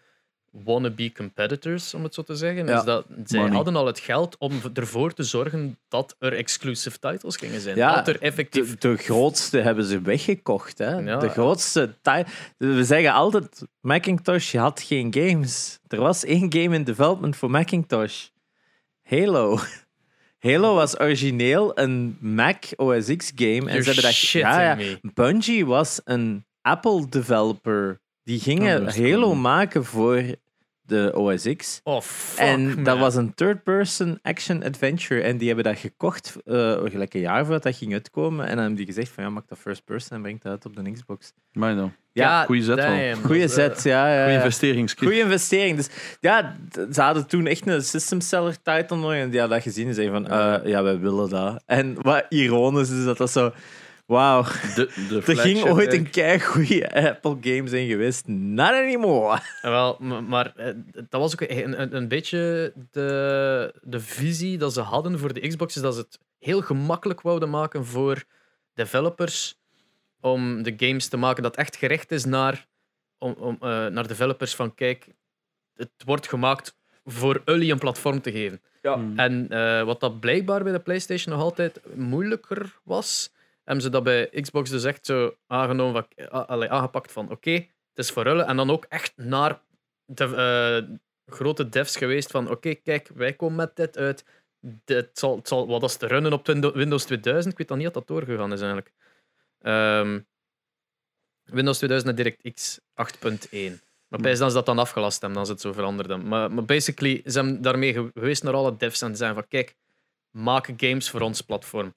S2: wannabe competitors, om het zo te zeggen.
S1: Ja.
S2: Is dat, zij
S3: Money.
S2: hadden al het geld om ervoor te zorgen dat er exclusive titles gingen zijn.
S1: Ja,
S2: dat er effectief
S1: De, de grootste hebben ze weggekocht, hè.
S2: Ja.
S1: De grootste... ti- We zeggen altijd, Macintosh had geen games. Er was één game in development voor Macintosh. Halo. Halo was origineel een Mac OS X game. en
S2: You're
S1: ze hebben dat...
S2: shitting
S1: ja, ja.
S2: me.
S1: Bungie was een Apple developer. Die gingen
S3: Oh, dat is
S1: Halo
S3: cool.
S1: maken voor de OS X.
S2: Oh, fuck,
S1: en dat
S2: man.
S1: was een third-person action-adventure. En die hebben dat gekocht, eh, gelijk een jaar voordat dat ging uitkomen. En dan hebben die gezegd van, ja, maak dat first-person en breng dat uit op de Xbox.
S3: Maar
S1: Eh,
S3: dan.
S1: Ja,
S3: goeie zet wel.
S2: damn,
S1: goeie
S2: dat is, eh,
S1: zet, ja. ja,
S3: Goeie
S1: ja.
S3: investeringskit.
S1: Goeie investering. Dus ja, d- ze hadden toen echt een system seller title nodig. En die hadden dat gezien en zeiden van, eh, ja, wij willen dat. En wat ironisch is dat dat zo... Wauw,
S3: De, de
S1: er ging ooit een
S3: een...
S1: goede Apple games in geweest. Not anymore.
S2: eh, Wel, m- maar eh, dat was ook een, een, een beetje de, de visie dat ze hadden voor de Xbox, is dat ze het heel gemakkelijk wouden maken voor developers om de games te maken dat echt gericht is naar, om, om, eh, naar developers van kijk, het wordt gemaakt voor jullie een platform te geven.
S1: Ja.
S2: En eh, wat dat blijkbaar bij de PlayStation nog altijd moeilijker was, hebben ze dat bij Xbox dus echt zo aangenomen van, ah, allee, aangepakt van oké, het is voor hullen. En dan ook echt naar de eh, grote devs geweest van oké, kijk, wij komen met dit uit. Dit zal, het zal wat als te runnen op Windo- Windows 2000. Ik weet dan niet dat dat doorgegaan is eigenlijk. Ehm, Windows 2000 en DirectX 8.1. Maar bij dat ze dat dan afgelast hebben, dan ze het zo veranderd hebben. Maar, maar basically, ze zijn daarmee ge- geweest naar alle devs en ze zijn van kijk, maak games voor ons platform.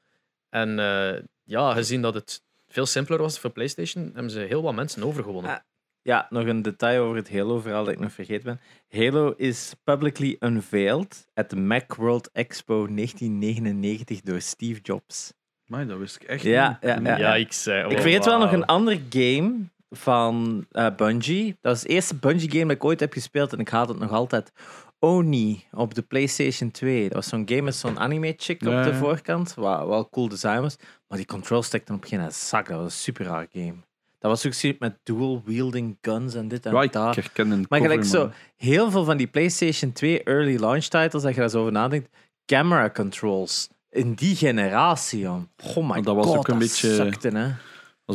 S2: En eh, ja, gezien dat het veel simpeler was voor PlayStation, hebben ze heel wat mensen overgewonnen.
S1: Ah. Ja, nog een detail over het Halo-verhaal dat ik nog vergeten ben. Halo is publicly unveiled at the Macworld Expo 1999 door Steve Jobs.
S3: Maar dat wist ik echt
S1: Ja,
S3: niet.
S1: ja, ja.
S2: ik zei.
S3: Oh,
S2: oh,
S1: ik vergeet wel nog een andere game van eh, Bungie. Dat is het eerste Bungie-game dat ik ooit heb gespeeld en ik haat het nog altijd. Oni op de PlayStation 2. Dat was zo'n game met zo'n anime-chick op
S3: Ja,
S1: de
S3: ja.
S1: voorkant. Wat wel cool design was. Maar die control stekte op geen zak. Dat was een super raar game. Dat was ook zoiets met dual-wielding guns en dit en
S3: Ja,
S1: dat.
S3: ik herken een
S1: Maar gelijk
S3: cover,
S1: zo,
S3: man.
S1: heel veel van die PlayStation 2 early launch titles, als je daar zo over nadenkt, camera controls. In die generatie, jong. Goh, my
S3: Want dat was
S1: god,
S3: ook een
S1: dat
S3: beetje-
S1: sukte, hè.
S3: Dat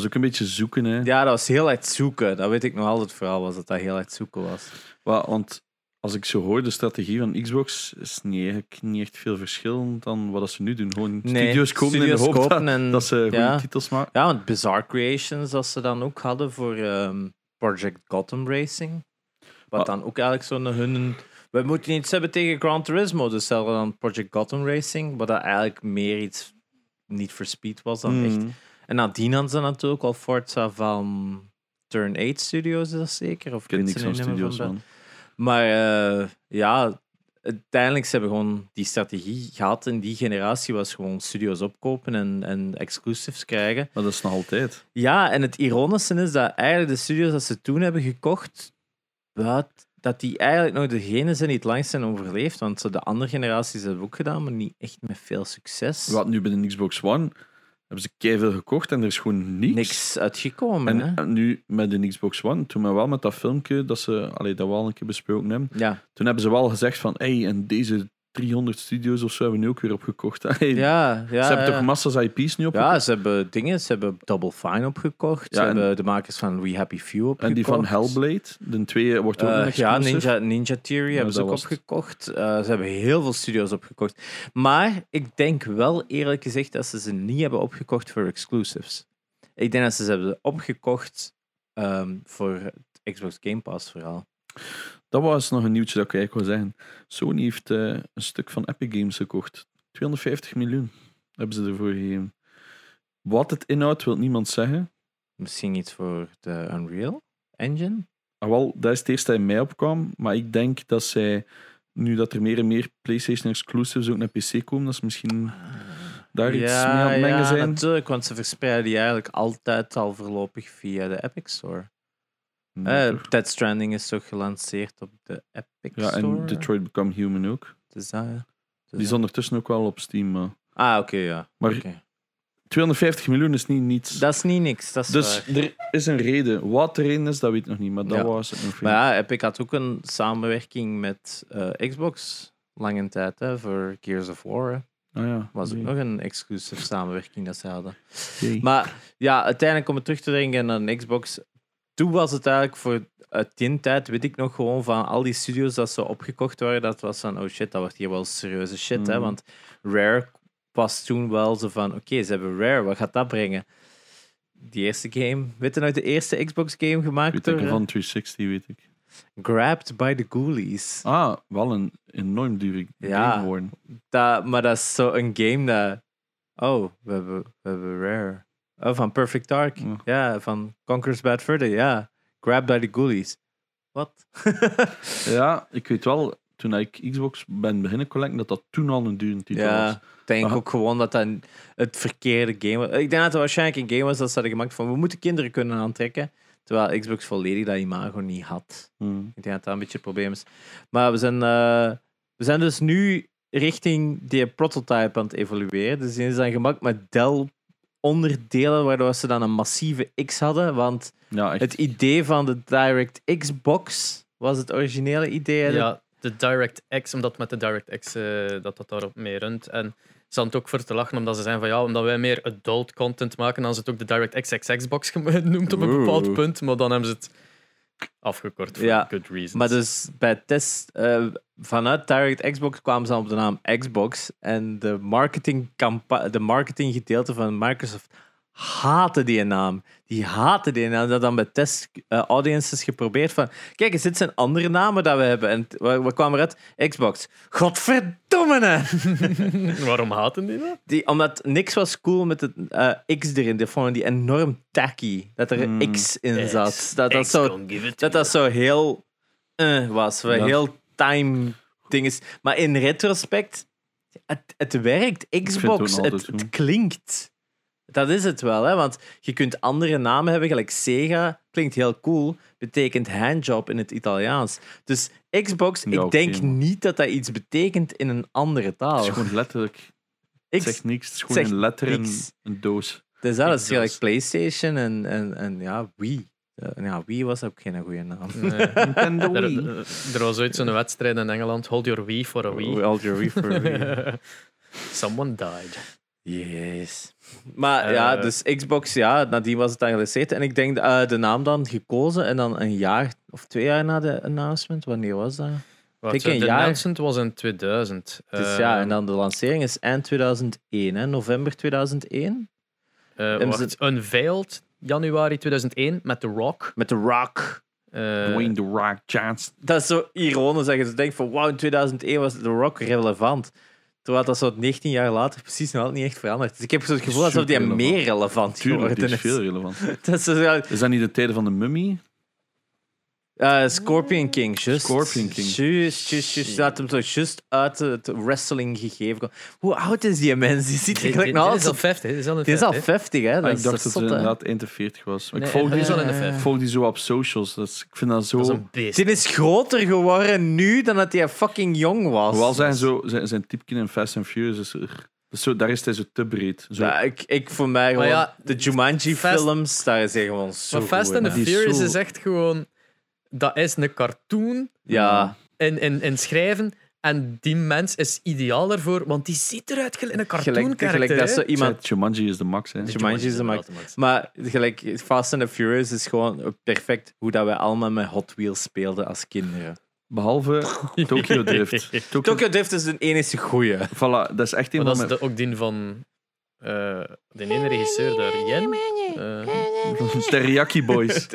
S3: was ook een beetje zoeken, hè.
S1: Ja, dat was heel uit zoeken. Dat weet ik nog altijd vooral, was dat dat heel uit zoeken was.
S3: Wa- Want als ik zo hoor, de strategie van Xbox is niet, eigenlijk niet echt veel verschillend dan wat dat ze nu doen. Gewoon
S1: Nee,
S3: studios kopen
S1: studios
S3: in de hoop
S1: kopen
S3: dat,
S1: en-
S3: dat ze goede
S1: ja.
S3: titels maken.
S1: Ja, want Bizarre Creations, dat ze dan ook hadden voor ehm, Project Gotham Racing. Wat
S3: Maar-
S1: dan ook eigenlijk zo'n hun... We moeten iets hebben tegen Gran Turismo, dus ze hadden dan Project Gotham Racing, wat dat eigenlijk meer iets niet for speed was dan echt
S3: Mm.
S1: En nadien hadden ze natuurlijk al Forza van Turn 8 Studios, is dat zeker? Of
S3: Ik ken
S1: weet ze
S3: niks
S1: nu
S3: van
S1: niet meer
S3: studios,
S1: dat.
S3: man.
S1: Maar eh, ja, uiteindelijk ze hebben gewoon die strategie gehad. En die generatie was gewoon studios opkopen en, en exclusives krijgen.
S3: Maar dat is nog altijd.
S1: Ja, en het ironische is dat eigenlijk de studios dat ze toen hebben gekocht, wat, dat die eigenlijk nog degene zijn die het langst zijn overleefd. Want zo de andere generaties hebben het ook gedaan, maar niet echt met veel succes.
S3: Wat nu bij de Xbox One hebben ze keihard gekocht en er is gewoon niks.
S1: Niks uitgekomen, hè?
S3: En, en nu met de Xbox One, toen maar wel met dat filmpje dat ze, allee, dat we al een keer besproken hebben,
S1: Ja.
S3: toen hebben ze wel gezegd van, hey, en deze 300 studios of zo hebben we nu ook weer opgekocht. Allee,
S1: Ja, ja.
S3: ze hebben
S1: ja.
S3: toch massa's IP's nu opgekocht?
S1: Ja, ze hebben dingen. Ze hebben Double Fine opgekocht.
S3: Ja,
S1: ze
S3: en-
S1: hebben de makers van We Happy Few opgekocht.
S3: en die van Hellblade, de twee wordt ook
S1: Eh,
S3: een
S1: ja,
S3: exclusive.
S1: Ninja, Ninja Theory hebben ze
S3: dat
S1: ook
S3: was het.
S1: opgekocht. Eh, ze hebben heel veel studios opgekocht. Maar ik denk wel eerlijk gezegd dat ze ze niet hebben opgekocht voor exclusives. Ik denk dat ze ze hebben opgekocht ehm, voor het Xbox Game Pass verhaal.
S3: Dat was nog een nieuwtje dat ik eigenlijk wil zeggen. Sony heeft eh, een stuk van Epic Games gekocht. 250 miljoen hebben ze ervoor gegeven. Wat het inhoudt, wil niemand zeggen.
S1: Misschien iets voor de Unreal Engine?
S3: Ah, wel, dat is het eerste dat in mij opkwam. Maar ik denk dat zij, nu dat er meer en meer PlayStation exclusives ook naar PC komen, dat ze misschien daar iets mee aan het mengen
S1: ja,
S3: zijn.
S1: natuurlijk, want ze verspreiden die eigenlijk altijd al voorlopig via de Epic Store.
S3: Nee,
S1: Eh,
S3: toch?
S1: Dead Stranding is toch gelanceerd op de Epic
S3: ja,
S1: Store?
S3: en Detroit Become Human ook.
S1: Dus dat, ja. Dus
S3: Die is
S1: dat-
S3: ondertussen ook wel op Steam. Maar
S1: Ah, oké, ja.
S3: Maar-
S1: Oké.
S3: 250 miljoen is niet niets.
S1: Dat is niet niks, dat is
S3: dus
S1: waar.
S3: er is een reden. Wat de reden is, dat weet ik nog niet. Maar dat
S1: Ja.
S3: was het nog
S1: Maar ja, Epic had ook een samenwerking met eh, Xbox lange tijd, hè, voor Gears of War. hè.
S3: Ah ja,
S1: Was ook
S3: nee.
S1: nog een exclusieve samenwerking dat ze hadden.
S3: Oké.
S1: Maar ja, uiteindelijk om het terug te denken aan een Xbox. Toen was het eigenlijk voor uit die tijd, weet ik nog gewoon van al die studios dat ze opgekocht waren. Dat was van, oh shit, dat wordt hier wel serieuze shit. Hè?
S3: Mhm.
S1: Want Rare was toen wel zo van, oké, ze hebben Rare, wat gaat dat brengen? Die eerste game, weet je nog, de eerste Xbox game
S3: Ik
S1: gemaakt door
S3: denk
S1: eh,
S3: van 360, weet ik.
S1: Grabbed by the Ghoulies.
S3: Ah, wel een enorm dure
S1: Ja.
S3: game geworden.
S1: Dat, maar dat is zo een game dat, oh, we hebben, we hebben Rare. Oh, van Perfect Dark.
S3: Ja.
S1: Ja, van Conqueror's Bad Further, ja. Grab by the Ghoulies. Wat?
S3: Ja, ik weet wel, toen ik Xbox ben beginnen collecten, dat dat toen al een dure titel was.
S1: ja, ik denk
S3: Aha.
S1: ook gewoon dat dat een- het verkeerde game was. Ik denk dat het waarschijnlijk een game was dat ze hadden gemaakt van we moeten kinderen kunnen aantrekken. Terwijl Xbox volledig dat imago niet had.
S3: Hmm.
S1: Ik denk dat dat een beetje het probleem is. Maar we zijn, eh, we zijn dus nu richting die prototype aan het evolueren. Dus die is dan gemaakt met Dell-onderdelen, waardoor ze dan een massieve X hadden. Want
S3: Ja, echt.
S1: Het idee van de DirectX box was het originele idee. hè?
S2: Ja, de DirectX, omdat met de DirectX eh, dat dat daarop mee runt. En ze hadden het ook voor te lachen, omdat ze zijn van ja, omdat wij meer adult content maken, dan ze het ook de DirectX Xbox genoemd op een bepaald
S3: Oeh.
S2: punt, maar dan hebben ze het afgekort voor
S1: Ja,
S2: good reasons.
S1: Maar dus bij test eh, vanuit DirectX box kwamen ze dan op de naam Xbox en de marketing de marketinggedeelte van Microsoft haatte die naam. Die haatte die naam. Dat dan bij test eh, audiences geprobeerd van... Kijk eens, dit zijn andere namen dat we hebben. En t- wat, wat kwam eruit? Xbox. Godverdomme! hè.
S2: Waarom haten die dat?
S1: Die, omdat niks was cool met het eh, X erin. Die vonden die enorm tacky. Dat er een
S3: Hmm.
S1: X in zat. dat, dat, zo, dat dat zo heel... eh, was. Wel
S3: Ja.
S1: Heel time dinges. Maar in retrospect... Het, het werkt. Xbox.
S3: ook
S1: Het,
S3: altijd
S1: het
S3: goed.
S1: klinkt. Dat is het wel, hè? want je kunt andere namen hebben, gelijk Sega, klinkt heel cool, betekent handjob in het Italiaans. Dus Xbox, ik
S3: oké,
S1: denk
S3: maar-
S1: niet dat dat iets betekent in een andere
S3: Het
S1: taal.
S3: is gewoon letterlijk.
S1: Ik
S3: Het zegt niks. Het is gewoon
S1: zegt
S3: een letter en
S1: niks.
S3: een doos.
S1: Dus dat is
S3: Xbox.
S1: gelijk PlayStation en, en, en ja, Wii. Eh, Ja, Wii was ook geen goede naam.
S3: Nintendo
S2: Er,
S3: Wii.
S2: er was ooit zo'n wedstrijd in Engeland. Hold your Wii for a Wii.
S1: All your Wii for Wii.
S2: Someone died.
S1: Yes. Maar
S2: Eh.
S1: ja, dus Xbox, ja, nadien was het dan gelanceerd. En ik denk eh, de naam dan gekozen en dan een jaar of twee jaar na de announcement, wanneer was dat?
S2: Wat,
S1: Ik
S2: de
S1: een jaar.
S2: announcement was in 2000.
S1: Dus
S2: Eh,
S1: ja, en dan de lancering is eind 2001, hè? november 2001.
S2: eh,
S1: en
S2: wacht, Unveiled januari 2001 met The Rock.
S1: Met The Rock.
S2: Eh,
S3: Dwayne The Rock Johnson.
S1: Dat is zo ironisch dat je zo denkt van wauw, in 2001 was The Rock relevant. Terwijl dat zo 19 jaar later precies nog altijd niet echt veranderd is. Dus ik heb zo het gevoel alsof die
S3: Superrelevant.
S1: meer relevant
S3: Tuurlijk, die
S1: geworden
S3: is
S1: is.
S3: veel relevant.
S1: Dat is zo,
S3: Is dat niet de tijden van de mummy?
S1: eh, Scorpion King, just.
S3: Scorpion King.
S1: Juist, juist, juist. Dat hem zo juist uit het wrestling gegeven kwam. Hoe oud is die mens? Die ziet er
S2: dit- dit-
S1: gelijk nog
S2: dit is al
S1: altijd...
S2: 50. Dit is al in
S1: Die is al
S2: 50.
S1: 50, hè? Dat
S3: Ah, ik
S1: is
S3: dacht dat
S1: zot,
S3: het
S1: hè?
S3: inderdaad 41 was. Maar
S2: Nee,
S3: ik volg
S2: die
S3: die,
S2: is al in de 50.
S3: ik volg die zo op socials. Dat is- ik vind dat zo...
S2: Dat is een beest.
S1: Die is groter geworden nu dan dat hij fucking jong was.
S3: Hoewel zijn, zo, zijn, zijn typkin in Fast and Furious is er... Dus zo, daar is hij zo te breed. Zo,
S1: Ja, Nou, ik, ik voor mij gewoon...
S2: ja,
S1: de Jumanji-films, daar is hij gewoon zo
S2: Maar Fast
S1: goed
S2: and
S1: in,
S2: the
S1: hè.
S3: Die is
S2: Furious
S3: zo-
S2: is echt gewoon... Dat is een cartoon
S1: Ja,
S2: in, in, in schrijven. En die mens is ideaal daarvoor, want die ziet eruit gelijk in een cartoon
S1: gelijk, gelijk dat zo
S3: Ik zei,
S1: iemand...
S3: Jumanji is de max, hè.
S1: Jumanji is de max. Maar gelijk, Fast and the Furious is gewoon perfect hoe dat wij allemaal met Hot Wheels speelden als kinderen.
S3: Behalve Tokyo Drift. Tokyo,
S1: Tokyo Drift is de enige goeie.
S3: Voilà, dat is echt een
S2: Maar dat
S3: van
S2: is
S3: mijn...
S2: de, ook die van eh, de ene regisseur daar, Jen. Eh,
S3: Teriyaki Boys.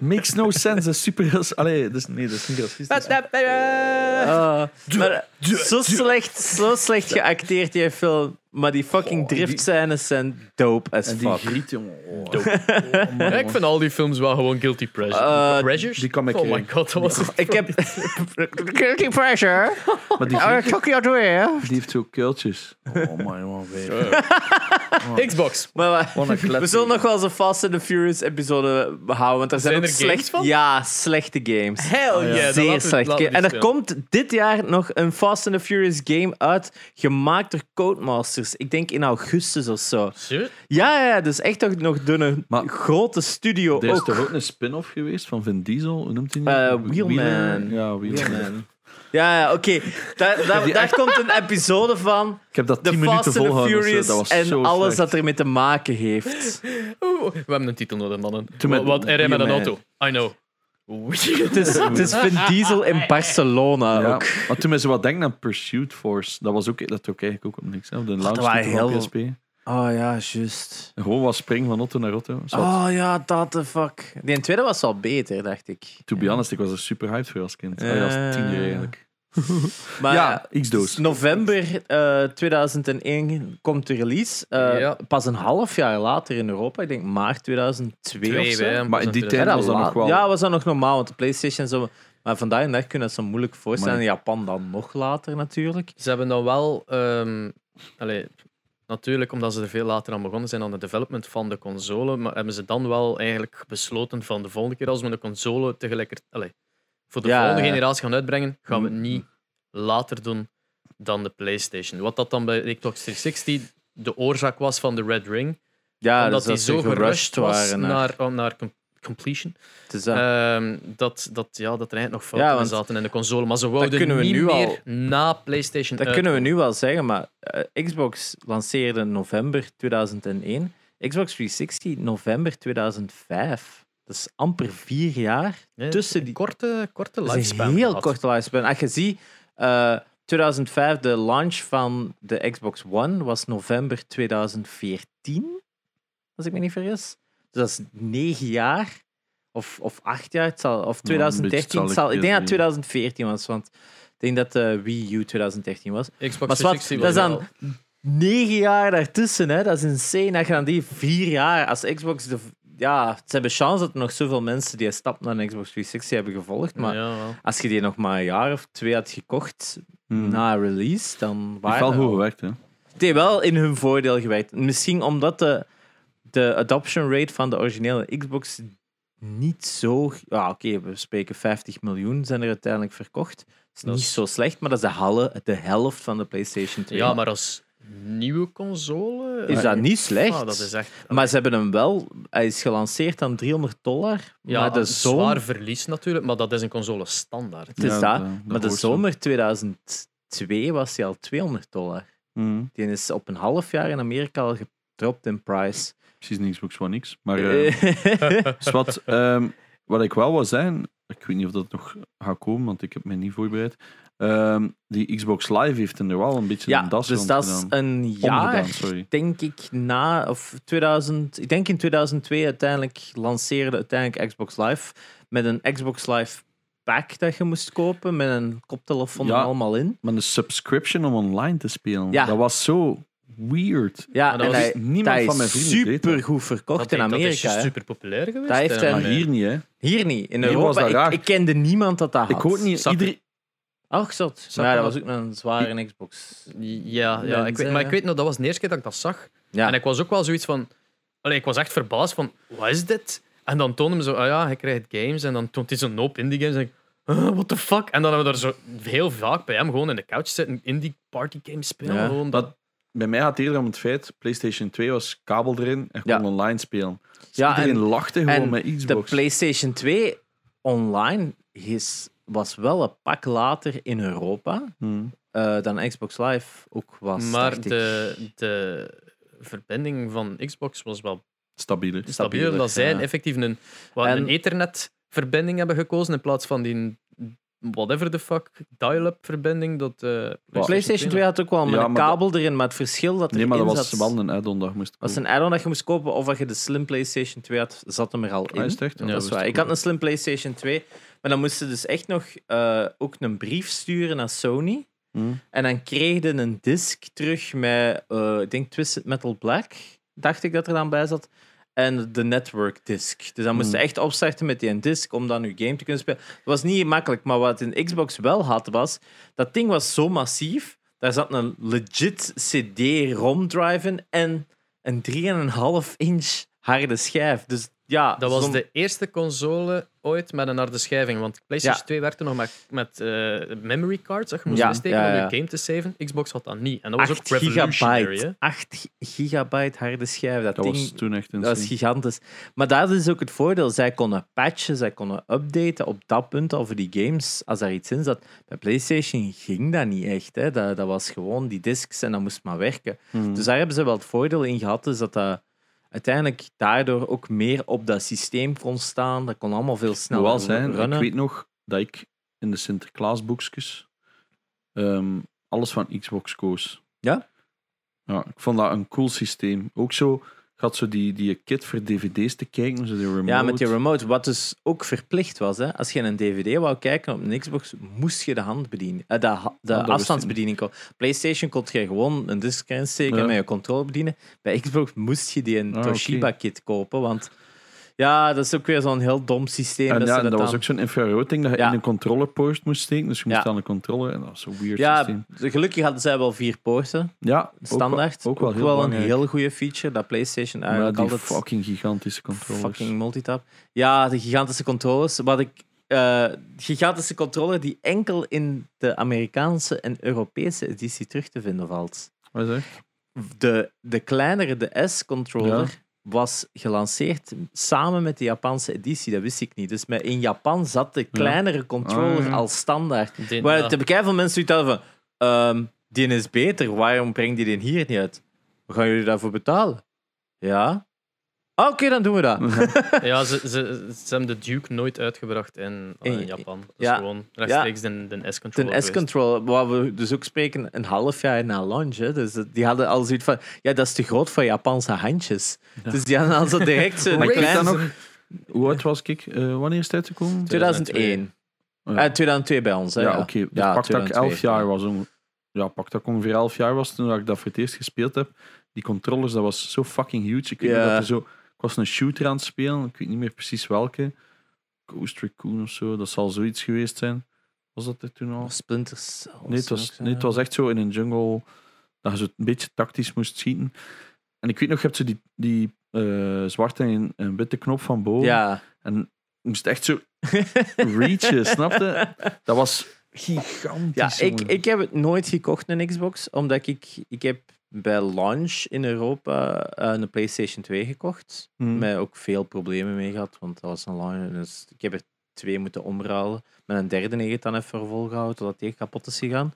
S3: Makes no sense. Dat is super... Allee, dat is, nee, dat is niet racistisch.
S1: Ah, maar zo slecht, zo slecht geacteerd die film. Maar die fucking driftscènes zijn dope as
S3: En die
S1: fuck.
S3: griet, jongen. Oh.
S2: ja, ik vind al die films wel gewoon guilty pleasure.
S1: Eh,
S2: pleasures.
S3: die kan ik
S2: Oh my
S3: krijgen.
S2: god, dat was het.
S1: Ik heb... Guilty pressure.
S3: Maar
S1: Ah,
S3: die, griet,
S1: Tokyo Drift.
S3: die heeft zo kuiltjes. Oh my god, weer.
S2: Xbox.
S1: Maar, maar-
S3: Wat een klet.
S1: we zullen nog wel eens een Fast and the Furious episode eh, houden, want er zijn,
S2: Zijn
S1: ook
S2: er
S1: slecht,
S2: games van?
S1: Ja, slechte games.
S2: Hell
S3: Ah,
S2: yeah. dan laten we-
S1: Zeer
S2: laten
S1: slecht.
S2: we die
S1: game. En er
S2: spelen.
S1: komt dit jaar nog een Fast and the Furious game uit, gemaakt door Codemasters. Ik denk in augustus of zo.
S2: Shit.
S1: Ja, ja, ja, dus echt toch nog door een
S3: Maar-
S1: grote studio
S3: Er is
S1: ook.
S3: toch ook een spin-off geweest van Vin Diesel? Hoe noemt hij die?
S1: Eh, Wheelman.
S3: Ja, Wheelman.
S1: Ja, ja, oké. Daar, daar,
S3: die
S1: daar
S3: echt-
S1: komt een episode van.
S3: Ik heb dat
S1: The
S3: 10
S1: Fast
S3: minuten
S1: and the
S3: volgehouden. of zo.
S1: Furious
S3: Dat was
S1: en
S3: zo
S1: alles
S3: slecht.
S1: dat ermee te maken heeft.
S2: Oeh, we hebben een titel nodig, mannen.
S3: Toen met-
S2: Wat, wat er met een
S3: Wheelman.
S2: auto? I know.
S1: het, is, het is Vin Diesel in Barcelona
S3: Ja,
S1: ook.
S3: maar toen mensen wat denken aan Pursuit Force, dat was ook, dat ook eigenlijk ook op niks. Hè. De launch
S1: waren
S3: heel...
S1: Ah, heel-
S3: van PSP.
S1: Oh ja, juist.
S3: Gewoon was springen van auto naar auto. Zat.
S1: Oh ja, dat de fuck. Die tweede was wel beter, dacht ik.
S3: To be honest, ik was er super hyped voor als kind. Allee, als
S1: Eh.
S3: tiener eigenlijk.
S1: Maar
S3: ja,
S1: dus
S3: X-Doos.
S1: november eh, 2001 komt de release. Eh,
S2: Ja.
S1: Pas een half jaar later in Europa. Ik denk maart 2002 of zo.
S2: hè,
S3: Maar in die
S2: natuurlijk.
S3: tijd was dat
S1: la-
S3: nog wel...
S1: Ja, was dat nog normaal, want de PlayStation zo. Maar vandaag en dag kun je dat zo moeilijk voorstellen.
S3: Maar-
S1: In Japan dan nog later natuurlijk.
S2: Ze hebben dan wel, ehm, allee, natuurlijk omdat ze er veel later aan begonnen zijn aan de development van de console, maar hebben ze dan wel eigenlijk besloten van de volgende keer als we een console tegelijkertijd, allee, voor de
S1: Ja,
S2: volgende
S1: ja. Mm.
S2: generatie gaan uitbrengen, gaan we het niet later doen dan de PlayStation. Wat dat dan bij de Xbox 360 de oorzaak was van de Red Ring,
S1: Ja, dus
S2: omdat die
S1: dat ze
S2: zo gerushed was
S1: waren.
S2: naar,
S1: naar-
S2: oh, naar com- completion,
S1: het is dat.
S2: ehm, dat, dat, ja, dat er eigenlijk nog fouten
S1: Ja,
S2: in
S1: want
S2: zaten in de console, maar ze wouden
S1: kunnen we
S2: niet
S1: nu
S2: meer
S1: al-
S2: na PlayStation
S1: dat
S3: Eh,
S2: uit-
S3: oh.
S1: kunnen we nu wel zeggen, maar eh, Xbox lanceerde in november 2001. Xbox 360 november 2005. Dat is amper vier jaar
S2: Nee,
S1: tussen
S2: een
S1: die
S2: korte, korte
S1: Dat is
S2: lifespan.
S1: een heel
S2: gehad.
S1: korte lifespan. Als je ziet, eh, 2005, de launch van de Xbox One was november 2014. als ik me niet vergis. Dus dat is negen jaar of, of acht jaar. Het zal, of
S3: Ja, een beetje
S1: 2013.
S3: zal
S1: het
S3: ik
S1: zal, ik denk dat het
S3: eerder
S1: 2014 was, want ik denk dat de Wii U 2013 was.
S2: Xbox
S1: Maar wat,
S2: 360
S1: dat is
S2: wel.
S1: dan negen jaar daartussen, hè? dat is insane. Dat je dan die vier jaar als Xbox. De, ja, ze hebben chance dat er nog zoveel mensen die een stap naar een Xbox 360 hebben gevolgd. Maar
S2: Ja, wel.
S1: als je die nog maar een jaar of twee had gekocht
S3: Hmm.
S1: na release, dan
S3: Die heeft
S1: waren
S3: wel
S1: er
S3: goed
S1: al-
S3: gewerkt, hè?
S1: Het heeft wel in hun voordeel gewerkt. Misschien omdat de, de adoption rate van de originele Xbox niet zo. Ja, Oké, we spreken 50 miljoen zijn er uiteindelijk verkocht. Dat is
S2: Dat
S1: niet
S2: is-
S1: zo slecht, maar dat is de, halle, de helft van de PlayStation 2.
S2: ja, maar als nieuwe console... eh,
S1: Is dat niet slecht?
S2: Ah, dat is echt...
S1: Maar ze hebben hem wel. Hij is gelanceerd aan 300 dollar.
S2: Ja,
S1: maar de
S2: een
S1: zomer,
S2: zwaar verlies natuurlijk, maar dat is een console standaard.
S1: het is dat,
S3: Ja, dat- dat
S1: maar de
S3: hoort zo.
S1: zomer 2002 was hij al 200 dollar.
S3: Hmm.
S1: Die is op een half jaar in Amerika al gedropt in price.
S3: Precies een Xbox One X. Maar eh, dus wat, ehm, wat ik wel wil zeggen, ik weet niet of dat nog gaat komen, want ik heb me niet voorbereid. Ehm, die Xbox Live heeft er wel een beetje
S1: ja,
S3: een das
S1: dus
S3: rond
S1: dat is
S3: gedaan.
S1: een
S3: Ondergedaan,
S1: jaar,
S3: sorry.
S1: denk ik, na. Of 2000, ik denk in 2002 uiteindelijk lanceerde uiteindelijk Xbox Live. Met een Xbox Live pack dat je moest kopen. Met een koptelefoon
S3: Ja.
S1: er allemaal in.
S3: Maar een subscription om online te spelen,
S1: Ja.
S3: dat was zo weird.
S1: Ja,
S2: Maar
S1: en
S2: dat was
S1: hij,
S3: dus niemand
S1: dat
S3: van
S1: is
S3: mijn vrienden deed dat.
S1: super goed verkocht in
S2: denk-
S1: Amerika.
S2: Dat is
S1: hè.
S2: super populair geweest.
S1: Dat heeft
S2: hè.
S1: hem-
S3: Maar hier niet, hè.
S1: Hier niet. In
S3: Hier was
S1: Europa,
S3: dat raar.
S1: ik, ik kende niemand dat dat had.
S3: Ik hoor niet,
S2: Zak-
S3: ieder,
S1: Ach, zot.
S2: Zak-
S1: Maar dat was ook een zware Xbox.
S2: Ja, ja ik weet, maar ik weet nog, dat was de eerste keer dat ik dat zag.
S1: Ja.
S2: En ik was ook wel zoiets van... Allee, ik was echt verbaasd van, wat is dit? En dan toonde me zo, ah ja, hij krijgt games. En dan toont hij zo'n hoop indie games. En ik, ah, what the fuck? En dan hebben we daar zo heel vaak bij hem gewoon in de couch zitten, indie party games spelen.
S1: Ja.
S2: Gewoon, dat,
S3: Dat- bij mij gaat het eerder om het feit, PlayStation 2 was kabel erin en kon
S1: Ja.
S3: online spelen. Dus
S1: ja,
S3: Iedereen
S1: en
S3: lachte gewoon
S1: en
S3: met
S1: de
S3: Xbox.
S1: PlayStation 2 online is, was wel een pak later in Europa
S3: Hmm.
S1: eh, dan Xbox Live ook was.
S2: maar
S1: dacht ik.
S2: de, de verbinding van Xbox was wel
S3: Stabieler.
S2: stabiel. Omdat zij
S1: ja.
S2: effectief een, wat,
S1: En-
S2: een ethernet-verbinding hebben gekozen in plaats van die whatever the fuck dial-up-verbinding. Dat, eh,
S1: De PlayStation 2 had ook wel met
S3: Ja,
S1: een
S3: maar
S1: kabel erin, maar het verschil dat
S3: Nee, maar dat
S1: erin
S3: was
S1: zat,
S3: wel een add-on dat je moest
S1: was
S3: kopen.
S1: een add-on dat je moest kopen of dat je de slim PlayStation 2 had, zat hem er al in.
S3: Ah, is het echt?
S2: Ja,
S3: Oh,
S1: dat
S3: wist
S1: is waar.
S3: ik
S1: Ik had
S3: niet.
S1: een slim PlayStation 2, maar dan moesten dus echt nog eh, ook een brief sturen naar Sony.
S3: Hmm.
S1: En dan kreeg je een disc terug met, eh, ik denk, Twisted Metal Black, dacht ik dat er dan bij zat. En de network disc. Dus dan moest je
S3: Hmm.
S1: echt opstarten met die disc om dan je game te kunnen spelen. Het was niet makkelijk, maar wat een Xbox wel had was, dat ding was zo massief, daar zat een legit CD-ROM drive in en een 3,5 inch harde schijf. Dus ja,
S2: Dat was
S1: zo'n-
S2: de eerste console ooit met een harde schijving. Want PlayStation 2 werkte nog met, met eh, memory cards. Dat je moest
S1: Ja,
S2: insteken
S1: ja,
S2: om
S1: ja.
S2: je game te saven. Xbox had dat niet. En dat was ook
S1: 8
S2: revolutionary. hè.
S1: gigabyte, 8 gigabyte harde schijf. Dat,
S3: Dat
S1: ding,
S3: was toen echt
S1: Dat is
S3: insane.
S1: gigantisch. Maar dat is ook het voordeel. Zij konden patchen, zij konden updaten op dat punt over die games als daar iets in zat. Bij PlayStation ging dat niet echt. Hè. Dat, dat was gewoon die discs en dat moest maar werken.
S3: Hmm.
S1: Dus daar hebben ze wel het voordeel in gehad, dus dat dat uiteindelijk daardoor ook meer op dat systeem kon staan. Dat kon allemaal veel
S3: Moet
S1: sneller
S3: wel zijn,
S1: Nou, runnen.
S3: ik weet nog dat ik in de Sinterklaasboekjes ehm, alles van Xbox koos.
S1: Ja?
S3: Ja, ik vond dat een cool systeem. Ook zo, ik had zo die, die kit voor dvd's te kijken, zo die remote.
S1: Ja, met die remote. Wat dus ook verplicht was. Hè? Als je een DVD wou kijken op een Xbox, moest je de hand bedienen. eh, de ha- de
S3: dat wist ik
S1: afstandsbediening. kon. PlayStation kon je gewoon een disc erin steken
S3: Ja.
S1: en met je controller bedienen. Bij Xbox moest je die een
S3: Ah, oké.
S1: Toshiba-kit kopen, want... Ja, dat is ook weer zo'n heel dom systeem.
S3: En
S1: dat
S3: ja,
S1: ze
S3: en
S1: dat
S3: dat was
S1: dan-
S3: ook zo'n infrarood ding dat je
S1: Ja.
S3: in een controllerpoort moest steken. Dus je moest
S1: Ja.
S3: aan de controller en dat was zo'n weird
S1: Ja,
S3: systeem.
S1: gelukkig hadden zij wel vier poorten,
S3: Ja, ook wel-
S1: standaard.
S3: Ook wel, heel
S1: een
S3: belangrijk.
S1: heel goede feature, dat PlayStation
S3: Maar
S1: eigenlijk
S3: die
S1: altijd...
S3: fucking gigantische controllers.
S1: Fucking multitap. Ja, de gigantische controllers. Wat ik. eh, gigantische controller die enkel in de Amerikaanse en Europese editie terug te vinden valt.
S3: Wat is dat?
S1: De, de kleinere, de S-controller, was gelanceerd samen met de Japanse editie. Dat wist ik niet. Dus met, in Japan zat de kleinere controller
S3: Ah, ja.
S1: als standaard.
S2: Die-
S1: Maar
S2: ja.
S1: te bekijken van mensen die hadden van... ehm, die is beter, waarom brengt die die hier niet uit? Wat gaan jullie daarvoor betalen? Ja. Ah, Oké, dan doen we dat.
S4: Ja, ze, ze, ze hebben de Duke nooit uitgebracht in,
S2: eh,
S1: In-
S4: in Japan. Dat
S1: ja.
S4: is gewoon rechtstreeks de, de S-controller.
S1: Ten S-Control, waar we dus ook spreken een half jaar na launch. Hè. Dus dat- die hadden al zoiets van, ja, dat is te groot voor Japanse handjes. Dus die hadden al zo direct zo'n
S3: Maar ik weet
S1: klein...
S3: dat nog. Hoe oud was ik? Eh, wanneer is het uitgekomen?
S1: 2001.
S3: Ja.
S1: Eh, 2002 bij ons, hè.
S3: ja, oké. Dus
S1: Ja,
S3: pak dat ik
S1: 2002.
S3: elf jaar was. onge- Ja, pak dat ik ongeveer elf jaar was toen ik dat voor het eerst gespeeld heb. Die controllers, dat was zo fucking huge. Ik, weet nog
S1: Ja.
S3: dat er zo, ik was een shooter aan het spelen, ik weet niet meer precies welke. Ghost Recon of zo, dat zal zoiets geweest zijn. Was dat er toen al?
S1: Of Splinter Cell.
S3: Nee, het was, nee, het was echt zo in een jungle dat je zo een beetje tactisch moest schieten. En ik weet nog, je hebt zo die, die eh, zwarte en, en witte knop van boven.
S1: Ja.
S3: En je moest echt zo reachen, snapte? Dat was
S1: Ja,
S3: gigantisch.
S1: ik,
S3: jongen.
S1: ik heb het nooit gekocht, een Xbox, omdat ik, ik heb bij launch in Europa eh, een PlayStation 2 gekocht.
S2: Mm.
S3: Hmm.
S1: Met ook veel problemen mee gehad, want dat was een lange. Dus ik heb er twee moeten omruilen. Met een derde heeft het dan even volgehouden, totdat die kapot is gegaan.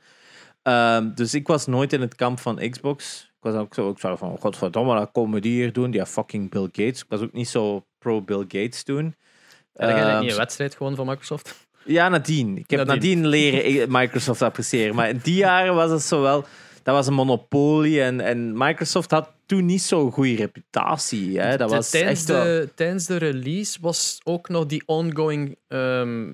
S1: Ehm, dus ik was nooit in het kamp van Xbox. Ik was ook zo, ik zou van, godverdomme, dat komen die hier doen, die fucking Bill Gates. Ik was ook niet zo pro Bill Gates toen.
S4: En dan krijg je
S1: Ehm,
S4: niet een wedstrijd gewoon van Microsoft.
S1: ja, nadien. Ik heb nadien,
S4: Nadien.
S1: leren i- Microsoft appreciëren. Maar in die jaren was het zo wel... Dat was een monopolie en, en Microsoft had toen niet zo'n goede reputatie. Hè? Dat
S2: De-
S1: was
S2: tijdens,
S1: echt wel-
S2: de, tijdens de release was ook nog die ongoing. ehm,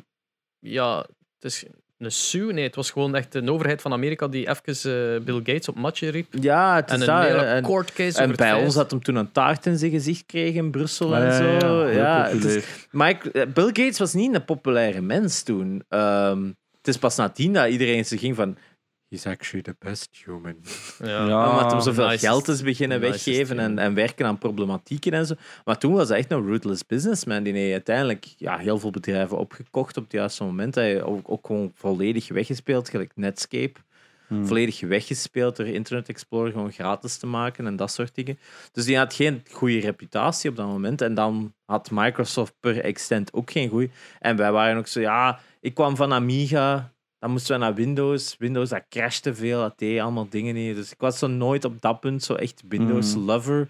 S2: ja, het is een sue. Nee, het was gewoon echt een overheid van Amerika die even eh, Bill Gates op matje riep.
S1: Ja, het
S2: En
S1: is
S2: een
S1: dat.
S2: hele
S1: hè. En,
S2: court case.
S1: en
S2: over
S1: bij
S2: het
S1: ons
S2: feit-
S1: had hem toen een taart in zijn gezicht gekregen in Brussel
S3: Ja,
S1: en
S3: Ah, ja, ja,
S1: zo. Ja,
S3: heel
S1: het is-
S3: populair.
S1: Mike, eh, Bill Gates was niet een populaire mens toen. Ehm, het is pas nadien dat iedereen ze ging van... He's actually the best human.
S4: Ja.
S1: Omdat
S3: Ah,
S1: hem zoveel
S4: nice.
S1: geld is beginnen
S4: Nice
S1: weggeven en, en werken aan problematieken en zo. Maar toen was hij echt een ruthless businessman. Die heeft uiteindelijk ja, heel veel bedrijven opgekocht op het juiste moment. Hij heeft ook, ook gewoon volledig weggespeeld, gelijk Netscape.
S3: Hmm.
S1: Volledig weggespeeld door Internet Explorer gewoon gratis te maken en dat soort dingen. Dus die had geen goede reputatie op dat moment. En dan had Microsoft per extent ook geen goede. En wij waren ook zo, ja, ik kwam van Amiga, dan moesten we naar Windows. Windows, dat crashte veel, dat deed allemaal dingen niet. Dus ik was zo nooit op dat punt zo echt
S3: Hmm.
S1: Windows-lover.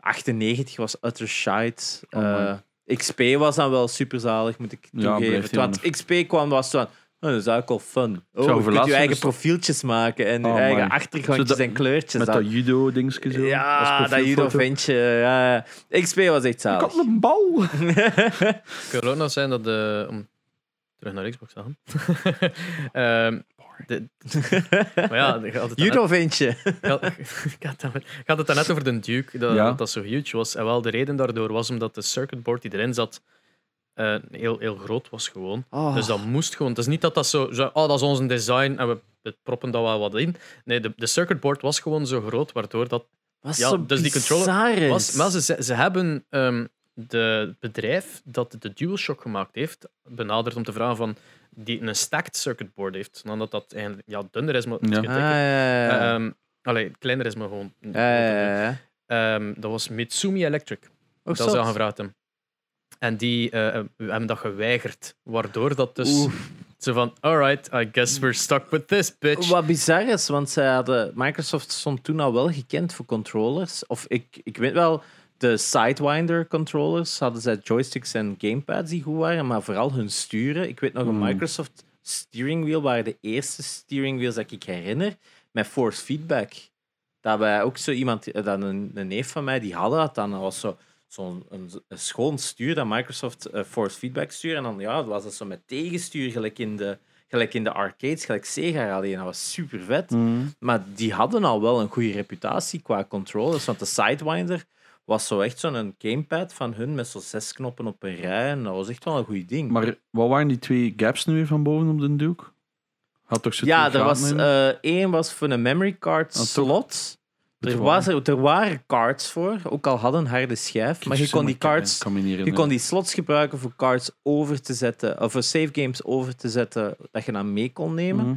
S1: 98 was utter shite.
S3: Oh, man.
S1: Eh, XP was dan wel superzalig, moet ik
S3: Ja,
S1: toegeven.
S3: blijft die
S1: Want XP kwam, was zo aan, oh, dat is eigenlijk al fun. Oh, je kunt
S3: overlaatst
S1: je eigen
S3: dus-
S1: profieltjes maken en je
S3: Oh,
S1: eigen
S3: man.
S1: achtergrondjes
S3: Zo dat-
S1: en kleurtjes.
S3: Met dat judo-dingetje zo. als
S1: ja, dat
S3: profielfoto.
S1: judo-ventje. Ja. ja. XP was echt
S3: Ik
S1: zalig.
S3: had een bal.
S4: Het kan ook nog zijn dat de. Om terug naar Xbox te gaan. Ehm, de- maar ja, ik had het daarnet-
S1: Judo-ventje.
S4: ik had- ik had het- ik had het daarnet over de Duke, dat,
S3: Ja.
S4: dat dat zo huge was. En wel, de reden daardoor was omdat de circuitboard die erin zat eh, heel, heel groot was gewoon.
S3: Ah.
S1: Oh.
S4: Dus dat moest gewoon. Het is niet dat dat zo, zo oh, dat is ons design en we, we proppen dat wel wat in. Nee, de, de circuitboard was gewoon zo groot, waardoor dat
S1: Was
S4: Ja,
S1: zo
S4: dus die controller
S1: bizar
S4: was.
S1: is.
S4: Maar ze, ze ze hebben ehm, de het bedrijf dat de DualShock gemaakt heeft, benaderd om te vragen van die een stacked circuit board heeft. Dan dat dat eigenlijk ja, dunner is, maar het is
S3: Ja.
S4: geen
S1: Ah,
S4: dikker.
S1: ja, ja, ja.
S4: Ehm, allee, kleiner is, maar gewoon.
S1: Ja, ja, ja.
S4: Ehm, dat was Mitsumi Electric.
S1: Ook
S4: dat ze
S1: zot.
S4: aangevraagd hebben. En die eh, eh, hebben dat geweigerd. Waardoor dat dus. Zo van, alright, I guess we're stuck with this bitch.
S1: Wat bizar is, want zij hadden, Microsoft stond toen al wel gekend voor controllers. Of ik, ik weet wel, de Sidewinder controllers hadden zij joysticks en gamepads die goed waren, maar vooral hun sturen. Ik weet nog, een Microsoft steering wheel waren de eerste steering wheels dat ik herinner, met force feedback. Dat wij ook zo iemand, eh, dat een, een neef van mij, die hadden dat dan. Dat was zo, zo'n een, een schoon stuur, dat Microsoft eh, force feedback stuur. En dan ja, was dat zo met tegenstuur, gelijk in de, gelijk in de arcades, gelijk Sega alleen. Dat was super vet. Maar die hadden al wel een goede reputatie qua controllers. Want de Sidewinder was zo echt zo'n gamepad van hun met zo'n zes knoppen op een rij. En dat was echt wel een goed ding.
S3: Maar wat waren die twee gaps nu weer van boven op de Duke? Had toch zo
S1: ja,
S3: twee
S1: er
S3: gaten
S1: was,
S3: in? Ah,
S1: eh, één was voor een memory card
S3: toch?
S1: slot.
S3: is
S1: Er,
S3: waar.
S1: was, er waren cards voor, ook al hadden een harde schijf. Maar je kon die cards
S3: Ik kan me niet
S1: Je kon
S3: herinneren.
S1: die slots gebruiken voor cards over te zetten, of voor save games over te zetten, dat je dan mee kon nemen.
S3: Mhm.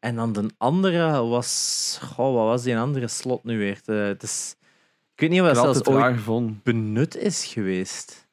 S1: En dan de andere was. Goh, wat was die andere slot nu weer? De, het is- ik weet niet of
S3: Ik
S1: dat
S3: had
S1: zelfs
S3: het raar
S1: ooit
S3: gevonden.
S1: benut is geweest.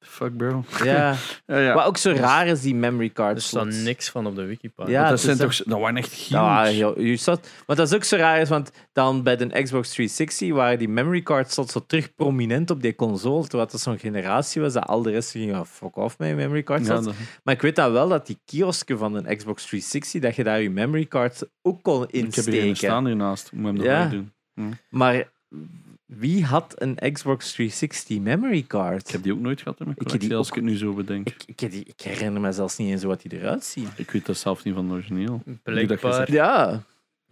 S3: fuck, bro.
S1: Ja.
S3: Ja, ja.
S1: Wat ook zo raar is, die memory card
S2: Er staat
S1: slots.
S2: niks van op de Wikipedia.
S1: Ja,
S3: dat,
S1: het
S3: zijn
S1: is
S3: toch, dat waren echt huge.
S1: dus Ja, joh, je zat, want dat is ook zo raar, is, want dan bij de Xbox 360 waren die memory cards zat zo terug prominent op die console, terwijl dat zo'n generatie was dat al de rest ging van fuck off met je memory cards.
S3: Ja, dat-
S1: Maar ik weet dat wel, dat die kiosken van een Xbox 360, dat je daar je memory cards ook kon
S3: ik heb hier een
S1: insteken.
S3: staan hiernaast. Moet hem dat
S1: Ja.
S3: ook doen.
S1: Maar wie had een Xbox 360 memory card?
S3: Ik heb die ook nooit gehad in mijn
S1: Ik heb
S3: collectie,
S1: die
S3: als ik
S1: ook-
S3: het nu zo bedenk.
S1: Ik, ik, die- ik herinner me zelfs niet eens hoe wat die eruit ziet.
S3: Ik weet dat zelf niet van het origineel.
S2: Blijkbaar,
S1: Ja,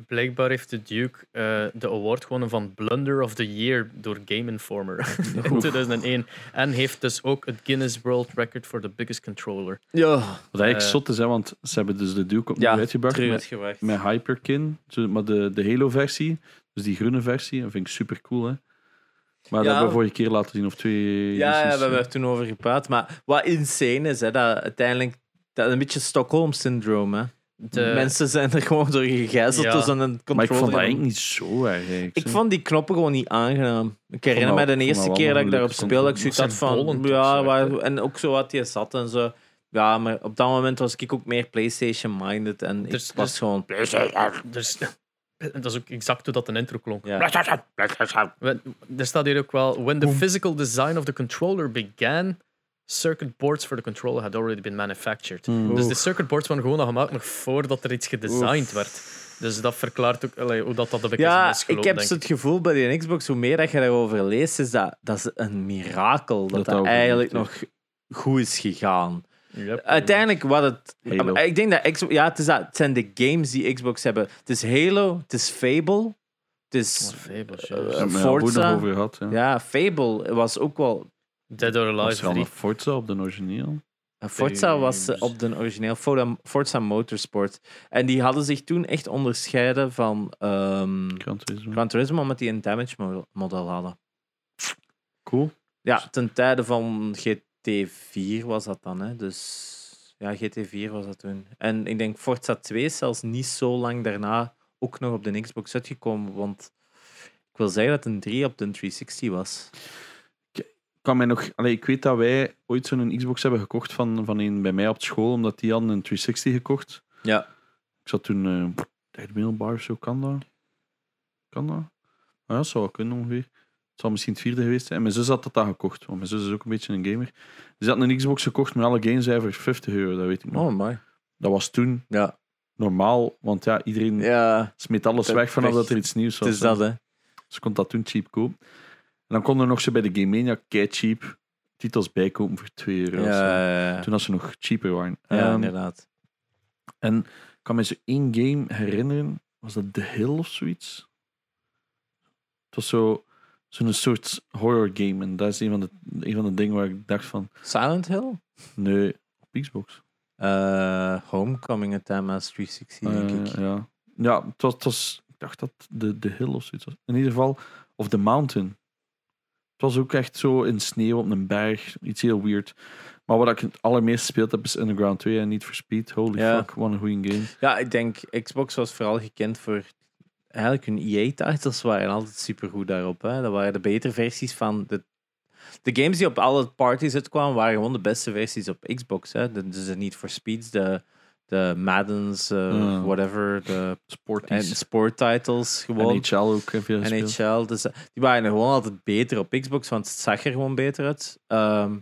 S2: blijkbaar heeft de Duke eh, de award gewonnen van Blunder of the Year door Game Informer in 2001. En heeft dus ook het Guinness World Record voor de biggest controller.
S1: ja.
S3: Wat eigenlijk
S2: Eh.
S3: zot is, hè, want ze hebben dus de Duke opnieuw
S1: Ja,
S3: uitgebracht
S1: terug
S3: met,
S1: uitgewerkt.
S3: met Hyperkin. Zo- Maar de, de Halo-versie, dus die groene versie, dat vind ik super cool. Hè. Maar dat
S1: Ja.
S3: hebben we vorige keer laten zien, of twee.
S1: Ja, ja, we
S3: edities.
S1: hebben er toen over gepraat. Maar wat insane is, hè, dat uiteindelijk... Dat is een beetje Stockholm-syndroom, hè.
S2: De,
S1: Mensen zijn er gewoon door gegijzeld
S2: Ja.
S1: dus aan een controller.
S3: Maar ik vond dat eigenlijk niet zo erg. eigenlijk,
S1: Ik
S3: hè.
S1: vond die knoppen gewoon niet aangenaam. Ik
S3: vond
S1: herinner
S3: dat-
S1: me de
S3: ik vond
S1: eerste
S3: dat wel
S1: keer dat ik
S3: een
S1: daarop
S3: leuke
S1: speelde, ik
S3: controle.
S1: zoiets had
S2: Het zijn
S1: van...
S2: bollend
S1: Ja,
S2: of zo, echt,
S1: waar- en ook zo wat je zat en zo. Ja, maar op dat moment was ik ook meer PlayStation-minded. En ik
S2: Dus-
S1: was
S2: dus-
S1: gewoon...
S2: dus, dat is ook exact hoe dat een intro klonk.
S1: Ja.
S2: We- Er staat hier ook wel: When the physical design of the controller began, circuit boards for the controller had already been manufactured.
S1: Hmm.
S2: Dus de circuit boards waren gewoon al gemaakt nog voordat er iets gedesigned werd. Dus dat verklaart ook allee, hoe dat dat de beetje is
S1: Ja,
S2: misgelopen,
S1: ik heb
S2: denk
S1: zo het gevoel bij die Xbox, hoe meer dat je daarover leest, is dat, dat is een mirakel dat dat,
S3: dat overleefd
S1: eigenlijk
S3: heeft.
S1: nog goed is gegaan.
S2: Yep.
S1: Uiteindelijk wat het... Ah,
S3: Halo.
S1: Maar Ik denk dat Xbox... Ja, het, is dat, het zijn de games die Xbox hebben. Het is Halo, het is Fable, het
S2: Oh,
S1: is...
S2: Fables,
S1: eh,
S2: juist.
S3: Ja, maar ja,
S1: Forza.
S3: Hoe we het nog over gehad. Ja.
S1: Ja, Fable was ook wel...
S2: Dead
S1: eh,
S2: or
S3: Was er
S2: Alive
S3: al
S2: 3.
S3: een Forza op de origineel?
S1: Forza was eh,
S2: Games.
S1: op de origineel Forza, Forza Motorsport. En die hadden zich toen echt onderscheiden van ehm
S3: Gran Turismo.
S1: Gran Turismo, omdat die een damage model- model hadden.
S3: Cool.
S1: Ja, Dus ten tijde van GT4 was dat dan. Hè? Dus ja, GT4 was dat toen. En ik denk Forza 2 is zelfs niet zo lang daarna ook nog op de Xbox uitgekomen. Want ik wil zeggen dat een 3 op de 360 was.
S3: kan mij nog, allee, ik weet dat wij ooit zo'n Xbox hebben gekocht van, van een bij mij op school, omdat die hadden een 360 gekocht.
S1: Ja.
S3: Ik zat toen eh derde middelbaar of zo, kan dat? Kan dat? Ah, ja, zou wel kunnen ongeveer. Het zal misschien het vierde geweest zijn. En mijn zus had dat dan gekocht, want mijn zus is ook een beetje een gamer. Dus had een Xbox gekocht met alle games hij voor 50 euro, dat weet ik nog.
S1: Oh, mooi.
S3: Dat was toen
S1: Ja.
S3: normaal, want ja, iedereen
S1: Ja,
S3: smeet alles
S1: Dat-
S3: weg vanaf
S1: weg.
S3: dat er iets nieuws
S1: het
S3: was.
S1: is
S3: hè.
S1: dat, hè.
S3: Dus ik kon dat toen cheap kopen. En dan kon er nog zo bij de Game Mania kei cheap titels bijkomen voor 2 euro. of zo.
S1: Ja,
S3: Toen als ze nog cheaper waren.
S1: ja, um,
S3: Ehm,
S1: inderdaad.
S3: en ik kan me zo één game herinneren. Was dat The Hill of zoiets? Het was zo- zo'n soort horror game. En dat is een van, de, een van de dingen waar ik dacht van...
S1: Silent Hill?
S3: Nee, op Xbox.
S1: Eh, Homecoming at MS 360, denk
S3: Eh,
S1: ik.
S3: ja, ja het was, het was- ik dacht dat de, de Hill of zoiets was. In ieder geval, of The Mountain. Het was ook echt zo in sneeuw op een berg. Iets heel weird. Maar wat ik het allermeest gespeeld heb is Underground 2 en Need for Speed. Holy
S1: Ja.
S3: fuck, wat een goede game.
S1: Ja, ik denk Xbox was vooral gekend voor eigenlijk hun EA-titles waren altijd supergoed daarop. Hè. Dat waren de betere versies van de. De games die op alle parties uitkwamen, waren gewoon de beste versies op Xbox. Hè. De, dus de Need for Speeds, de, de Maddens, eh,
S3: Ja.
S1: whatever, de en
S3: Sporties.
S1: sport-titles gewoon.
S3: NHL ook heb je gespeeld.
S1: NHL. Dus eh, die waren gewoon altijd beter op Xbox, want het zag er gewoon beter uit. Ehm,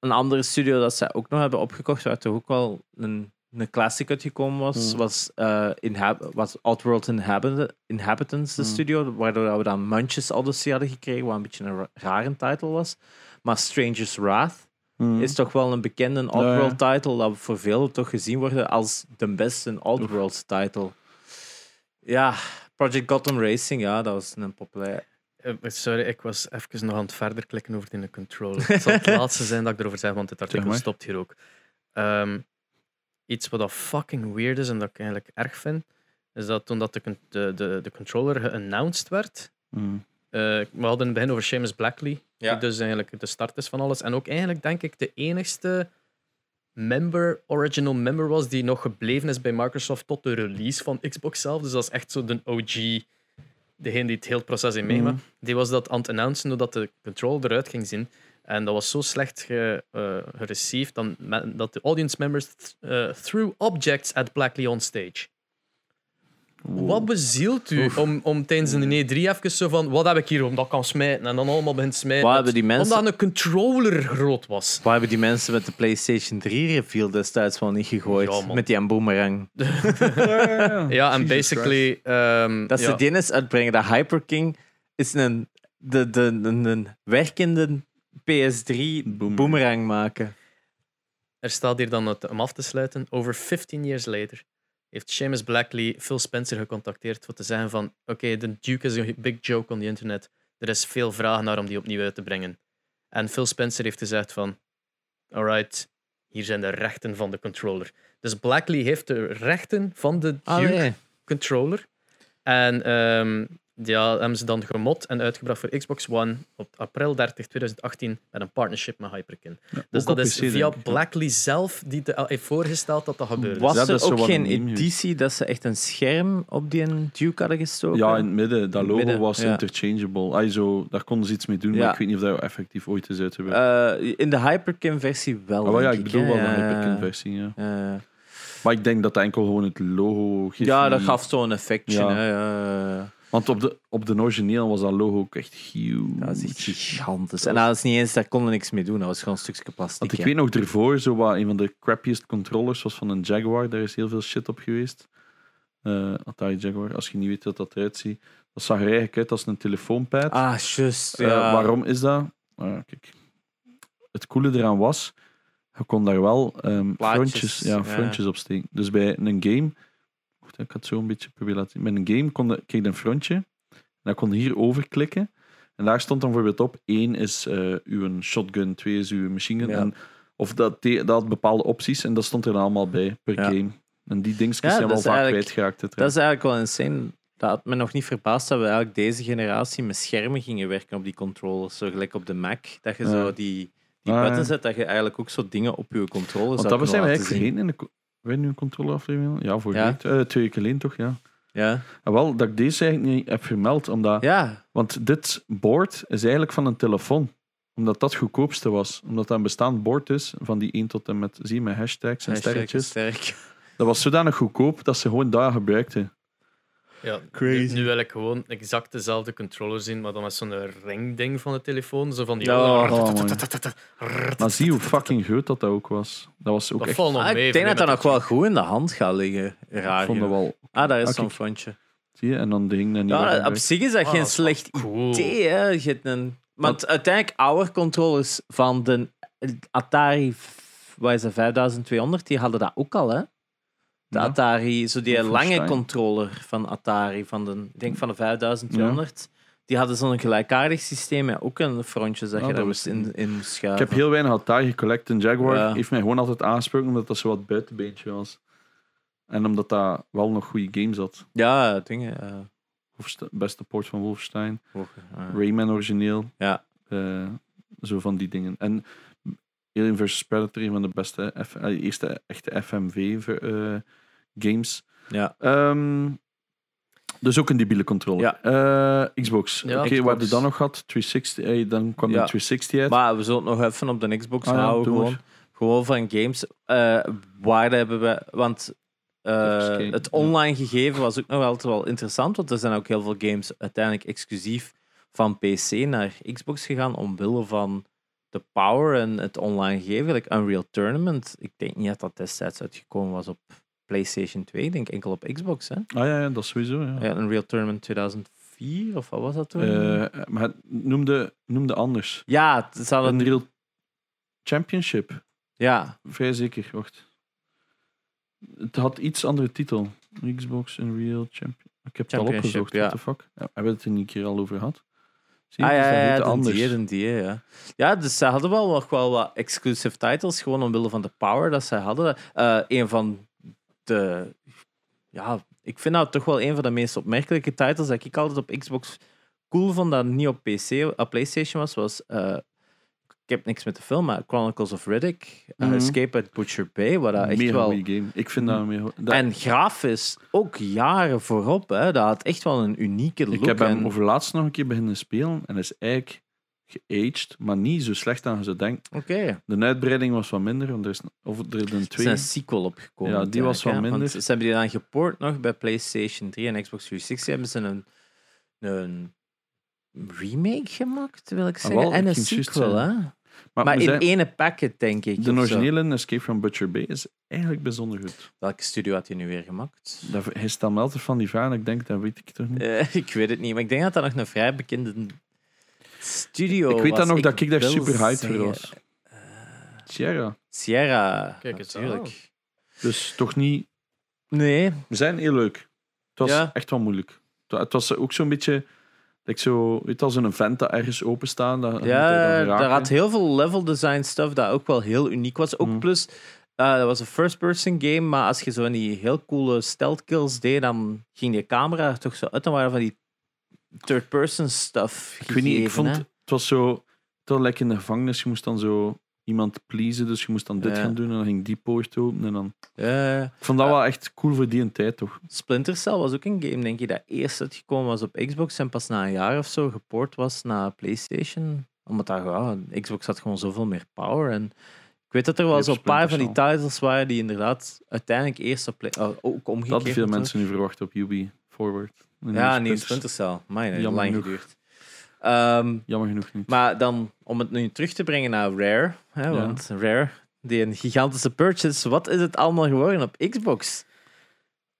S1: een andere studio dat zij ook nog hebben opgekocht, waar toch ook wel een, een classic uitgekomen was,
S3: Mm.
S1: was, eh Inhab was Outworld Inhabit Inhabitants, de
S3: Mm.
S1: studio, waardoor we dan Munch's Odyssey hadden gekregen, wat een beetje een ra- rare titel was. Maar Stranger's Wrath
S3: Hmm.
S1: is toch wel een bekende
S3: ja.
S1: Oddworld-title dat voor veel toch gezien wordt als de beste Oddworld-title. Ja, Project Gotham Racing, ja, dat was een populair...
S2: Eh, Sorry, ik was even nog aan het verder klikken over die controller. Het zal het laatste zijn dat ik erover zeg, want dit artikel
S3: maar.
S2: stopt hier ook. Ehm, iets wat dat fucking weird is en dat ik eigenlijk erg vind, is dat toen dat de, con- de, de, de controller geannounced werd,
S3: Hmm.
S2: eh, we hadden in het begin over Seamus Blackley,
S1: Ja.
S2: die dus eigenlijk de start is van alles. En ook eigenlijk denk ik de enigste member, original member was die nog gebleven is bij Microsoft tot de release van Xbox zelf. Dus dat is echt zo de OG,
S1: Mhm.
S2: degene die het hele proces in meemaakt. Die was dat aan het announcen doordat de control eruit ging zien. En dat was zo slecht ge, eh, gereceived dan me- dat de audience members th- eh, threw objects at Black Leon stage. Wat bezielt u om, om tijdens een E3 even zo van wat heb ik hier om dat kan smijten en dan allemaal begint te smijten?
S1: Wat hebben die mensen-
S2: Omdat een controller groot was.
S1: Waar hebben die mensen met de PlayStation 3 reveal destijds wel niet gegooid?
S2: Ja, man.
S1: met die boomerang.
S2: Ja, en basically. ehm,
S1: Dat ze
S2: ja.
S1: die eens uitbrengen. Dat Hyper King is een, de, de, de, een werkende PS3 boomerang, maken.
S2: Er staat hier dan, het- om af te sluiten, over 15 years later heeft Seamus Blackley Phil Spencer gecontacteerd om te zeggen van oké, de Duke is een big joke on the internet. Er is veel vraag naar om die opnieuw uit te brengen. En Phil Spencer heeft gezegd van alright, hier zijn de rechten van de controller. Dus Blackley heeft de rechten van de
S3: Ah,
S2: Duke controller. En ehm ja, hebben ze dan gemot en uitgebracht voor Xbox One op april 30, 2018 met een partnership met Hyperkin. dus
S3: ook
S2: dat
S3: op
S2: is
S3: PC, denk
S2: via
S3: ik, ja.
S2: Blackley zelf die de, heeft voorgesteld dat dat gebeurde.
S1: Was
S3: Ja, dat
S1: er
S3: is zo
S1: ook
S3: wat
S1: geen
S3: een meme, ja.
S1: editie dat ze echt een scherm op die Duke hadden gestoken?
S3: Ja, in het midden. Dat
S1: In het
S3: logo
S1: midden,
S3: was
S1: ja.
S3: interchangeable. Ay, zo, daar konden ze iets mee doen,
S1: Ja.
S3: maar ik weet niet of dat effectief ooit is uitgewerkt.
S1: Eh, in de Hyperkin versie wel.
S3: Ah, wel ja,
S1: denk
S3: ik bedoel
S1: hè.
S3: wel de
S1: Ja, ja, ja.
S3: Hyperkin-versie. Ja.
S1: Eh,
S3: Maar ik denk dat dat enkel gewoon het logo geeft.
S1: ja,
S3: niet-
S1: dat gaf zo'n effectje.
S3: Ja.
S1: Hè, ja, ja, ja.
S3: Want op de, op de origineel was dat logo ook echt huge.
S1: Dat is echt gigantisch. En dat is niet eens, daar konden we niks mee doen. Dat was gewoon een stukje plastic.
S3: Want ik
S1: hè.
S3: weet nog ervoor, zo wat, een van de crappiest controllers was van een Jaguar. Daar is heel veel shit op geweest. Eh, Atari Jaguar, als je niet weet wat dat eruit ziet. Dat zag er eigenlijk uit als een telefoonpad.
S1: Ah, just.
S3: Eh,
S1: ja.
S3: waarom is dat? Ah, kijk. Het coole eraan was, je kon daar wel ehm,
S1: Plaatjes,
S3: frontjes, ja,
S1: ja.
S3: frontjes op steken. Dus bij een game, Wacht, ik had het zo een beetje proberen laten zien. Bij een game kon je, kreeg je een frontje, en dan kon je hier overklikken. En daar stond dan bijvoorbeeld op, één is eh, uw shotgun, twee is uw machine gun.
S1: Ja.
S3: En, of dat, de- dat had bepaalde opties, en dat stond er dan allemaal bij, per
S1: Ja.
S3: game. En die
S1: Ja,
S3: dingetjes zijn
S1: dat
S3: wel
S1: is
S3: vaak
S1: eigenlijk-
S3: kwijtgeraakt. uiteraard.
S1: Dat is eigenlijk wel insane. Dat had me nog niet verbaasd dat we eigenlijk deze generatie met schermen gingen werken op die controllers. Zo gelijk op de Mac. Dat je
S3: Ja.
S1: zo die, die
S3: Ah, ja.
S1: buttons zet, dat je eigenlijk ook zo dingen op je controllers
S3: Want
S1: zou
S3: dat zijn we
S1: kunnen
S3: eigenlijk
S1: laten zien.
S3: vergeten in de... co- Wij nu een controleaflevering? Ja, voor eh,
S1: Ja.
S3: twee weken geleden toch, ja.
S1: Ja.
S3: Ah, wel, dat ik deze eigenlijk niet heb vermeld, omdat...
S1: ja,
S3: Want dit board is eigenlijk van een telefoon. Omdat dat het goedkoopste was. Omdat dat een bestaand board is, van die 1 tot en met... Zie je, met hashtags en
S1: Hashtag
S3: sterretjes.
S1: sterk.
S3: Dat was zodanig goedkoop dat ze gewoon daar gebruikten.
S2: Ja,
S1: Crazy.
S2: Nu, nu wil ik gewoon exact dezelfde controller zien, maar dan met zo'n ringding van de telefoon. Zo van die.
S1: Ja.
S3: Oh, man. Maar zie hoe fucking groot dat dat ook was. Dat was ook
S2: dat
S3: echt...
S2: valt nog
S1: Ah,
S2: mee.
S1: ik denk dat dat
S2: vergeleken
S1: nog
S2: met
S1: wel goed in de hand gaat liggen. Raar.
S3: Ik vond dat
S1: genoeg.
S3: wel...
S1: Ah, daar is
S3: Ah,
S1: zo'n
S3: kijk.
S1: frontje.
S3: Zie je, en dan de hing dat niet
S1: Ja,
S3: meer
S1: op zich is dat
S2: Ah,
S1: geen
S2: dat is
S1: slecht
S2: Cool.
S1: idee. Hè. Je hebt een... Want uiteindelijk, oude controllers van de Atari v- wat is dat, 5200, die hadden dat ook al. Hè? De
S3: Ja.
S1: Atari, zo die
S3: Wolfenstein.
S1: lange controller van Atari, van de, ik denk van de 5200, die hadden zo'n gelijkaardig systeem met ook een frontje dat je
S3: Ja, dat
S1: daar
S3: wist
S1: moest
S3: ik
S1: in, in moest
S3: Ik
S1: schuiven.
S3: heb heel weinig Atari collect en Jaguar.
S1: Ja.
S3: Heeft mij gewoon altijd aangesproken omdat dat zo wat buitenbeentje was. En omdat dat wel nog goede games had.
S1: Ja, dingen. eh,
S3: Wolfste- Beste port van Wolfenstein.
S1: voor- eh.
S3: Rayman origineel.
S1: Ja.
S3: Eh, zo van die dingen. En Alien vs. Predator, een van de beste F- eh, eerste echte FMV-games.
S1: Ja.
S3: Ehm, dus ook een debiele controller. Eh, Xbox.
S2: Ja,
S3: Oké, wat
S2: Xbox.
S3: hebben we dan nog gehad? 360. eh, dan kwam
S1: Ja.
S3: de 360 uit.
S1: Maar we zullen het nog even op de Xbox
S3: Ah ja,
S1: houden.
S3: doe maar.
S1: Gewoon, gewoon van games. Eh, waar hebben we. Want eh,
S3: Even kijken,
S1: het
S3: ja.
S1: online gegeven was ook nog altijd wel interessant. Want er zijn ook heel veel games uiteindelijk exclusief van PC naar Xbox gegaan. Omwille van de power en het online gegeven. Like Unreal Tournament. Ik denk niet dat dat destijds uitgekomen was op PlayStation 2. Ik denk enkel op Xbox. Hè?
S3: Ah ja, ja, dat sowieso. Ja.
S1: Ja, Unreal Tournament 2004 of wat was dat toen?
S3: Eh, maar het noemde, noemde anders.
S1: ja, het zal
S3: Een
S1: het.
S3: real championship.
S1: Ja.
S3: Vrij zeker, wacht. Het had iets andere titel. Xbox Unreal Champion. Ik heb het al
S1: Championship,
S3: opgezocht.
S1: ja.
S3: What the fuck? Ja, hebben we het er een keer al over gehad? Zie je,
S1: Ah,
S3: het is
S1: ja,
S3: een
S1: ja,
S3: beetje
S1: ja, dan
S3: anders.
S1: die, dan die, ja. Ja, dus ze hadden wel nog wel wat exclusive titles, gewoon omwille van de power dat ze hadden. Eh, een van de... Ja, ik vind dat toch wel een van de meest opmerkelijke titles dat ik altijd op Xbox cool vond, dat niet op PC, op PlayStation was, was... eh, ik heb niks met de film, maar Chronicles of Riddick, eh,
S3: Mhm.
S1: Escape at Butcher Bay, wat dat echt
S3: Mega
S1: wel... Mm.
S3: goeie game. Ik vind dat een mega- dat-
S1: En grafisch ook jaren voorop, hè. Dat had echt wel een unieke look.
S3: Ik heb hem
S1: en-
S3: overlaatst nog een keer beginnen spelen en dat is eigenlijk geaged, maar niet zo slecht aan je zou denken.
S1: Oké.
S3: De uitbreiding was wat minder, want er is, of er zijn
S1: Er
S3: twee.
S1: zijn een sequel opgekomen.
S3: Ja, die
S1: eigenlijk,
S3: was wel
S1: hè.
S3: minder.
S1: Want ze hebben die dan geport nog bij PlayStation 3 en Xbox 360. Hebben ze een, een remake gemaakt, wil ik zeggen.
S3: Ah, wel,
S1: en
S3: ik
S1: een
S3: ging juist
S1: sequel, hè?
S3: maar
S1: Maar
S3: we
S1: in
S3: zijn-
S1: ene pakket, denk ik.
S3: de
S1: of zo.
S3: originele Escape from Butcher Bay is eigenlijk bijzonder goed.
S1: Welke studio had hij nu weer gemaakt?
S3: Daar, hij stelt me altijd van die vraag en ik denk, dat weet ik toch niet.
S1: Eh, ik weet het niet, maar ik denk dat dat nog een vrij bekende studio
S3: ik weet
S1: was.
S3: dan nog dat ik daar
S1: wil
S3: super hyped voor
S1: zeggen,
S3: was. Sierra.
S1: Sierra,
S4: Kijk eens aan.
S1: natuurlijk.
S3: Dus toch niet...
S1: Nee,
S3: We zijn heel leuk. Het was
S1: Ja.
S3: echt wel moeilijk. Het wa- Het was ook zo'n beetje... Ik zo, weet je, als een vent dat ergens openstaan, dat
S1: Ja,
S3: daar
S1: daar had heel veel level design stuff dat ook wel heel uniek was. Ook
S3: Mm.
S1: plus, eh, dat was een first-person game, maar als je zo van die heel coole stealth kills deed, dan ging die camera er toch zo uit en waren van die third-person stuff.
S3: Ik weet niet, ik
S1: gegeven,
S3: vond...
S1: hè.
S3: Het was zo... Tot lekker in de gevangenis, je moest dan zo iemand pleasen, dus je moest dan dit
S1: Ja.
S3: gaan doen en dan ging die poort open en dan...
S1: Ja, ja.
S3: Ik vond dat wel echt cool voor die een tijd, toch?
S1: Splinter Cell was ook een game, denk ik, dat eerst uitgekomen was op Xbox en pas na een jaar of zo geport was naar PlayStation. Omdat daar, gewoon Xbox had gewoon zoveel meer power. En ik weet dat er wel
S3: Ja,
S1: zo'n
S3: Splinter
S1: paar van die titles waren die inderdaad uiteindelijk eerst op play, eh, ook omgekeerd
S3: Dat hadden veel
S1: natuurlijk.
S3: mensen nu verwacht op UB Forward. En
S1: Ja, nieuw
S3: nu is het dus
S1: Splinter Cell. Amai, dat heeft
S3: Jammer
S1: lang
S3: genoeg.
S1: geduurd. Ehm,
S3: Jammer genoeg niet.
S1: maar dan, om het nu terug te brengen naar Rare. Hè, Want Rare, die een gigantische purchase. Wat is het allemaal geworden op Xbox?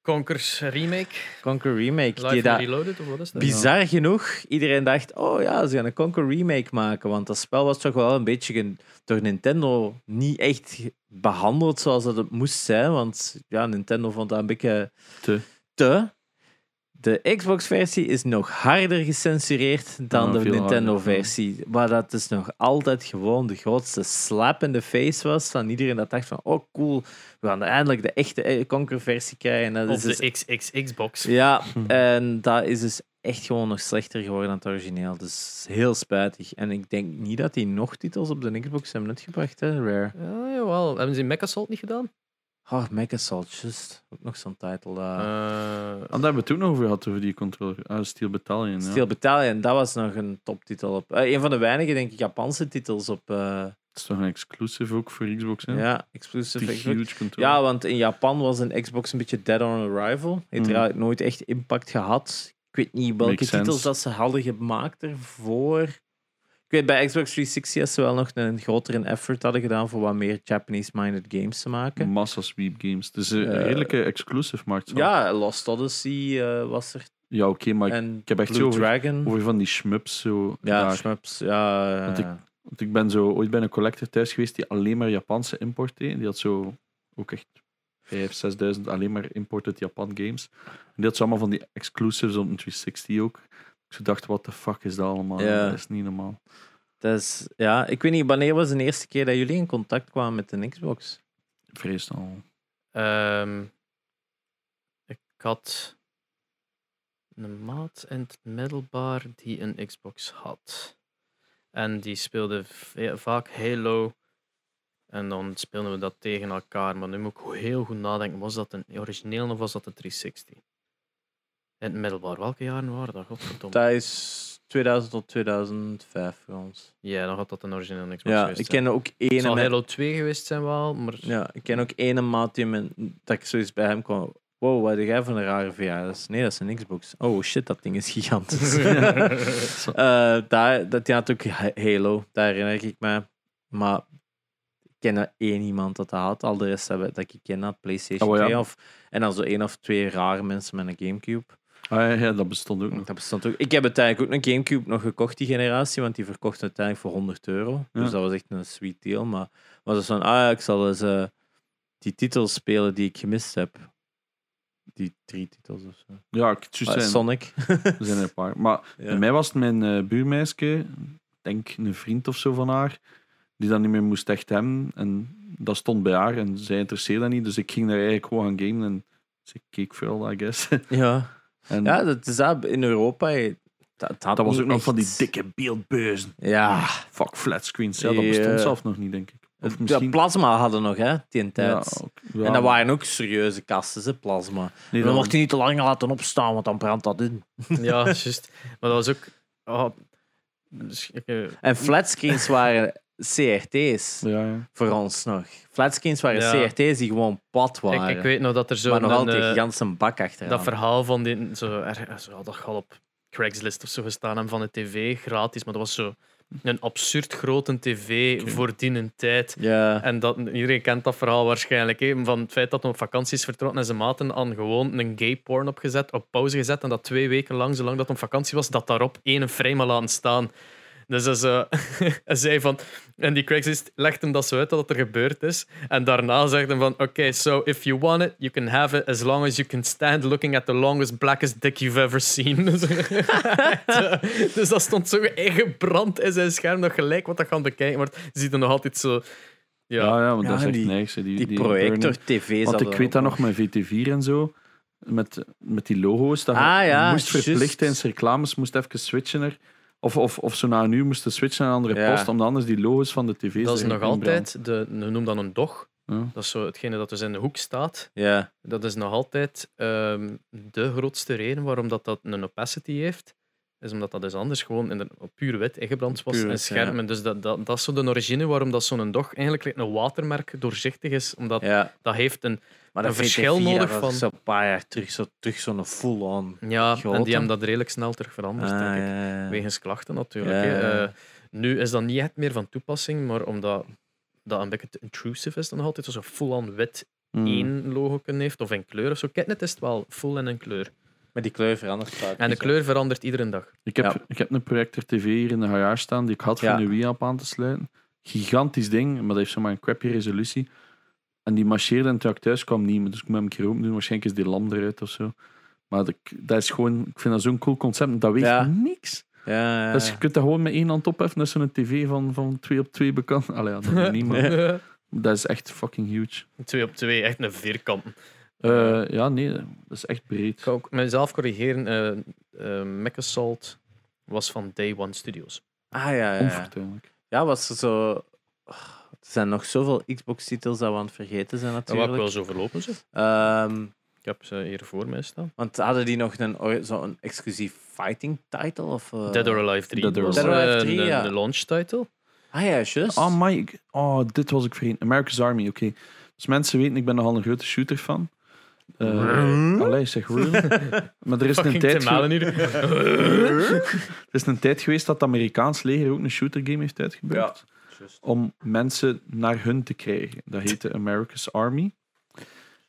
S4: Conkers remake.
S1: Conquer Remake.
S4: Live
S1: die
S4: and
S1: daar
S4: Reloaded, of wat is dat?
S1: bizar genoeg, iedereen dacht, oh ja, ze gaan een Conquer Remake maken. Want dat spel was toch wel een beetje gen- door Nintendo niet echt behandeld zoals dat het moest zijn. Want ja, Nintendo vond dat een beetje
S3: Te.
S1: te. De Xbox-versie is nog harder gecensureerd dan
S3: Ja,
S1: de
S3: veel
S1: Nintendo-versie. Maar dat is nog altijd gewoon de grootste slap in de face was van iedereen dat dacht van, oh cool, we gaan eindelijk de echte eh, Conquer-versie krijgen. En Dat
S4: Of
S1: is dus
S4: de XXXbox.
S1: ja, en dat is dus echt gewoon nog slechter geworden dan het origineel. Dus heel spijtig. En ik denk niet dat die nog titels op de Xbox hebben uitgebracht, hè, Rare.
S4: Ja, jawel. Hebben ze in Mecha Salt niet gedaan?
S1: Oh, Mech Assault, just. Ook nog zo'n titel. eh.
S4: Eh,
S3: Ah, daar hebben we het toen over gehad, over die controller. Ah, Steel Battalion, ja.
S1: Steel Battalion, dat was nog een toptitel. Op, eh, een van de weinige, denk ik, Japanse titels op... eh,
S3: Het is toch een exclusive ook voor Xbox, hè?
S1: ja.
S3: Ja,
S1: exclusive
S3: die
S1: Xbox.
S3: huge controller.
S1: Ja, want in Japan was een Xbox een beetje dead on arrival. Heeft er
S3: Mhm.
S1: eigenlijk nooit echt impact gehad. Ik weet niet welke
S3: Makes sense.
S1: titels dat ze hadden gemaakt ervoor. Ik weet, bij Xbox 360 is ze wel nog een grotere effort hadden gedaan voor wat meer Japanese-minded games te maken.
S3: Massa sweep games. Dus een
S1: Eh,
S3: redelijke exclusive markt. Mm, zo.
S1: Ja, Lost Odyssey eh, was er.
S3: ja oké, maar ik-
S1: en
S3: heb echt
S1: Blue
S3: zo over-
S1: Dragon.
S3: over van die schmups zo.
S1: Ja,
S3: daar.
S1: Schmups. Ja, eh, ja,
S3: Want
S1: ja.
S3: Want ik ben zo ooit bij een collector thuis geweest die alleen maar Japanse import deed. Die had zo ook echt 5.000, 6.000 alleen maar imported Japan games. En die had zo allemaal van die exclusives op een 360 ook. Ik zo dacht, what the fuck is dat allemaal?
S1: Ja.
S3: Dat is niet normaal.
S1: Dat is- ja, ik weet niet, wanneer was de eerste keer dat jullie in contact kwamen met een Xbox?
S3: Vrees al.
S4: Ehm, ik had een maat in het middelbaar die een Xbox had. En die speelde ve- vaak Halo. En dan speelden we dat tegen elkaar. Maar nu moet ik heel goed nadenken. Was dat een origineel of was dat een 360? In het middelbaar. Welke jaren waren dat? Godverdomme.
S1: Dat is 2000 tot 2005 voor ons.
S4: Ja, dan had dat een origineel Xbox
S1: Ja,
S4: geweest
S1: ik
S4: zijn.
S1: ken ook
S4: Het
S1: ene
S4: zal
S1: met
S4: Halo 2 geweest zijn wel, maar...
S1: Ja, ik ken ook ene maat die me, dat ik zoiets bij hem kwam. Wow, wat heb jij van een rare verjaardag? Nee, dat is een Xbox. Oh shit, dat ding is gigantisch. Eh, daar, dat, die had ook Ha- Halo, daar herinner ik me. Maar ik ken er één iemand dat dat had. Al de rest hebben, dat ik ken had PlayStation
S4: Ah,
S3: Oh, ja.
S1: 2. Of, en dan zo één of twee rare mensen met een Gamecube.
S3: Ah, ja, ja, dat bestond ook nog.
S1: Dat bestond ook. Ik heb uiteindelijk ook een Gamecube nog gekocht, die generatie, want die verkocht uiteindelijk voor 100 euro.
S3: Ja.
S1: Dus dat was echt een sweet deal. Maar was het van, ah ja, ik zal eens eh, die titels spelen die ik gemist heb. Die drie titels of zo.
S3: Ja, ik het juist
S1: Ah,
S3: Dus zijn.
S1: Sonic.
S3: Er zijn er een paar. Maar
S1: Ja.
S3: bij mij was het mijn eh, buurmeisje, ik denk een vriend of zo van haar, die dan niet meer moest echt hem. En dat stond bij haar en zij interesseerde dat niet. Dus ik ging daar eigenlijk gewoon aan gamen en ze keek veel, I guess.
S1: Ja.
S3: En
S1: ja, dat is dat in Europa. eh, Dat, dat, had
S3: dat was
S1: niet
S3: ook nog
S1: echt-
S3: van die dikke beeldbeuzen.
S1: Ja,
S3: Fuck, flatscreens. Ja, dat
S1: Ja.
S3: bestond zelf nog niet, denk ik. Of
S1: ja,
S3: misschien...
S1: plasma hadden nog, hè, die in tijd.
S3: Ja, ook- ja,
S1: En dat waren ook serieuze kasten, ze plasma.
S3: nee,
S1: dan
S3: dat-
S1: mocht je niet te lang laten opstaan, want dan brandt dat in.
S4: Ja, juist. Maar dat was ook. ah,
S2: oh, Dus, eh,
S1: En flatscreens waren CRT's
S3: Ja, ja.
S1: voor ons nog. Flatscreens waren
S2: Ja.
S1: CRT's die gewoon plat waren.
S2: ik, ik weet nog dat er zo
S1: maar nog
S2: een,
S1: altijd
S2: eh,
S1: gans een bak achteraan.
S2: dat verhaal van die, zo, er, zo, dat gaat op Craigslist of zo gestaan hebben van de tv, gratis, maar dat was zo een absurd grote tv voor die een tijd.
S1: Ja.
S2: En dat, iedereen kent dat verhaal waarschijnlijk. Hè? Van het feit dat hij op vakantie is vertrokken en zijn maten aan gewoon een gay porn opgezet, op pauze gezet. En dat twee weken lang, zolang dat hij op vakantie was, dat daarop één frame had laten staan. Dus hij zo- hij zei van... En die Craigslist legt hem dat zo uit, dat er gebeurd is. En daarna zegt hij van... Oké, so if you want it, you can have it as long as you can stand looking at the longest, blackest dick you've ever seen. Dus, echt, eh, dus dat stond zo brand in zijn scherm, dat gelijk wat dat gaan bekijken wordt. Je ziet er nog altijd zo...
S3: Ja,
S2: Ja,
S3: ja, want dat is
S1: Ja,
S3: echt
S1: die-
S3: niks. hè, Die,
S1: Die
S3: die burning.
S1: projector tv's
S3: Want
S1: hadden
S3: ik weet
S1: ook
S3: dat nog met VT4 en zo. Met, met die logo's. Dat je
S1: Ah, ja,
S3: moest verplicht
S1: juist.
S3: tijdens reclames, moest even switchen er. Of, of, of zo na een uur moesten switchen naar een andere
S1: Ja.
S3: post, omdat anders die logo's van de tv's...
S2: Dat is
S3: erin
S2: nog
S3: inbranden.
S2: altijd, de, noem dan een dog.
S3: Ja.
S2: Dat is zo hetgene dat dus in de hoek staat.
S1: Ja.
S2: Dat is nog altijd ehm, de grootste reden waarom dat, dat een opacity heeft. Is omdat dat dus anders gewoon in de, op puur wit ingebrand was
S1: Puur
S2: en
S1: wit,
S2: schermen. Dus dat, dat, dat is zo de origine waarom dat zo'n dog eigenlijk like een watermerk doorzichtig is. Omdat
S1: ja.
S2: dat heeft een...
S1: Maar
S2: Een
S1: dat
S2: verschil
S1: verschil nodig
S2: nodig van-
S1: van... Zo een paar jaar terug, zo, terug zo'n full-on.
S2: Ja, en
S1: Grote.
S2: die hebben dat redelijk snel terug veranderd,
S1: Ah,
S2: denk ik.
S1: ja, ja.
S2: Wegens klachten natuurlijk.
S1: Ja,
S2: hè.
S1: ja, ja.
S2: Eh, nu is dat niet echt meer van toepassing, maar omdat dat een beetje te intrusive is dan nog altijd, zo'n full-on wit
S1: Hmm.
S3: Mm.
S2: één logo heeft of in kleur of zo. Ketnet is het wel full en in kleur.
S1: Maar die kleur verandert vaak.
S2: En de
S1: dus,
S2: kleur verandert iedere dag.
S3: Ik heb,
S1: Ja.
S3: ik heb een projector TV hier in de garage staan die ik had voor
S1: Ja.
S3: een Wii op aan te sluiten. Gigantisch ding, maar dat heeft zomaar een crappy resolutie. En die marcheerde en toen ik thuis kwam niet meer. Dus ik moet hem een keer open doen. Waarschijnlijk is die lam eruit of zo. Maar dat, dat is gewoon, ik vind dat zo'n cool concept. Dat weegt
S1: Ja.
S3: niks.
S1: Ja, ja, ja.
S3: Dus je kunt dat gewoon met één hand opheffen. Dat is zo'n TV van, van twee op twee bekend. Allee, ja, dat doet niet, maar dat is echt fucking huge.
S2: twee op twee, echt een vierkant.
S3: Eh, ja, nee, dat is echt breed.
S2: Ik ga ook mezelf corrigeren. eh eh Mechasalt was van Day One Studios.
S1: Ah ja, ja, ja.
S3: Onvertuinlijk.
S1: Ja, was er zo... Oh, Er zijn nog zoveel Xbox-titels dat we aan het vergeten zijn
S2: Dat wou ik wel
S1: natuurlijk.
S2: zo verlopen ze.
S1: Ehm,
S2: Ik heb ze hier voor mij staan.
S1: want hadden die nog een, or- zo'n exclusief fighting-title? Of, eh?
S2: Dead or Alive 3.
S3: Dead or
S2: was,
S1: Alive. Dead or
S2: eh,
S1: Alive 3,
S2: een,
S1: ja.
S2: een launch title.
S1: Ah ja, juist.
S3: Oh, my, ik- oh, dit was ik vergeten. America's Army, oké. Dus mensen weten, ik ben nogal een grote shooter fan. Eh allee, zeg roer. Maar er is, een
S2: Fucking
S3: tijd
S2: Tim
S3: ge-
S2: Allen hier.
S3: er is een tijd geweest dat het Amerikaans leger ook een shooter game heeft uitgebracht. Om mensen naar hun te krijgen. Dat heette America's Army.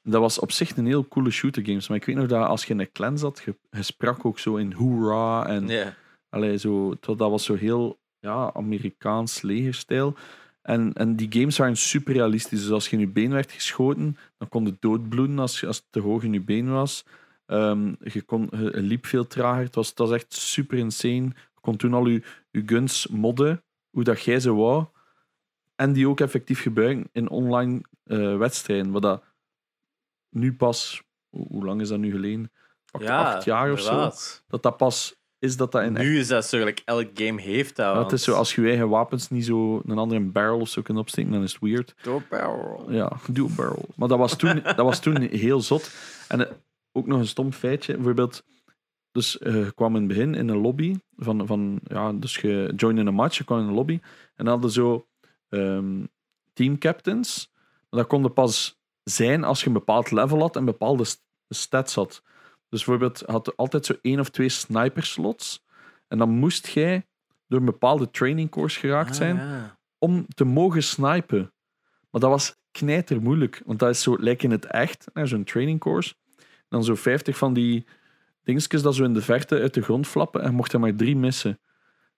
S3: Dat was op zich een heel coole shooter game. Maar ik weet nog dat als je in een clan zat, je, je sprak ook zo in hoera en
S1: Ja.
S3: Allee, zo, het wa- dat was zo heel ja, Amerikaans legerstijl. En, en die games waren super realistisch. Dus als je in je been werd geschoten, dan kon het doodbloeden als, je- als het te hoog in je been was. Ehm, je, kon, je je liep veel trager. Het was, het was echt super insane. Je kon toen al je, je guns modden, hoe dat jij ze wou. En die ook effectief gebruiken in online eh, wedstrijden. Wat dat nu pas, hoe, hoe lang is dat nu geleden? Pak
S1: Ja,
S3: acht jaar of zo.
S1: inderdaad.
S3: Dat dat pas is dat dat in
S1: Nu is dat zo, like, elk game heeft dat.
S3: ja,
S1: want-
S3: het is zo, als je je eigen wapens niet zo een andere barrel of zo kunt opsteken, dan is het weird.
S1: Door barrel.
S3: Ja, dual barrel. Maar dat was toen, dat was toen heel zot. En eh, ook nog een stom feitje. Bijvoorbeeld, dus eh, je kwam in het begin in een lobby. Van, van, ja, dus je joined in een match, je kwam in een lobby. En dan hadden zo ehm, team captains. Maar dat konden pas zijn als je een bepaald level had en bepaalde st- stats had. Dus bijvoorbeeld, je had altijd zo één of twee sniper slots. En dan moest jij door een bepaalde training course geraakt zijn
S1: Ah, ja.
S3: om te mogen snipen. Maar dat was knijter moeilijk, want dat is zo lijkt in het echt naar zo'n training course. En dan zo 50 van die dingetjes dat zo in de verte uit de grond flappen en mocht er maar drie missen.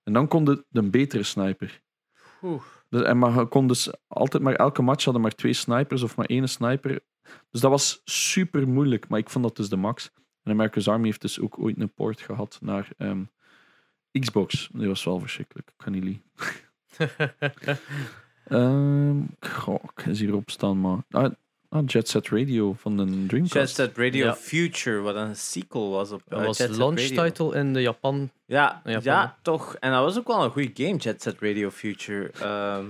S3: En dan kon de, de betere sniper.
S2: Oeh.
S3: Dus, en maar je kon dus altijd maar elke match hadden maar twee snipers of maar één sniper. Dus dat was super moeilijk, maar ik vond dat dus de max. En America's Army heeft dus ook ooit een port gehad naar ehm, Xbox. Die was wel verschrikkelijk, ik kan niet liegen. Ehm goh, ik is hierop staan, maar. Ah, ah, Jet Set Radio van de
S1: Jet
S3: Dreamcast.
S1: Set Radio
S2: Ja.
S1: Future, wat een sequel was op
S2: Dat
S1: eh,
S2: was
S1: Jet Set
S2: launch
S1: Radio.
S2: title in de Japan.
S1: Ja,
S2: In Japan,
S1: ja, toch. En dat was ook wel een goede game, Jet Set Radio Future. Ehm,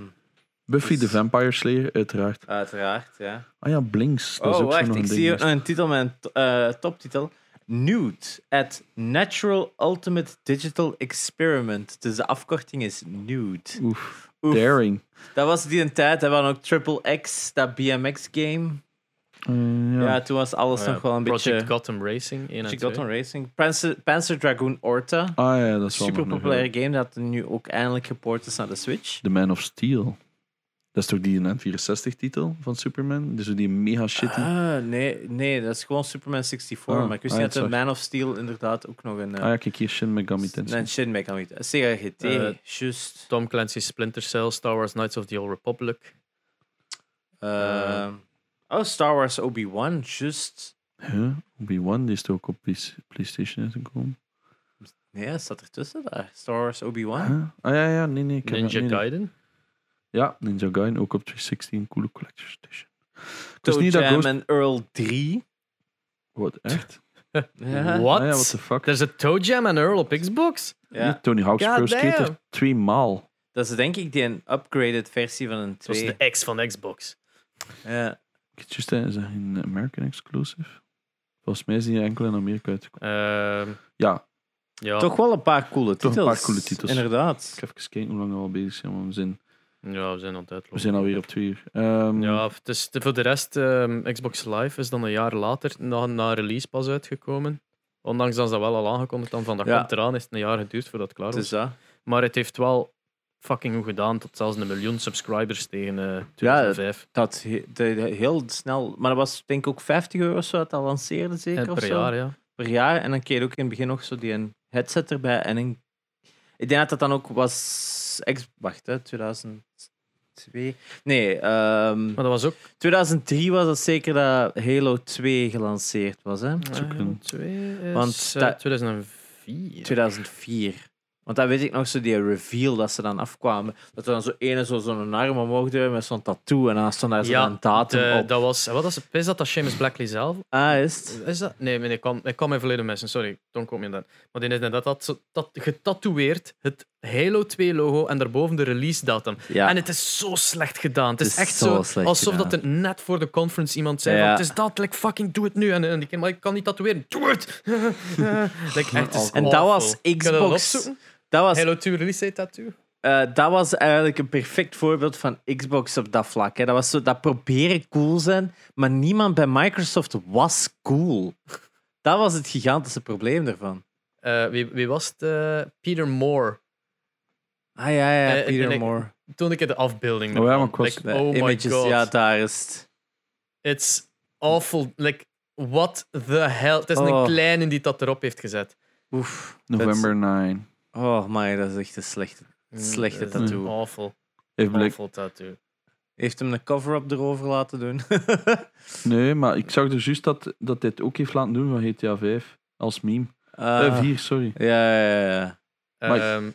S3: Buffy
S2: Dus-
S3: the Vampire Slayer, uiteraard.
S1: uiteraard, ja.
S3: Ah ja, Blinks. Dat is
S1: oh,
S3: ook zo
S1: wacht,
S3: nog
S1: ik
S3: een
S1: zie
S3: ding.
S1: hier een titel, mijn t- eh, toptitel. Nude at Natural Ultimate Digital Experiment. Dus de afkorting is Nude.
S3: Oef.
S1: Oef.
S3: Daring.
S1: Dat was die een tijd, hè, we hadden ook Triple X, dat BMX game.
S3: ja.
S2: Eh,
S3: Oh
S1: Ja, toen was alles nog wel een
S2: Project
S1: beetje...
S2: Gotham Racing. één en
S1: Project
S2: twee.
S1: Gotham Racing. Panzer, Panzer Dragoon Orta.
S3: Ah ja, dat is wel
S1: Super
S3: nog een eh,
S1: populaire game dat nu ook eindelijk geport is naar de Switch.
S3: The Man of Steel. Dat is toch die N64-titel van Superman? Dus die mega shitty. Ah,
S1: Ah, nee, nee, dat is gewoon Superman 64.
S3: Ah,
S1: maar ik wist
S3: ah,
S1: niet dat
S3: ja,
S1: de
S3: sorry. Ah
S1: Man of Steel inderdaad ook nog een... eh,
S3: ja, kijk hier, Shin Megami Tensei.
S1: een Shin Megami Tensei. Sega GT,
S2: Eh,
S1: juist.
S2: Tom Clancy's Splinter Cell, Star Wars Knights of the Old Republic.
S3: eh.
S1: Ehm, oh, Star Wars Obi-Wan, juist.
S3: Huh? Obi-Wan, die is toch ook op PS- PlayStation uitgekomen?
S1: Nee, dat staat ertussen daar. Star Wars Obi-Wan.
S3: Huh? Ah ja, ja, nee, nee. ik heb
S2: Ninja
S3: het- nee, nee.
S2: Gaiden.
S3: Ja, Ninja Gaiden, ook op 316, coole collector's edition. Het is
S1: Toe
S3: niet dat
S1: Jam
S3: Ghost...
S1: en Earl 3.
S3: Wat, echt?
S1: Oh Ja.
S2: What?
S3: Ah ja, what the fuck?
S2: Er is een Toe Jam en Earl op Xbox?
S3: Ja,
S1: Ja,
S3: Tony Hawk's
S2: God
S3: Pro
S2: damn.
S3: Skater 2 maal.
S1: dat is denk ik die een upgraded versie van een
S2: Dat
S1: 2.
S2: is de X van Xbox.
S1: Ja.
S3: Ik het juist zeggen, is dat een American exclusive? Volgens mij is die enkel in Amerika uitgekomen.
S2: Ehm,
S3: Ja,
S2: ja.
S1: Toch wel een paar coole
S3: Toch een
S1: titels.
S3: paar coole titels.
S1: Inderdaad.
S3: ik ga even kijken hoe lang we al bezig zijn, want we zijn,
S2: ja, we zijn aan het
S3: we
S2: uitlopen.
S3: zijn alweer op twee uur. Ehm,
S2: Ja, het is, te- voor de rest, ehm, Xbox Live is dan een jaar later na, na release pas uitgekomen. Ondanks dat ze dat wel al aangekondigd hadden van dat
S1: Ja.
S2: komt eraan, is het een jaar geduurd voordat het klaar
S1: Het
S2: was.
S1: is dat.
S2: Maar het heeft wel fucking goed gedaan, tot zelfs een miljoen subscribers tegen eh
S1: Ja,
S2: 2005.
S1: Dat he- de- de- heel snel, maar dat was denk ik ook 50 euro of zo dat dat lanceerde, zeker?
S2: En
S1: of
S2: per
S1: zo?
S2: jaar, ja.
S1: per jaar. En dan kreeg je ook in het begin nog zo die een headset erbij. En een- ik denk dat dat dan ook was. Ex, wacht, hè, 2002. Nee, ehm,
S2: Maar dat was ook
S1: 2003 was dat zeker dat Halo 2 gelanceerd was, hè?
S2: eh,
S3: ook een-
S2: twee, is,
S1: Want
S2: eh,
S1: dat-
S2: 2004.
S1: 2004. Want dat weet ik nog, zo die reveal dat ze dan afkwamen. Dat er dan zo ene zo- zo'n arm omhoog duwde met zo'n tattoo en dan stond daar zo'n
S2: Ja,
S1: datum
S2: de-
S1: op.
S2: dat was, wat was het? Is dat dat Seamus Blackley zelf?
S1: Ah, is het?
S2: Is dat? Nee, nee, ik kwam, ik kwam in verleden mensen. Sorry, Tom komt in dat. Maar die is net dat, dat, dat getatoeëerd het Halo 2 logo en daarboven de release datum.
S1: Ja.
S2: En het is zo slecht gedaan. Het is,
S1: Het is
S2: echt
S1: zo
S2: zo,
S1: slecht
S2: alsof
S1: gedaan.
S2: dat er net voor de conference iemand zei: van,
S1: Ja.
S2: Het is dat, like, fucking doe het nu. En, en ik, maar ik kan niet tatoeëren. Doe het! like, echt, het is
S1: En dat was
S2: awful. Kun je dat
S1: Xbox.
S2: opzoeken?
S1: Dat was
S2: Halo 2 release date tattoo.
S1: Eh, dat was eigenlijk een perfect voorbeeld van Xbox op dat vlak. Hè. Dat, was zo, dat proberen cool zijn, maar niemand bij Microsoft was cool. Dat was het gigantische probleem ervan.
S2: Eh, wie, wie was het? Eh, Peter Moore.
S1: Ah ja, ja,
S2: Eh,
S1: Peter
S2: en ik-
S1: Moore.
S2: Toen ik de afbeelding
S3: Oh ja,
S2: ervan,
S3: maar ik was-
S2: like,
S1: De
S2: oh my
S1: images,
S2: god.
S1: ja, daar is het.
S2: It's awful. Like, what the hell? Het is
S1: Oh.
S2: een kleine die dat erop heeft gezet.
S1: Oef.
S3: November 9.
S1: Dat- Oh my, dat is echt een slechte. Mm, Slechte
S2: Dat is een
S1: tattoo.
S2: Mm, Awful,
S3: Even blik.
S2: awful tattoo.
S1: Heeft hem een cover-up erover laten doen. Eh,
S3: Nee, maar ik zag dus juist dat, dat dit ook heeft laten doen van GTA 5. Als meme.
S1: Ah.
S3: Eh 4, sorry.
S1: ja, ja, ja, ja.
S3: Maar-
S2: Ehm,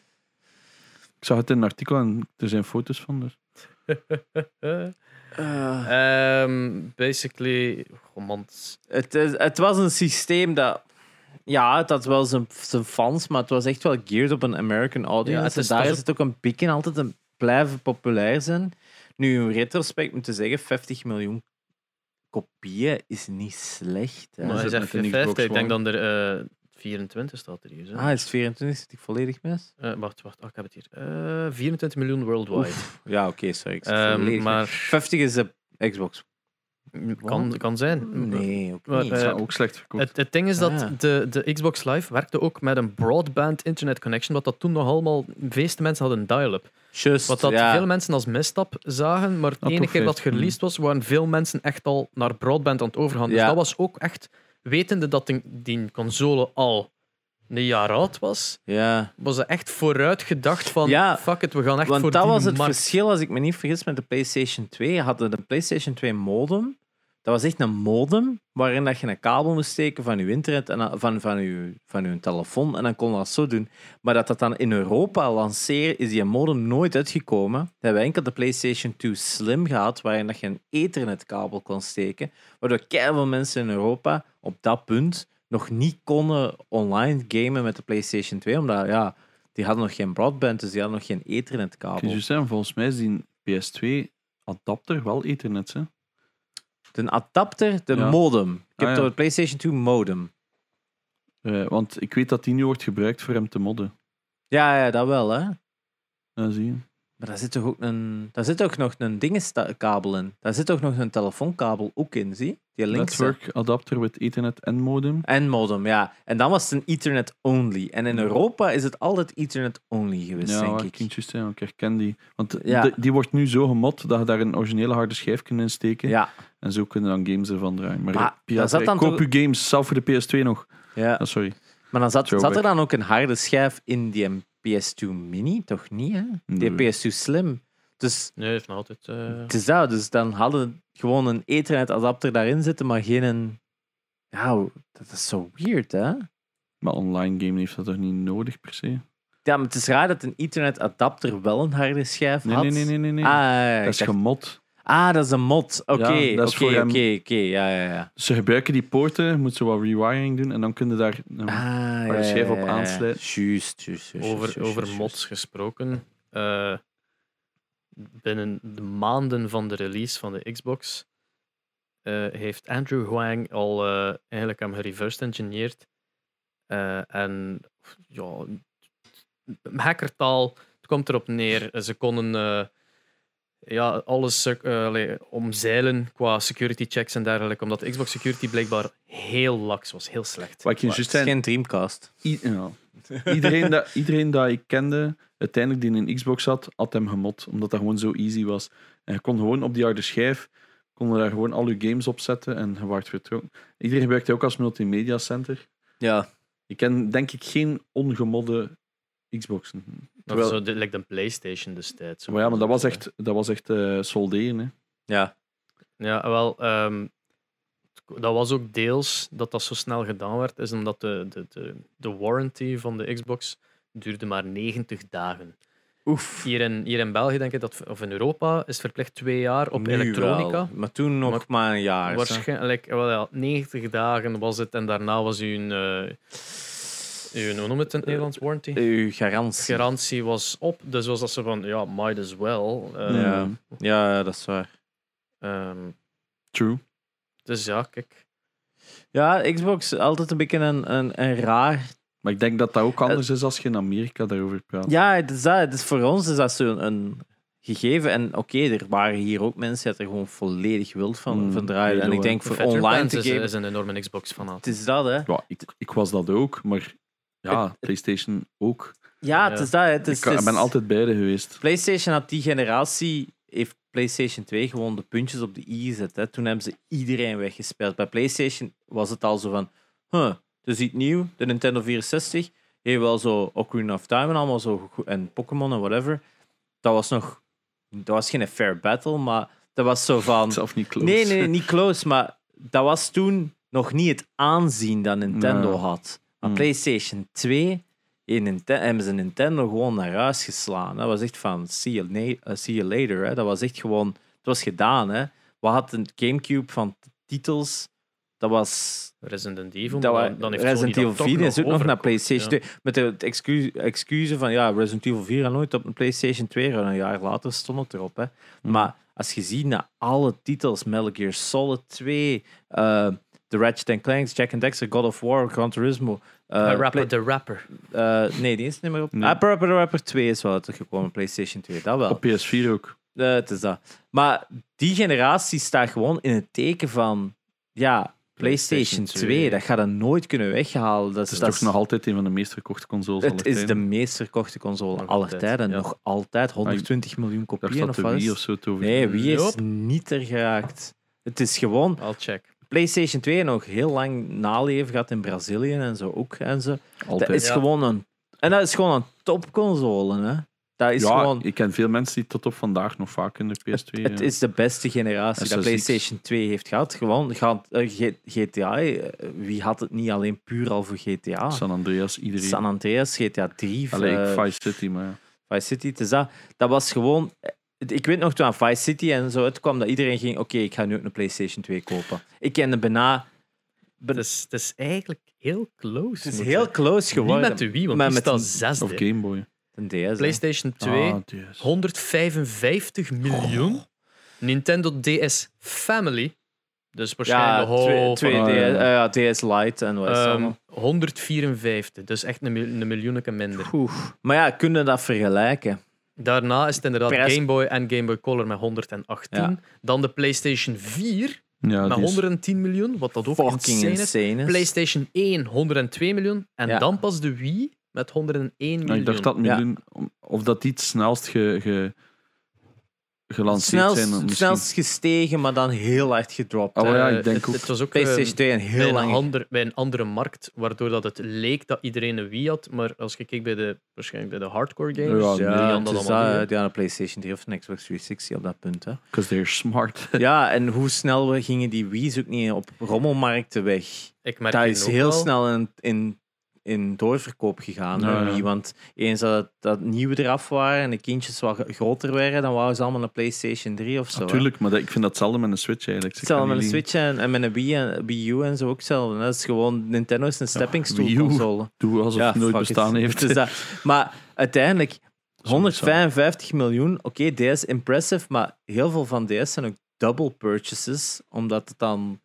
S3: Ik zag het in een artikel en er zijn foto's van. Dus.
S2: eh,
S1: Ah.
S2: ehm, basically, oh man, het
S1: Het, is- het was een systeem dat. Ja, het had wel zijn, zijn fans, maar het was echt wel geared op een American audience.
S2: Ja, het is-
S1: en daar
S2: dat is
S1: is het ook een pik in altijd een blijven populair zijn. Nu, in retrospect moet je zeggen, 50 miljoen kopieën is niet slecht. Hè.
S2: maar hij
S3: zit
S2: zegt
S3: met een Xbox
S2: 50. Ik denk
S3: One.
S2: dat er eh, 24 staat er hier. zo.
S1: Ah, is het 24? Zit ik volledig mis?
S2: Eh, wacht, wacht, ah, ik heb het hier. Eh, 24 miljoen worldwide.
S1: Oef. Ja, oké, sorry. Ik zit
S2: Ehm,
S1: volledig mis.
S2: maar-
S1: 50 is de Xbox.
S2: Mm, Kan, kan zijn.
S1: Nee, ook
S2: Maar,
S1: niet.
S3: Het
S2: eh,
S3: zou ook slecht verkocht.
S2: Het, het ding is dat
S1: Ah.
S2: de, de Xbox Live werkte ook met een broadband internet connection, wat dat toen nog allemaal de meeste mensen hadden dial-up.
S1: Just,
S2: Wat dat
S1: ja.
S2: veel mensen als misstap zagen, maar de
S3: Ah,
S2: ene
S3: toch
S2: keer dat
S3: veel.
S2: het gereleased was, waren veel mensen echt al naar broadband aan het overgaan. Dus
S1: Hm. Ja.
S2: dat was ook echt, wetende dat die, die console al een jaar oud was,
S1: Ja.
S2: was er echt vooruit gedacht van,
S1: Ja,
S2: fuck it, we gaan echt voor
S1: Want dat
S2: die
S1: was het
S2: markt.
S1: verschil, als ik me niet vergis, met de PlayStation 2. Hadden de PlayStation 2 modem. Dat was echt een modem waarin dat je een kabel moest steken van je internet en dan- van, van, je, van je telefoon. En dan kon je dat zo doen. Maar dat dat dan in Europa lanceert, is die modem nooit uitgekomen. Dan hebben we enkel de PlayStation 2 Slim gehad, waarin dat je een ethernetkabel kon steken. Waardoor veel mensen in Europa op dat punt nog niet konden online gamen met de PlayStation 2. Omdat, ja, die hadden nog geen broadband, dus die hadden nog geen
S3: Ik kan
S1: ethernetkabel.
S3: je zeggen, volgens mij is die PS2 adapter wel ethernet. Hè?
S1: De adapter, de
S3: Ja.
S1: modem. Ik heb
S3: Ah, ja.
S1: door de PlayStation 2 modem.
S3: Eh, want ik weet dat die nu wordt gebruikt voor hem te modden.
S1: Ja, ja, dat wel, hè.
S3: Ja, zie je.
S1: Maar daar zit toch ook een... Daar zit ook nog een dingeskabel in. Daar zit ook nog een telefoonkabel ook in, zie? Die links.
S3: Network adapter met ethernet en modem.
S1: En modem, ja. En dan was het een Ethernet only. En in Europa is het altijd Ethernet only geweest,
S3: ja,
S1: denk
S3: waar
S1: ik.
S3: klinkt juist, hè, want ik herken die. Want
S1: Ja.
S3: de- die wordt nu zo gemod dat je daar een originele harde schijf kunt insteken.
S1: Ja,
S3: En zo kunnen dan games ervan draaien. Maar,
S1: Maar daar zat
S3: piraterij,
S1: dan
S3: koop
S1: toch-
S3: je games, zelf voor de PS2 nog.
S1: ja.
S3: Ah, sorry.
S1: Maar dan zat,
S3: Throwback.
S1: zat er dan ook een harde schijf in die PS2 Mini? Toch niet, hè? Die
S3: Nee.
S1: PS2 Slim. Dus
S2: Nee, heeft nog altijd. eh,
S1: het is dat. Dus dan hadden gewoon een Ethernet adapter daarin zitten, maar geen... Een... Ja, dat is zo weird, hè?
S3: Maar online game heeft dat toch niet nodig per se?
S1: Ja, maar het is raar dat een Ethernet adapter wel een harde schijf
S3: Nee,
S1: had.
S3: nee, nee, nee. nee, nee.
S1: Ah, ja, ja,
S3: dat
S1: ik
S3: is
S1: dacht-
S3: gemod.
S1: ah, dat is een mod.
S3: Ja, dat
S1: Oké,
S3: is voor
S1: oké,
S3: hem.
S1: oké, oké. Ja, ja, ja.
S3: Dus Ze gebruiken die poorten, je moet zo wat rewiring doen en dan kun je daar... nou,
S1: Ah,
S3: Waar de schijf op aansluit.
S1: Juist, juist, juist.
S2: over, over mods gesproken. eh, binnen de maanden van de release van de Xbox eh, heeft Andrew Huang al eh, eigenlijk hem gereversed engineered. Eh, en ja, hackertaal, het komt erop neer. Ze konden eh, ja, alles sec- eh, allee, omzeilen qua security checks en dergelijke, omdat de Xbox security blijkbaar heel laks was, heel slecht.
S3: Wat ik je juist
S1: Het is
S3: zei,
S1: geen Dreamcast.
S3: i- ja. iedereen, dat, iedereen dat ik kende, uiteindelijk die een Xbox had, had hem gemot. Omdat dat gewoon zo easy was. En je kon gewoon op die harde schijf, kon je daar gewoon al je games op zetten en je werd vertrokken. Iedereen gebruikte ook als multimedia center.
S1: Ja.
S3: Ik ken denk ik geen ongemodde Xboxen.
S2: Dat
S3: Terwijl-
S2: is zo, de- like de PlayStation destijds.
S3: Maar ja, maar dat was echt, dat was echt eh, solderen. Hè.
S1: Ja.
S2: Ja, wel, ehm, het- dat was ook deels dat dat zo snel gedaan werd, is omdat de, de, de, de warranty van de Xbox duurde maar 90 dagen.
S1: Oef.
S2: Hier in, hier in België, denk ik, dat, of in Europa, is het verplicht twee jaar op
S1: Nu wel,
S2: elektronica.
S1: Maar toen nog
S2: Maar-
S1: maar een jaar. zo.
S2: Waarschijnlijk, wel ja, 90 dagen was het en daarna was uw, eh uw hoe noem
S1: Eh,
S2: het in het Nederlands, warranty?
S1: Uw garantie.
S2: Garantie was op, dus was dat ze van, ja, might as well. eh,
S1: Ja. ja, dat is waar.
S2: ehm,
S3: True.
S2: dus ja, kijk.
S1: Ja, Xbox altijd een beetje een, een, een raar.
S3: Maar ik denk dat dat
S1: Eh,
S3: ook anders is als je in Amerika daarover praat.
S1: Ja, het is dat. Het is voor ons is dat zo'n een gegeven. En oké, er waren hier ook mensen die het er gewoon volledig wild van,
S3: Mm,
S1: van draaien. En
S3: heel
S1: ik denk voor
S2: Vetter
S1: online
S2: Pants
S1: te
S2: is,
S1: geven.
S2: is een enorme Xbox-fanaat.
S1: Het is dat, hè?
S3: Ja, ik, ik was dat ook, maar ja, PlayStation ook.
S1: Ja, het is dat. hè. Het is,
S3: Ik kan-
S1: het
S3: ik
S1: is-
S3: ben altijd beide geweest.
S1: PlayStation had die generatie, heeft PlayStation 2 gewoon de puntjes op de i gezet. Hè. Toen hebben ze iedereen weggespeeld. Bij PlayStation was het al zo van, huh, dus iets nieuw, de Nintendo 64, heeft wel zo Ocarina of Time en allemaal zo, goed- en Pokémon en whatever. Dat was nog, dat was geen fair battle, maar dat was zo van...
S3: Zelf niet close.
S1: Nee, nee, niet close, maar dat was toen nog niet het aanzien dat Nintendo
S3: Nee.
S1: had. Maar
S3: Mm.
S1: PlayStation 2 in Ninte- hebben ze Nintendo gewoon naar huis geslaan. Dat was echt van see you, na- eh, see you later. Hè. Dat was echt gewoon, het was gedaan. Hè. We hadden een Gamecube van t- titels. Dat was.
S2: Resident Evil.
S1: dat
S2: maar
S1: wa-
S2: dan, dan heeft
S1: Resident
S2: Sony
S1: Evil
S2: dat toch
S1: 4 is ook nog naar
S2: overgekocht,
S1: PlayStation
S2: ja.
S1: 2. Met het excu- excuus van ja, Resident Evil 4 had nooit op een PlayStation 2. En een jaar later stond het erop. Hè.
S2: Hmm.
S1: Maar als je ziet naar alle titels, Metal Gear Solid 2, eh The Ratchet and Clank, Jack and Dexter, God of War, Gran Turismo. eh,
S2: Eh, rapper,
S1: Play-
S2: de rapper.
S1: eh, nee, die is niet meer op.
S3: Nee.
S1: Ah, Parappa the Rapper 2 is wel uitgekomen, PlayStation 2, dat wel.
S3: Op PS4 ook.
S1: Eh, het is dat. Maar die generatie staat gewoon in het teken van, ja, PlayStation,
S3: PlayStation
S1: 2.
S3: 2.
S1: Dat gaat er nooit kunnen weghalen. Dat is,
S3: Het is
S1: dat
S3: toch nog altijd een van de meest verkochte consoles
S1: het is de
S3: tijden.
S1: meest verkochte console
S2: Nog
S1: aller
S2: altijd,
S1: tijden.
S2: ja.
S1: Nog altijd 120 miljoen
S3: Ah, Ik dacht
S1: kopieën
S3: dat
S1: of
S3: de
S1: wat is-
S3: Wii of zo te over.
S1: Nee, wie is
S2: Nope.
S1: niet er geraakt? Het is gewoon
S2: I'll check.
S1: PlayStation 2 nog heel lang naleven gehad in Brazilië en zo ook. En zo. Dat
S3: altijd.
S1: is
S2: Ja.
S1: gewoon een. En dat is gewoon een topconsole, hè? Dat is
S3: ja,
S1: gewoon.
S3: ik ken veel mensen die tot op vandaag nog vaak in de PS2...
S1: Het
S3: ja.
S1: is de beste generatie
S3: Dat is
S1: dat
S3: dus niks.
S1: PlayStation 2 heeft gehad. Gewoon gaat- eh, G- GTA. eh, Wie had het niet alleen puur al voor GTA?
S3: San Andreas, iedereen.
S1: ah. San Andreas, GTA 3,
S3: Allee,
S1: eh,
S3: ik Vice City, maar ja.
S1: Vice City, het is dat. Dat was gewoon. eh, Ik weet nog toen aan Vice City en zo uitkwam dat iedereen ging: oké, ik ga nu ook een PlayStation 2 kopen. Ik kende bijna.
S2: Het is, het is eigenlijk heel close.
S1: Het is
S2: moet
S1: heel
S2: ik
S1: close
S2: zeggen. Niet
S1: geworden.
S2: met de Wii, want
S1: Maar
S2: die
S1: met
S2: staat
S1: een-
S2: zesde.
S3: Of Game Boy.
S1: Een DS. hè.
S2: PlayStation 2,
S3: Ah, DS.
S2: 155 miljoen. Nintendo DS Family,
S4: Dus
S1: Ja,
S4: waarschijnlijk de
S1: twee-
S4: hoop.
S1: twee
S3: Ah,
S1: D-
S3: ja.
S1: eh, ja, DS Lite en wat is het
S4: Ehm,
S1: allemaal.
S4: 154, dus echt een, mil- een miljoeneke minder.
S1: Oeh. Maar ja, kunnen we dat vergelijken?
S4: Daarna is het inderdaad
S1: Pers-
S4: Game Boy en Game Boy Color met 118.
S1: Ja.
S4: Dan de PlayStation 4
S3: Ja,
S4: met
S3: die is-
S4: 110 miljoen, wat dat ook
S1: Dus Fucking
S4: insane
S1: insane.
S4: is.
S1: is.
S4: PlayStation 1 102 miljoen. En
S1: Ja. Nou,
S4: dan pas de Wii met 101
S3: Ja,
S4: miljoen.
S3: Nou, ik dacht dat miljoen, of dat die het snelst ge, ge- gelanceerd
S1: Snelst,
S3: zijn. Misschien.
S1: snelst gestegen, maar dan heel hard gedropt.
S3: Oh,
S1: hè.
S3: maar ja,
S4: Eh,
S3: ik denk
S4: het,
S3: ook.
S4: het was ook eh,
S1: PlayStation 2 en heel
S4: bij,
S1: lang.
S4: een ander- bij een andere markt, waardoor dat het leek dat iedereen een Wii had. Maar als je kijkt bij de, waarschijnlijk bij de hardcore games,
S3: Ja,
S4: ja,
S3: nee,
S4: die
S1: Ja,
S4: hadden
S1: het
S4: dat
S1: is
S4: allemaal
S1: dat,
S4: niet, hè.
S1: eh, die aan de PlayStation 3 of een Xbox 360 op dat punt. Hè.
S3: Because they're smart.
S1: Ja, en hoe snel we gingen die Wii's ook niet op rommelmarkten weg.
S4: Ik merk
S1: eh, Dat
S4: hier
S1: is
S4: ook
S1: heel
S4: wel.
S1: snel in, in, in doorverkoop gegaan. hè,
S3: Ja, ja.
S1: Wii. Want eens dat, dat nieuwe eraf waren en de kindjes wat groter werden, dan wouden ze allemaal een PlayStation 3 of zo. hè.
S3: Natuurlijk, maar dat, ik vind dat hetzelfde met een Switch eigenlijk. Ze
S1: Hetzelfde
S3: kan
S1: met een
S3: jullie-
S1: Switch en, en met een Wii en Wii U en zo ook hetzelfde. hè. Dat is gewoon, Nintendo is een stepping stool
S3: Wii U.
S1: console.
S3: Doe alsof het nooit
S1: fuck
S3: bestaan
S1: it.
S3: heeft.
S1: Het is dat. Maar uiteindelijk,
S3: is wel bizar.
S1: 155 miljoen. Oké, DS impressive, maar heel veel van DS zijn ook double purchases, omdat het dan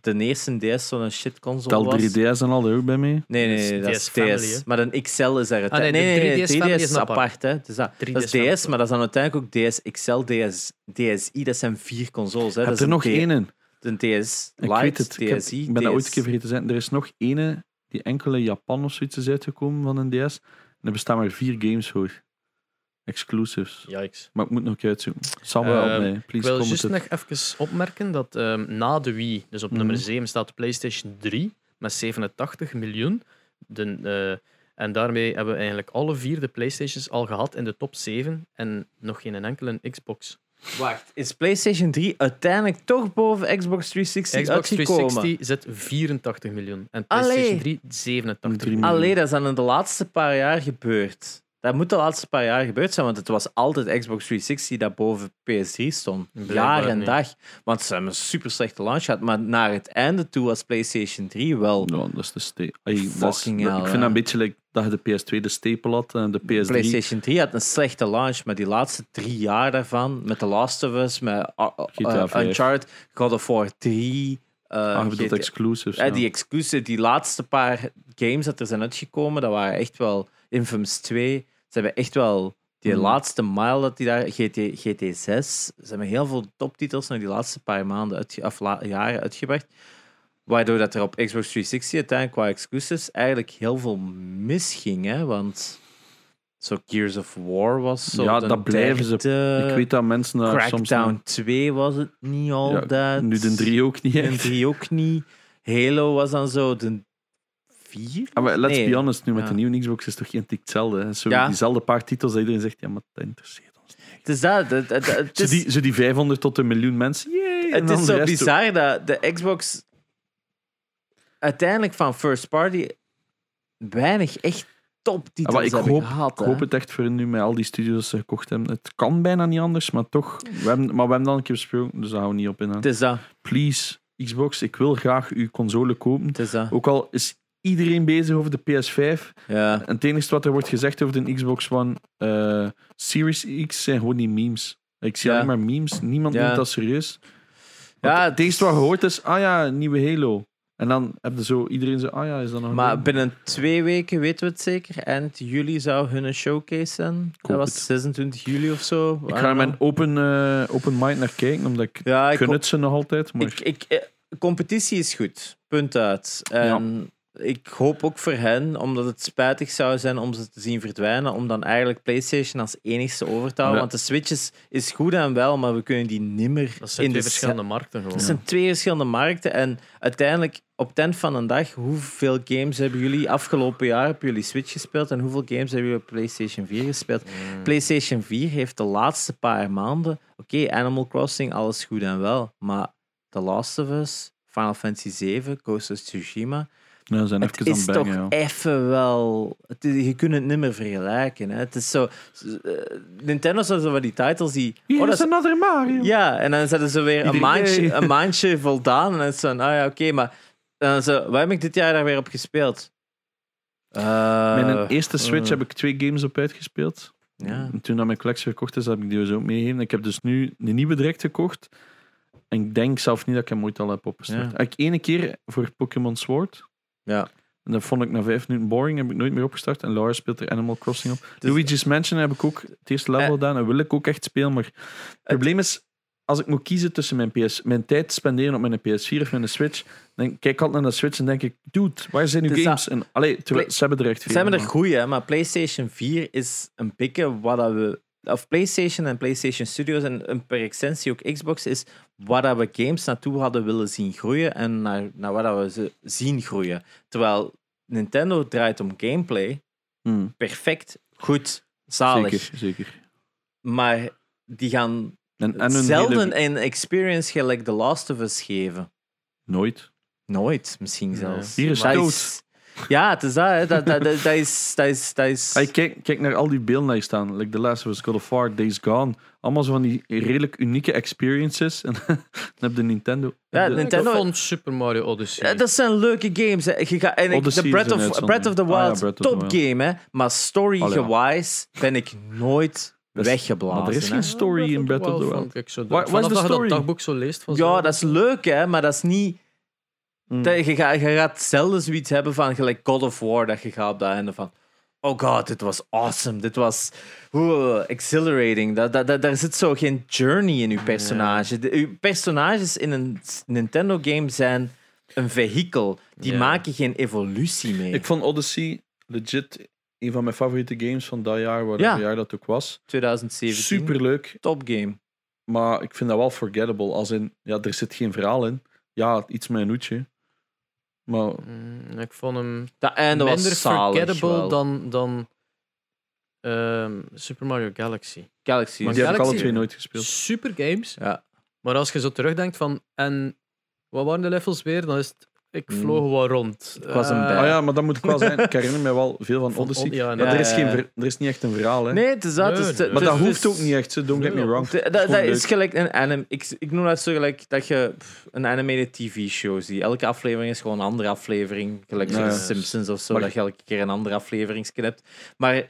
S1: de eerste DS zo'n shit console
S3: Tel
S1: was.
S3: 3DS en al er ook bij mee.
S1: Nee, nee, nee,
S4: Dus
S1: dat
S4: DS
S1: is DS.
S4: family, hè?
S1: maar een XL is daar uiteindelijk.
S4: Ah, nee, de 3DS family is
S1: is
S4: apart.
S1: apart. hè. Dus dat,
S4: 3DS
S1: dat is
S4: family.
S1: DS, maar dat is dan uiteindelijk ook DS XL, DS, DSi. Dat zijn vier consoles. Hè.
S3: Heb
S1: Dat is
S3: er nog
S1: een
S3: één
S1: T-
S3: in?
S1: Een DS
S3: Ik weet
S1: Lite,
S3: het. Ik, heb-
S1: DSi.
S3: ik ben dat ooit een
S1: DS.
S3: keer vergeten te zijn. Er is nog één die enkel in Japan of zoiets is uitgekomen van een DS. En er bestaan maar vier games voor. Exclusives.
S4: Yikes.
S3: Maar ik moet nog uitzoeken. Sam wel
S4: Ehm,
S3: mij.
S4: Ik
S3: Please
S4: wil
S3: comment
S4: juist
S3: it.
S4: nog even opmerken dat ehm, na de Wii, dus op
S3: Mhm.
S4: nummer 7, staat de PlayStation 3 met 87 miljoen. De, eh, en daarmee hebben we eigenlijk alle vier de PlayStations al gehad in de top 7 en nog geen enkele Xbox.
S1: Wacht, is PlayStation 3 uiteindelijk toch boven Xbox 360
S4: Xbox
S1: uitgekomen?
S4: 360 zit 84 miljoen en
S1: Allee.
S4: PlayStation 3 87
S3: Drie
S4: miljoen.
S1: Allee, dat is dan in de laatste paar jaar gebeurd. Dat moet de laatste paar jaar gebeurd zijn, want het was altijd Xbox 360 dat boven PS3 stond.
S4: Blijkbaar
S1: Jaar en
S4: niet.
S1: dag. Want ze hebben een super slechte launch gehad, maar naar het einde toe was PlayStation 3 wel.
S3: Ja, dat is de ste- Ai, dat is-
S1: Fucking hell,
S3: Ik
S1: hè.
S3: vind dat een beetje like dat je de PS2 de stapel had en de PS3.
S1: PlayStation 3 had een slechte launch, maar die laatste drie jaar daarvan, met The Last of Us, met uh, uh,
S3: GTA
S1: uh,
S3: vijf.
S1: Uncharted, God of War 3. eh,
S3: Ah, je bedoelt
S1: GTA
S3: exclusives.
S1: Ja,
S3: ja.
S1: die excuses, die laatste paar games dat er zijn uitgekomen, dat waren echt wel Infamous 2. Ze hebben echt wel die
S3: Hmm.
S1: laatste mile dat die daar, GT, GT6. Ze hebben heel veel toptitels nog die laatste paar maanden uitge, of la- jaren uitgebracht. Waardoor dat er op Xbox 360 uiteindelijk qua excuses eigenlijk heel veel misging. Hè? Want zo Gears of War was zo.
S3: Ja,
S1: de
S3: dat blijven ze-
S1: derde.
S3: ik weet dat mensen daar soms...
S1: eh, Crackdown 2 was het niet altijd.
S3: Nu de 3 ook niet
S1: En
S3: echt.
S1: drie ook niet. Halo was dan zo de vier.
S3: Ah, maar let's
S1: Nee.
S3: be honest, nu met
S1: Ja.
S3: de nieuwe Xbox is toch geen tik hetzelfde. hè? Zo,
S1: Ja.
S3: Diezelfde paar titels dat iedereen zegt, ja, maar dat interesseert ons niet.
S1: Het is dat. Het, het, het
S3: Zo
S1: is,
S3: die, zo die 500 tot een miljoen mensen, yay! en
S1: het
S3: dan
S1: is
S3: de
S1: zo
S3: rest ook.
S1: bizar dat de Xbox uiteindelijk van first party weinig echt top
S3: Ah,
S1: titels
S3: maar ik
S1: hebben
S3: hoop,
S1: gehad.
S3: ik hoop het echt voor nu met al die studios dat ze gekocht hebben. Het kan bijna niet anders, maar toch. We hebben, maar we hebben dan een keer besproken, dus daar houden we niet op in. aan.
S1: Het is dat.
S3: Please, Xbox, ik wil graag uw console kopen.
S1: Het is dat.
S3: Ook al is iedereen bezig over de PS5.
S1: Ja.
S3: En het enige wat er wordt gezegd over de Xbox One eh, Series X zijn gewoon die memes. Ik zie
S1: Ja.
S3: alleen maar memes. Niemand
S1: Ja.
S3: neemt dat serieus. Want
S1: Ja,
S3: het enige wat je hoort is, ah ja, een nieuwe Halo. En dan heb je zo, iedereen zo, ah ja, is dat nog een
S1: Maar
S3: game?
S1: binnen twee weken weten we het zeker. Eind juli zou hun een showcase zijn.
S3: hoop
S1: Dat was
S3: het.
S1: 26 juli of zo. I
S3: Ik
S1: don't
S3: ga er
S1: know.
S3: mijn open, eh, open mind naar kijken, omdat ik,
S1: Ja, ik
S3: gun
S1: hoop-
S3: het ze nog altijd. Maar
S1: Ik, ik, eh, competitie is goed. Punt uit. En ik hoop ook voor hen, omdat het spijtig zou zijn om ze te zien verdwijnen, om dan eigenlijk PlayStation als enigste over te houden.
S3: Ja.
S1: Want de Switch is, is goed en wel, maar we kunnen die nimmer
S4: Dat zijn
S1: in de
S4: twee verschillende markten
S1: dat
S4: gewoon.
S1: zijn twee verschillende markten. En uiteindelijk, op ten van een dag, hoeveel games hebben jullie afgelopen jaar op jullie Switch gespeeld? En hoeveel games hebben jullie op PlayStation 4 gespeeld?
S3: Mm.
S1: PlayStation 4 heeft de laatste paar maanden. Oké, Animal Crossing, alles goed en wel. Maar The Last of Us, Final Fantasy 7, Ghost of Tsushima.
S3: nou, we zijn
S1: Het
S3: even aan
S1: is
S3: het
S1: toch
S3: bangen, ja.
S1: even wel. Het is- je kunt het niet meer vergelijken. Hè? Het is zo. eh, Nintendo zou zo van die titles die.
S3: Hier
S1: oh, dat
S3: is
S1: is
S3: another Mario.
S1: ja, en dan zetten ze weer een
S3: Iedereen,
S1: maandje,
S3: nee.
S1: een maandje voldaan. En dan is het van, ah ja, oké, maar... Dan zo, wat heb ik dit jaar daar weer op gespeeld? Eh,
S3: Mijn eerste Switch
S1: eh.
S3: heb ik twee games op uitgespeeld.
S1: ja.
S3: En toen dat mijn collectie verkocht is, heb ik die dus ook meegegeven. Ik heb dus nu een nieuwe direct gekocht. En ik denk zelf niet dat ik hem ooit al heb opgestart.
S1: Ja.
S3: Ik ene keer voor Pokémon Sword.
S1: Ja.
S3: En dat vond ik na vijf minuten boring. Heb ik nooit meer opgestart. En Laura speelt er Animal Crossing op.
S1: Dus-
S3: Luigi's Mansion heb ik ook het eerste level
S1: Eh.
S3: gedaan. En wil ik ook echt spelen. Maar het probleem is, als ik moet kiezen tussen mijn PS... Mijn tijd spenderen op mijn PS4 of mijn Switch. Dan kijk ik altijd naar de Switch en denk ik... Dude, waar zijn uw
S1: Het is
S3: games? En, allee, terwijl-
S1: Play-
S3: ze hebben er echt
S1: Dus Ze hebben er
S3: man.
S1: goeie, hè, maar PlayStation 4 is een pikke wat dat we. Of PlayStation en PlayStation Studios en, en per extensie ook Xbox is waar dat we games naartoe hadden willen zien groeien en naar, naar waar dat we ze zien groeien. Terwijl Nintendo draait om gameplay,
S3: Hmm,
S1: perfect, goed, zalig.
S3: Zeker, zeker.
S1: Maar die gaan
S3: En, en hun
S1: zelden
S3: hele-
S1: een experience gelijk The Last of Us geven. e-
S3: Nooit.
S1: Nooit, misschien zelfs.
S3: Hier is
S1: Dat
S3: dood.
S1: Ja, het is dat, hè. Dat, dat, dat, dat is... Dat is, dat is
S3: Hey, kijk, kijk naar al die beelden die hier staan. Like The Last of Us, God of War, Days Gone. Allemaal zo van die redelijk unieke experiences. En dan heb je Nintendo.
S1: Ja,
S3: de,
S2: Ik
S1: Nintendo-
S2: vond Super Mario Odyssey.
S1: Ja, Eh, dat zijn leuke games. Hè. Je gaat- en ik-
S3: Odyssey
S1: de
S3: is
S1: Breath
S3: een
S1: of,
S3: uitzondering.
S1: Breath of the
S3: Ah ja,
S1: Wild,
S3: Breath of the
S1: top
S3: Wild.
S1: game, hè. Maar story-gewise ben ik nooit
S3: Dat is-
S1: weggeblazen.
S3: maar er is
S1: hè.
S3: geen story in Breath of the Wild.
S2: Vond ik zo
S3: Waar-
S2: dood.
S3: waar is
S2: Vanaf
S3: de
S2: dat je
S3: story?
S2: dat dagboek zo leest van
S1: Ja,
S2: zo-
S1: dat is leuk, hè. Maar dat is niet...
S3: Mm.
S1: dat je, gaat, je gaat zelden zoiets hebben van gelijk God of War, dat je gaat op dat einde van... Oh god, dit was awesome. Dit was oeh, exhilarating. Dat, dat, dat, daar zit zo geen journey in uw personage. De, uw personages in een s- Nintendo-game zijn een vehikel. Die
S2: Ja.
S1: maken geen evolutie mee.
S3: Ik vond Odyssey legit een van mijn favoriete games van dat jaar, waar
S1: Ja.
S3: dat jaar dat ook was.
S1: 2017.
S3: Superleuk,
S1: top game.
S3: maar ik vind dat wel forgettable. Als in, ja, er zit geen verhaal in. Ja, iets met een hoedje. Maar
S2: Mm, Ik vond hem
S1: Dat einde was
S2: minder
S1: zalig
S2: forgettable
S1: wel.
S2: dan, dan ehm, Super Mario Galaxy.
S1: Galaxy.
S2: Maar
S1: is-
S3: die heb ik alle
S2: Galaxy-
S3: twee nooit gespeeld.
S2: Super games.
S1: Ja.
S2: Maar als je zo terugdenkt van... En wat waren de levels weer? Dan is het... Ik
S1: Mm.
S2: vloog wel rond. Eh, Ik
S1: was een
S3: Ah
S1: bij.
S3: ja, maar dat moet ik wel zijn. Ik herinner me wel veel van
S2: Van
S3: Odyssey.
S2: Od- ja,
S3: maar
S1: ja,
S3: er, is
S1: ja,
S3: geen,
S1: ja.
S3: ver- er is niet echt een verhaal, hè.
S1: Nee, het is dat.
S2: Nee,
S1: het is-
S2: nee.
S1: het
S3: Maar
S1: is- dus
S3: dat
S1: het
S3: hoeft
S1: is-
S3: ook niet echt, hè. don't get me
S2: Nee,
S3: wrong.
S1: Da- da-
S3: Het is
S1: dat
S3: gewoon
S1: is
S3: leuk.
S1: gelijk een anime. Ik, ik noem dat zo gelijk dat je pff, een animated TV-show ziet. Elke aflevering is gewoon een andere aflevering. Gelijk
S3: Ja.
S1: zo'n Simpsons of zo,
S3: Maar-
S1: dat je elke keer een andere aflevering hebt. Maar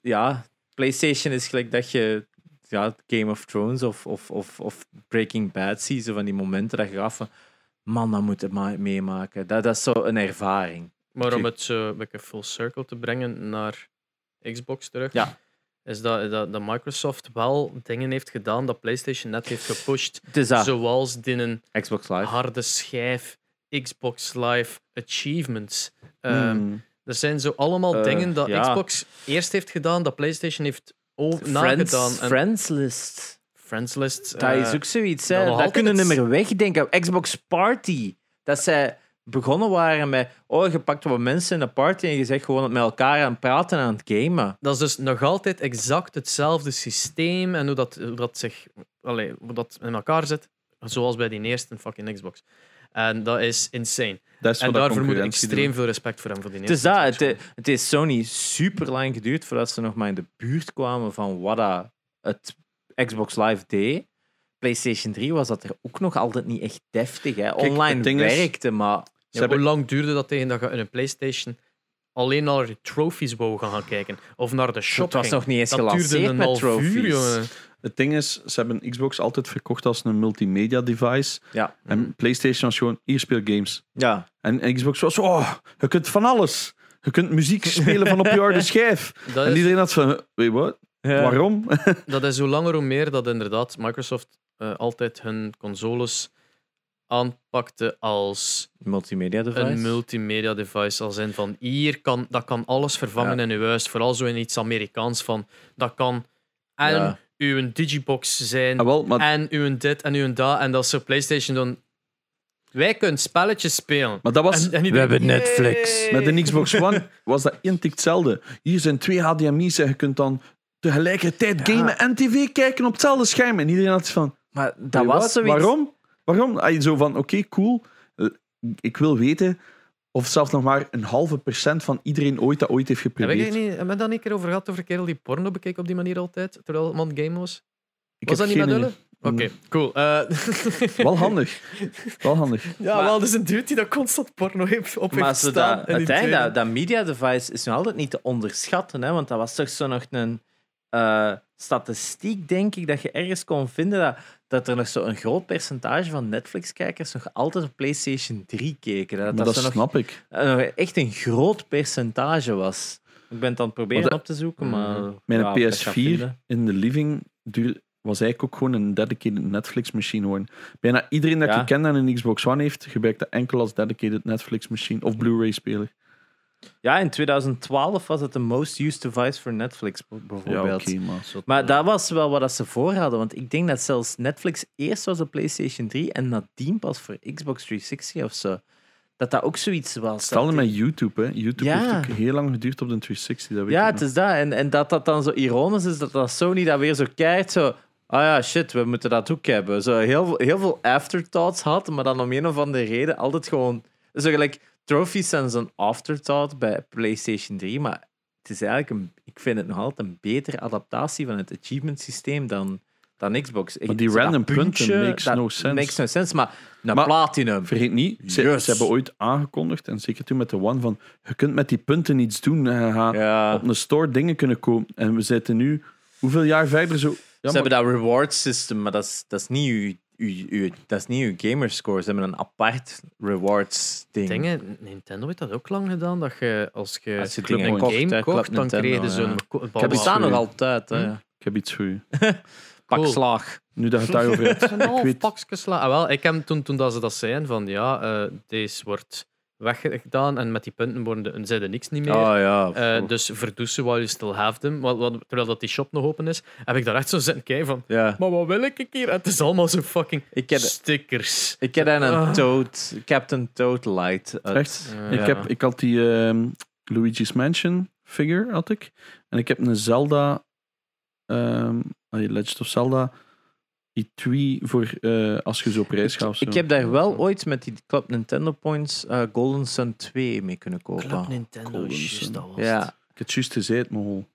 S1: ja, PlayStation is gelijk dat je ja, Game of Thrones of, of, of, of Breaking Bad ziet. Zo van die momenten dat je gaat van. Man, dat moet je ma- meemaken. Dat, dat is zo een ervaring.
S2: Maar om het zo een beetje full circle te brengen naar Xbox terug,
S1: Ja.
S2: is dat, dat, dat Microsoft wel dingen heeft gedaan dat PlayStation net heeft gepusht.
S1: Het is dat.
S2: Zoals dinnen
S1: Xbox Live.
S2: harde schijf, Xbox Live Achievements. Ehm,
S1: Hmm.
S3: Mm.
S2: Er zijn zo allemaal
S1: Eh,
S2: dingen dat
S1: ja.
S2: Xbox eerst heeft gedaan, dat PlayStation heeft o-
S1: Friends,
S2: nagedaan. En
S1: Friends List.
S2: Friends List.
S1: Dat
S2: eh,
S1: is ook zoiets,
S2: dat
S1: hè.
S2: nog
S1: Dat
S2: altijd
S1: kunnen we
S2: het-
S1: niet meer wegdenken. Xbox Party. Dat zij begonnen waren met... Oh, je pakt wat mensen in een party en je zegt gewoon met elkaar aan het praten en aan het gamen.
S2: dat is dus nog altijd exact hetzelfde systeem en hoe dat, hoe dat zich allee, hoe dat in elkaar zit, zoals bij die eerste fucking Xbox. En dat is insane.
S3: Dat is
S2: En
S3: wat
S2: daarvoor
S3: dat
S2: moet ik
S3: concurrentie
S2: extreem
S3: doet.
S2: veel respect voor hem voor die
S1: Het is
S2: eerste.
S1: Dus dat.
S2: Xbox.
S1: Het, het heeft Sony super lang geduurd voordat ze nog maar in de buurt kwamen van wat dat het Xbox Live deed. PlayStation 3 was dat er ook nog altijd niet echt deftig. Hè.
S3: het
S1: Online
S3: ding is-
S1: werkte, maar...
S3: Ze
S2: Ja,
S3: hebben-
S2: hoe lang duurde dat tegen dat je in een PlayStation alleen naar de trophies wou gaan, gaan kijken? Of naar de shop
S1: Het was
S2: ging?
S1: nog niet eens
S2: dat duurde
S1: gelanceerd
S2: een
S1: met
S2: half
S1: trophies.
S2: uur, jongen.
S3: Het ding is, ze hebben Xbox altijd verkocht als een multimedia device.
S1: Ja.
S2: Mhm.
S3: En PlayStation was gewoon, hier speel games.
S1: Ja.
S3: En Xbox was, oh, je kunt van alles. Je kunt muziek spelen van op je harde schijf.
S2: Dat
S3: En
S2: is-
S3: iedereen had van, weet wat? Waarom? Ah,
S2: Dat is hoe langer hoe meer dat inderdaad Microsoft eh, altijd hun consoles aanpakte als
S1: Multimedia device.
S2: een multimedia device. Als in van hier kan, dat kan alles vervangen
S1: Ja.
S2: in uw huis. Vooral zo in iets Amerikaans van dat kan en
S1: Ja.
S2: uw Digibox zijn
S3: Ah, wel, maar,
S2: en uw dit en uw dat. En dat is zo PlayStation dan. Wij kunnen spelletjes spelen.
S3: maar dat was...
S2: En- en iedereen-
S1: We hebben Netflix.
S3: Met een Xbox One was dat intikt hetzelfde. Hier zijn twee HDMI's en je kunt dan tegelijkertijd
S1: Ja.
S3: gamen en tv kijken op hetzelfde scherm. En iedereen had iets van,
S1: Maar dat
S3: Weet je
S1: was
S3: wat?
S1: zoiets...
S3: Waarom? Waarom? Ah, Zo van, oké, cool. Eh, Ik wil weten of zelfs nog maar een halve procent van iedereen ooit dat ooit heeft
S2: Heb ik
S3: geprobeerd.
S2: het niet, hebben we daar niet een keer over gehad over kerel die porno bekeek op die manier altijd, terwijl het man game was?
S3: Ik
S2: was
S3: heb
S2: dat niet met
S3: geen
S2: Ulle? Oké,
S3: Nee.
S2: cool. Eh,
S3: idee. Wel handig. Wel handig.
S2: ja,
S1: Maar-
S2: wel, dus een dude die dat constant porno heeft op
S1: Maar
S2: heeft
S1: zo
S2: staan.
S1: dat,
S2: en die
S1: uiteindelijk,
S2: tweede-
S1: dat, dat media device is nog altijd niet te onderschatten, hè, want dat was toch zo nog een eh, statistiek denk ik dat je ergens kon vinden dat, dat er nog zo'n groot percentage van Netflix-kijkers nog altijd op PlayStation 3 keken. Dat
S3: Maar dat
S1: ze nog
S3: snap ik.
S1: eh, nog echt een groot percentage was. Ik ben het aan het proberen
S3: Want, eh,
S1: op te
S2: Mm,
S1: zoeken, maar...
S3: Mijn
S1: ja, ik ga
S3: PS4
S1: vinden.
S3: in de living duur, was eigenlijk ook gewoon een dedicated Netflix-machine. Gewoon. Bijna iedereen dat
S1: Ja.
S3: ik ken en een Xbox One heeft, gebruikt dat enkel als dedicated Netflix-machine of Blu-ray-speler.
S1: Ja, in 2012 was het de most used device voor Netflix, b-
S3: Ja, oké,
S1: bijvoorbeeld.
S3: maar...
S1: Maar dat was wel wat dat ze voor hadden, want ik denk dat zelfs Netflix eerst was op PlayStation 3 en nadien pas voor Xbox 360 of zo. Dat dat ook zoiets was.
S3: Hetzelfde
S1: Dat-
S3: met YouTube, hè. YouTube
S1: Ja.
S3: heeft ook heel lang geduurd op de 360, dat weet
S1: Ja,
S3: ik
S1: het
S3: nog.
S1: is dat. En, en dat dat dan zo ironisch is, dat, dat Sony dat weer zo kijkt, zo... Ah ja, shit, we moeten dat ook hebben. Zo heel, veel- heel veel afterthoughts had, maar dan om een of andere reden altijd gewoon... Zo gelijk, trophies zijn zo'n afterthought bij PlayStation 3, maar het is eigenlijk een... Ik vind het nog altijd een betere adaptatie van het achievement systeem dan, dan Xbox.
S3: Maar die
S1: Zo dat
S3: random punten
S1: puntje,
S3: makes
S1: dat
S3: no sense.
S1: Makes no sense, maar naar
S3: Maar-
S1: Platinum.
S3: Vergeet niet, ze,
S1: Yes.
S3: ze hebben ooit aangekondigd, en zeker toen met de One, van je kunt met die punten iets doen. hè. Je gaat
S1: Ja.
S3: op een store dingen kunnen kopen. En we zitten nu, hoeveel jaar verder zo... Ja,
S1: Ze
S3: maar-
S1: hebben dat reward system, maar dat is, dat is niet uw, uw, uw, dat is niet uw gamerscore. Ze hebben een apart rewards ding.
S4: Dingen, Nintendo heeft dat ook lang gedaan, dat je als je
S1: Als je
S4: club
S1: dingen
S4: een
S1: kocht, hè,
S4: game
S1: Club
S4: kocht, dan
S1: Nintendo,
S4: kreeg je
S1: ja.
S4: zo'n... ko-
S1: Ik heb
S4: bal-
S1: bestaan nog
S3: Sorry.
S1: altijd. Hè.
S3: Ik heb iets voor u.
S1: Pak
S4: Hm? Cool.
S1: slaag.
S3: Nu dat je het daarover hebt.
S4: Een half
S3: Ik weet-
S4: pakje sla. Ah, wel, ik heb toen, toen dat ze dat zeiden, van ja, eh, deze wordt weggedaan en met die punten worden, zijn er niks niet meer.
S1: Oh ja.
S4: Eh, dus verdoezen while you still have them. Wat- wat- terwijl dat die shop nog open is, heb ik daar echt zo zitten kijken van...
S1: ja.
S4: Maar wat wil ik hier? Het is allemaal zo fucking
S1: Ik heb,
S4: stickers.
S1: ik heb dan
S4: Ah.
S1: een Toad, Captain Toad Light. uit-
S3: Echt?
S4: Eh, Ja.
S3: Ik, heb, ik had die ehm, Luigi's Mansion figure, had ik. En ik heb een Zelda... ehm allee, Legend of Zelda... E3 voor eh, als je zo op reis gaat of zo.
S1: Ik heb daar wel ooit met die Club Nintendo Points eh, Golden Sun 2 mee kunnen kopen.
S4: Nintendo,
S3: Golden juist, Sun. dat
S4: was
S1: ja.
S3: Ik heb het juist gezegd, Mohol.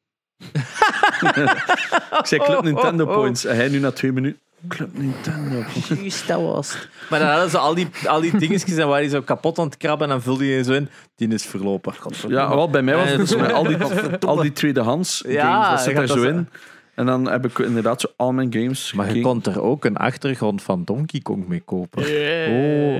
S3: ik zei
S1: Oh,
S3: Club Nintendo Points. En hij nu na twee minuten... Club Nintendo Points.
S1: Juist, dat was het. Maar dan hadden ze al die, al die dingetjes en waren die zo kapot aan het krabben en dan vulde je zo in. Die is verlopen.
S3: Ja, wel, bij mij was het dus
S1: Eh,
S3: met al die, al die tweedehands
S1: Ja,
S3: games. Dat
S1: je
S3: zit daar
S1: gaat
S3: zo
S1: dat-
S3: in. En dan heb ik inderdaad zo al mijn games
S1: Maar je
S3: gekeken.
S1: kon er ook een achtergrond van Donkey Kong mee kopen.
S3: Oh, ja,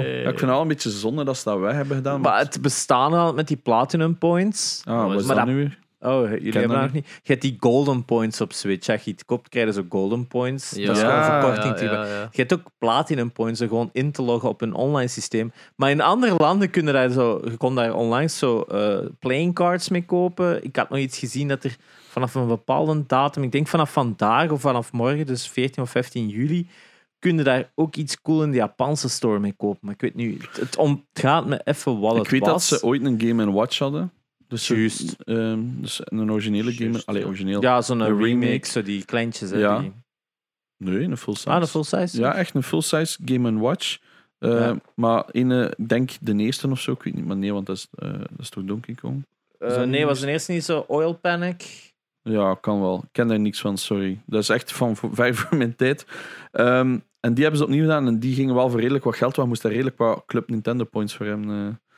S3: ik vind het al een beetje zonde dat ze dat weg hebben gedaan.
S1: Maar het bestaan al met die Platinum Points. Dus-
S3: ah, wat is
S1: maar
S3: dat
S1: dat-
S3: nu weer?
S1: Oh, jullie
S3: dat
S1: hebben dat nog niet. Je hebt die Golden Points op Switch. Als je iets koopt, krijg je zo Golden Points. Dat is
S3: Ja.
S1: gewoon een verkorting.
S4: Ja,
S1: type.
S4: ja, ja.
S1: Je hebt ook Platinum Points er gewoon in te loggen op een online systeem. Maar in andere landen kunnen daar zo, je kon daar online zo eh, playing cards mee kopen. Ik had nog iets gezien dat er vanaf een bepaalde datum, ik denk vanaf vandaag of vanaf morgen, dus 14 of 15 juli, kunnen daar ook iets cool in de Japanse store mee kopen. Maar ik weet nu, het, het ontgaat me even wat
S3: Ik
S1: het
S3: weet
S1: was.
S3: dat ze ooit een Game Watch hadden. Dus, ze-
S1: Juist.
S3: ehm, dus een originele Game...
S4: Juist,
S3: Allee,
S4: ja.
S3: origineel.
S1: Ja, zo'n
S3: Een
S1: remake,
S3: remake.
S1: zo die kleintjes. Hè,
S3: Ja.
S1: die-
S3: Nee, een full size.
S1: Ah, de full size?
S3: Ja, echt een full-size Game Watch. Eh,
S1: Ja.
S3: Maar ene, ik denk de eerste of zo, ik weet niet. Maar nee, want dat is, eh, dat is toch Donkey Kong?
S1: Eh,
S3: Is dat
S1: nee,
S3: niet-
S1: was de eerste niet zo Oil Panic?
S3: Ja, kan wel. Ik ken daar niks van, sorry. Dat is echt van v- vijf voor mijn tijd. Ehm, en die hebben ze opnieuw gedaan. En die gingen wel voor redelijk wat geld. Want moest daar redelijk wat Club Nintendo Points voor hebben. eh.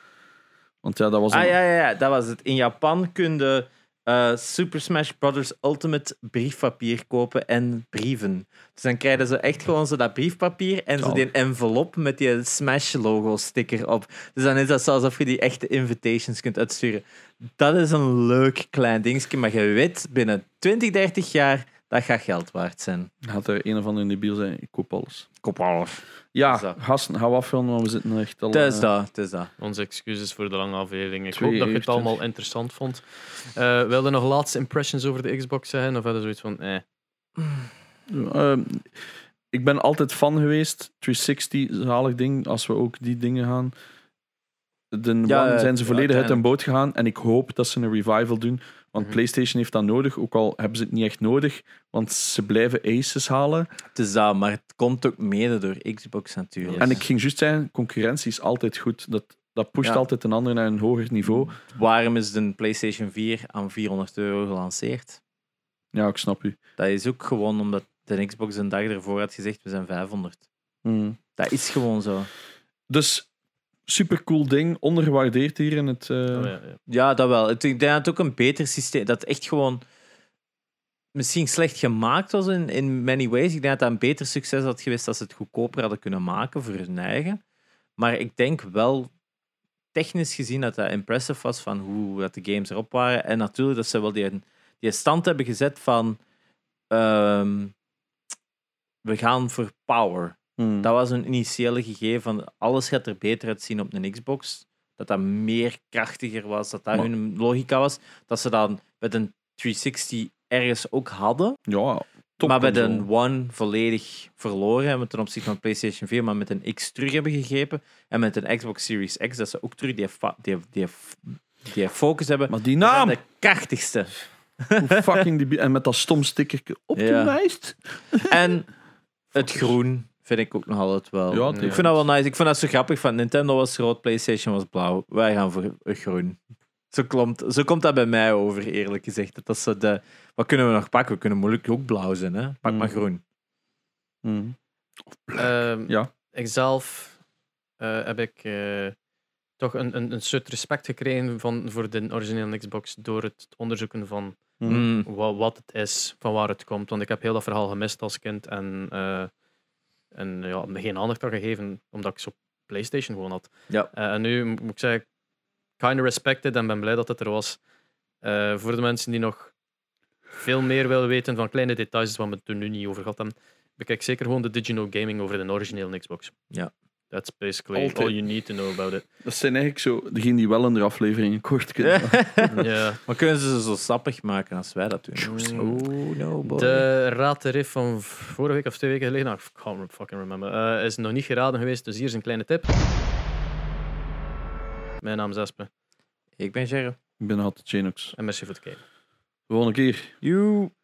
S3: Want ja, dat was een...
S1: Ah ja, ja, ja, dat was het. In Japan kun je eh, Super Smash Bros. Ultimate briefpapier kopen en brieven. Dus dan krijgen ze echt gewoon zo dat briefpapier en zo
S3: Zalig.
S1: die envelop met die Smash-logo-sticker op. Dus dan is dat zo alsof je die echte invitations kunt uitsturen. Dat is een leuk klein dingetje, maar je weet binnen 20, 30 jaar dat gaat geld waard zijn.
S3: Had er een of ander debiel zijn. Ik koop alles.
S1: Kop af.
S3: Ja,
S1: Zo.
S3: gasten, gaan we afvullen, want we zitten echt al...
S1: Het is
S3: eh,
S1: dat, het is dat.
S4: Onze excuses voor de lange aflevering. Ik
S3: Twee
S4: hoop dat je
S3: uur,
S4: het allemaal interessant vond. Eh wilde nog laatste impressions over de Xbox zeggen? Of hadden zoiets van, eh.
S3: Ehm, ik ben altijd fan geweest. 360, zalig ding. Als we ook die dingen gaan.
S1: Ja,
S3: De One
S1: ja,
S3: zijn ze volledig uit
S1: uiteindelijk.
S3: hun boot gegaan. En ik hoop dat ze een revival doen. Want
S4: Mhm.
S3: PlayStation heeft dat nodig. Ook al hebben ze het niet echt nodig. Want ze blijven aces halen.
S1: Het is dat, maar het komt ook mede door Xbox natuurlijk.
S3: En ik ging juist zeggen, concurrentie is altijd goed. Dat, dat pusht
S1: Ja. Mhm.
S3: altijd een ander naar een hoger niveau.
S1: Waarom is de PlayStation 4 aan 400 euro gelanceerd?
S3: Ja, ik snap u.
S1: Dat is ook gewoon omdat de Xbox een dag ervoor had gezegd: we zijn 500.
S3: Mm.
S1: Dat is gewoon zo.
S3: Dus super cool ding. Ondergewaardeerd hier in het... eh,
S4: oh ja, ja.
S1: Ja, dat wel. Het- Ik denk dat het ook een beter systeem dat echt gewoon misschien slecht gemaakt was in, in many ways. Ik denk dat dat een beter succes had geweest als ze het goedkoper hadden kunnen maken voor hun eigen. Maar ik denk wel technisch gezien dat dat impressive was van hoe dat de games erop waren. En natuurlijk dat ze wel die, die stand hebben gezet van ehm, we gaan voor power.
S3: Hmm.
S1: Dat was een initiële gegeven van alles gaat er beter uitzien op een Xbox. Dat dat meer krachtiger was, dat dat
S3: Maar-
S1: hun logica was. Dat ze dan met een 360 ergens ook hadden,
S3: Ja, top
S1: maar met
S3: console.
S1: een One volledig verloren hebben ten opzichte van PlayStation 4, maar met een X terug hebben gegrepen. En met een Xbox Series X, dat ze ook terug die, fa- die, die, die focus hebben.
S3: Maar die
S1: Dat
S3: naam!
S1: zijn De krachtigste.
S3: Hoe fucking die... bi- En met dat stom stickerke opgewijst.
S1: En het groen vind ik ook nog altijd wel.
S3: Ja,
S1: ik
S3: tuurlijk.
S1: vind dat wel nice. Ik vind dat zo grappig. Van Nintendo was rood, PlayStation was blauw. Wij gaan voor groen. Zo, klomt, zo komt dat bij mij over, eerlijk gezegd. Dat is zo de, wat kunnen we nog pakken? We kunnen moeilijk ook blauw zijn. Hè? Pak maar
S3: Mm.
S1: groen.
S3: Hmm.
S2: Ehm,
S3: Ja.
S2: Ikzelf eh, heb ik eh, toch een, een, een soort respect gekregen van, voor de originele Xbox door het onderzoeken van
S3: Hmm.
S1: Mm.
S2: wa- wat het is, van waar het komt. Want ik heb heel dat verhaal gemist als kind en, eh en ja, me geen aandacht aan gegeven, omdat ik zo PlayStation gewoon had.
S1: Ja.
S2: Eh, en nu moet ik zeggen, kind of respected en ben blij dat het er was. Eh, voor de mensen die nog veel meer willen weten van kleine details waar we het er nu niet over gehad hebben, bekijk zeker gewoon de Digino Gaming over de originele Xbox.
S1: Ja.
S2: That's basically
S3: Altijd.
S2: all you need to know about it.
S3: Dat zijn eigenlijk zo... Degenen die wel een aflevering kort kunnen.
S2: Ja.
S1: Maar kunnen ze ze zo sappig maken als wij dat doen? Oh, no, boy.
S2: De raad de riff van v- vorige week of twee weken geleden, nou, ik can't fucking remember, eh, is nog niet geraden geweest, dus hier is een kleine tip. Mijn naam is Espe
S1: Ik ben Gerrit.
S3: Ik ben altijd Genox.
S2: en merci voor het kijken.
S3: Gewoon een keer.
S1: You.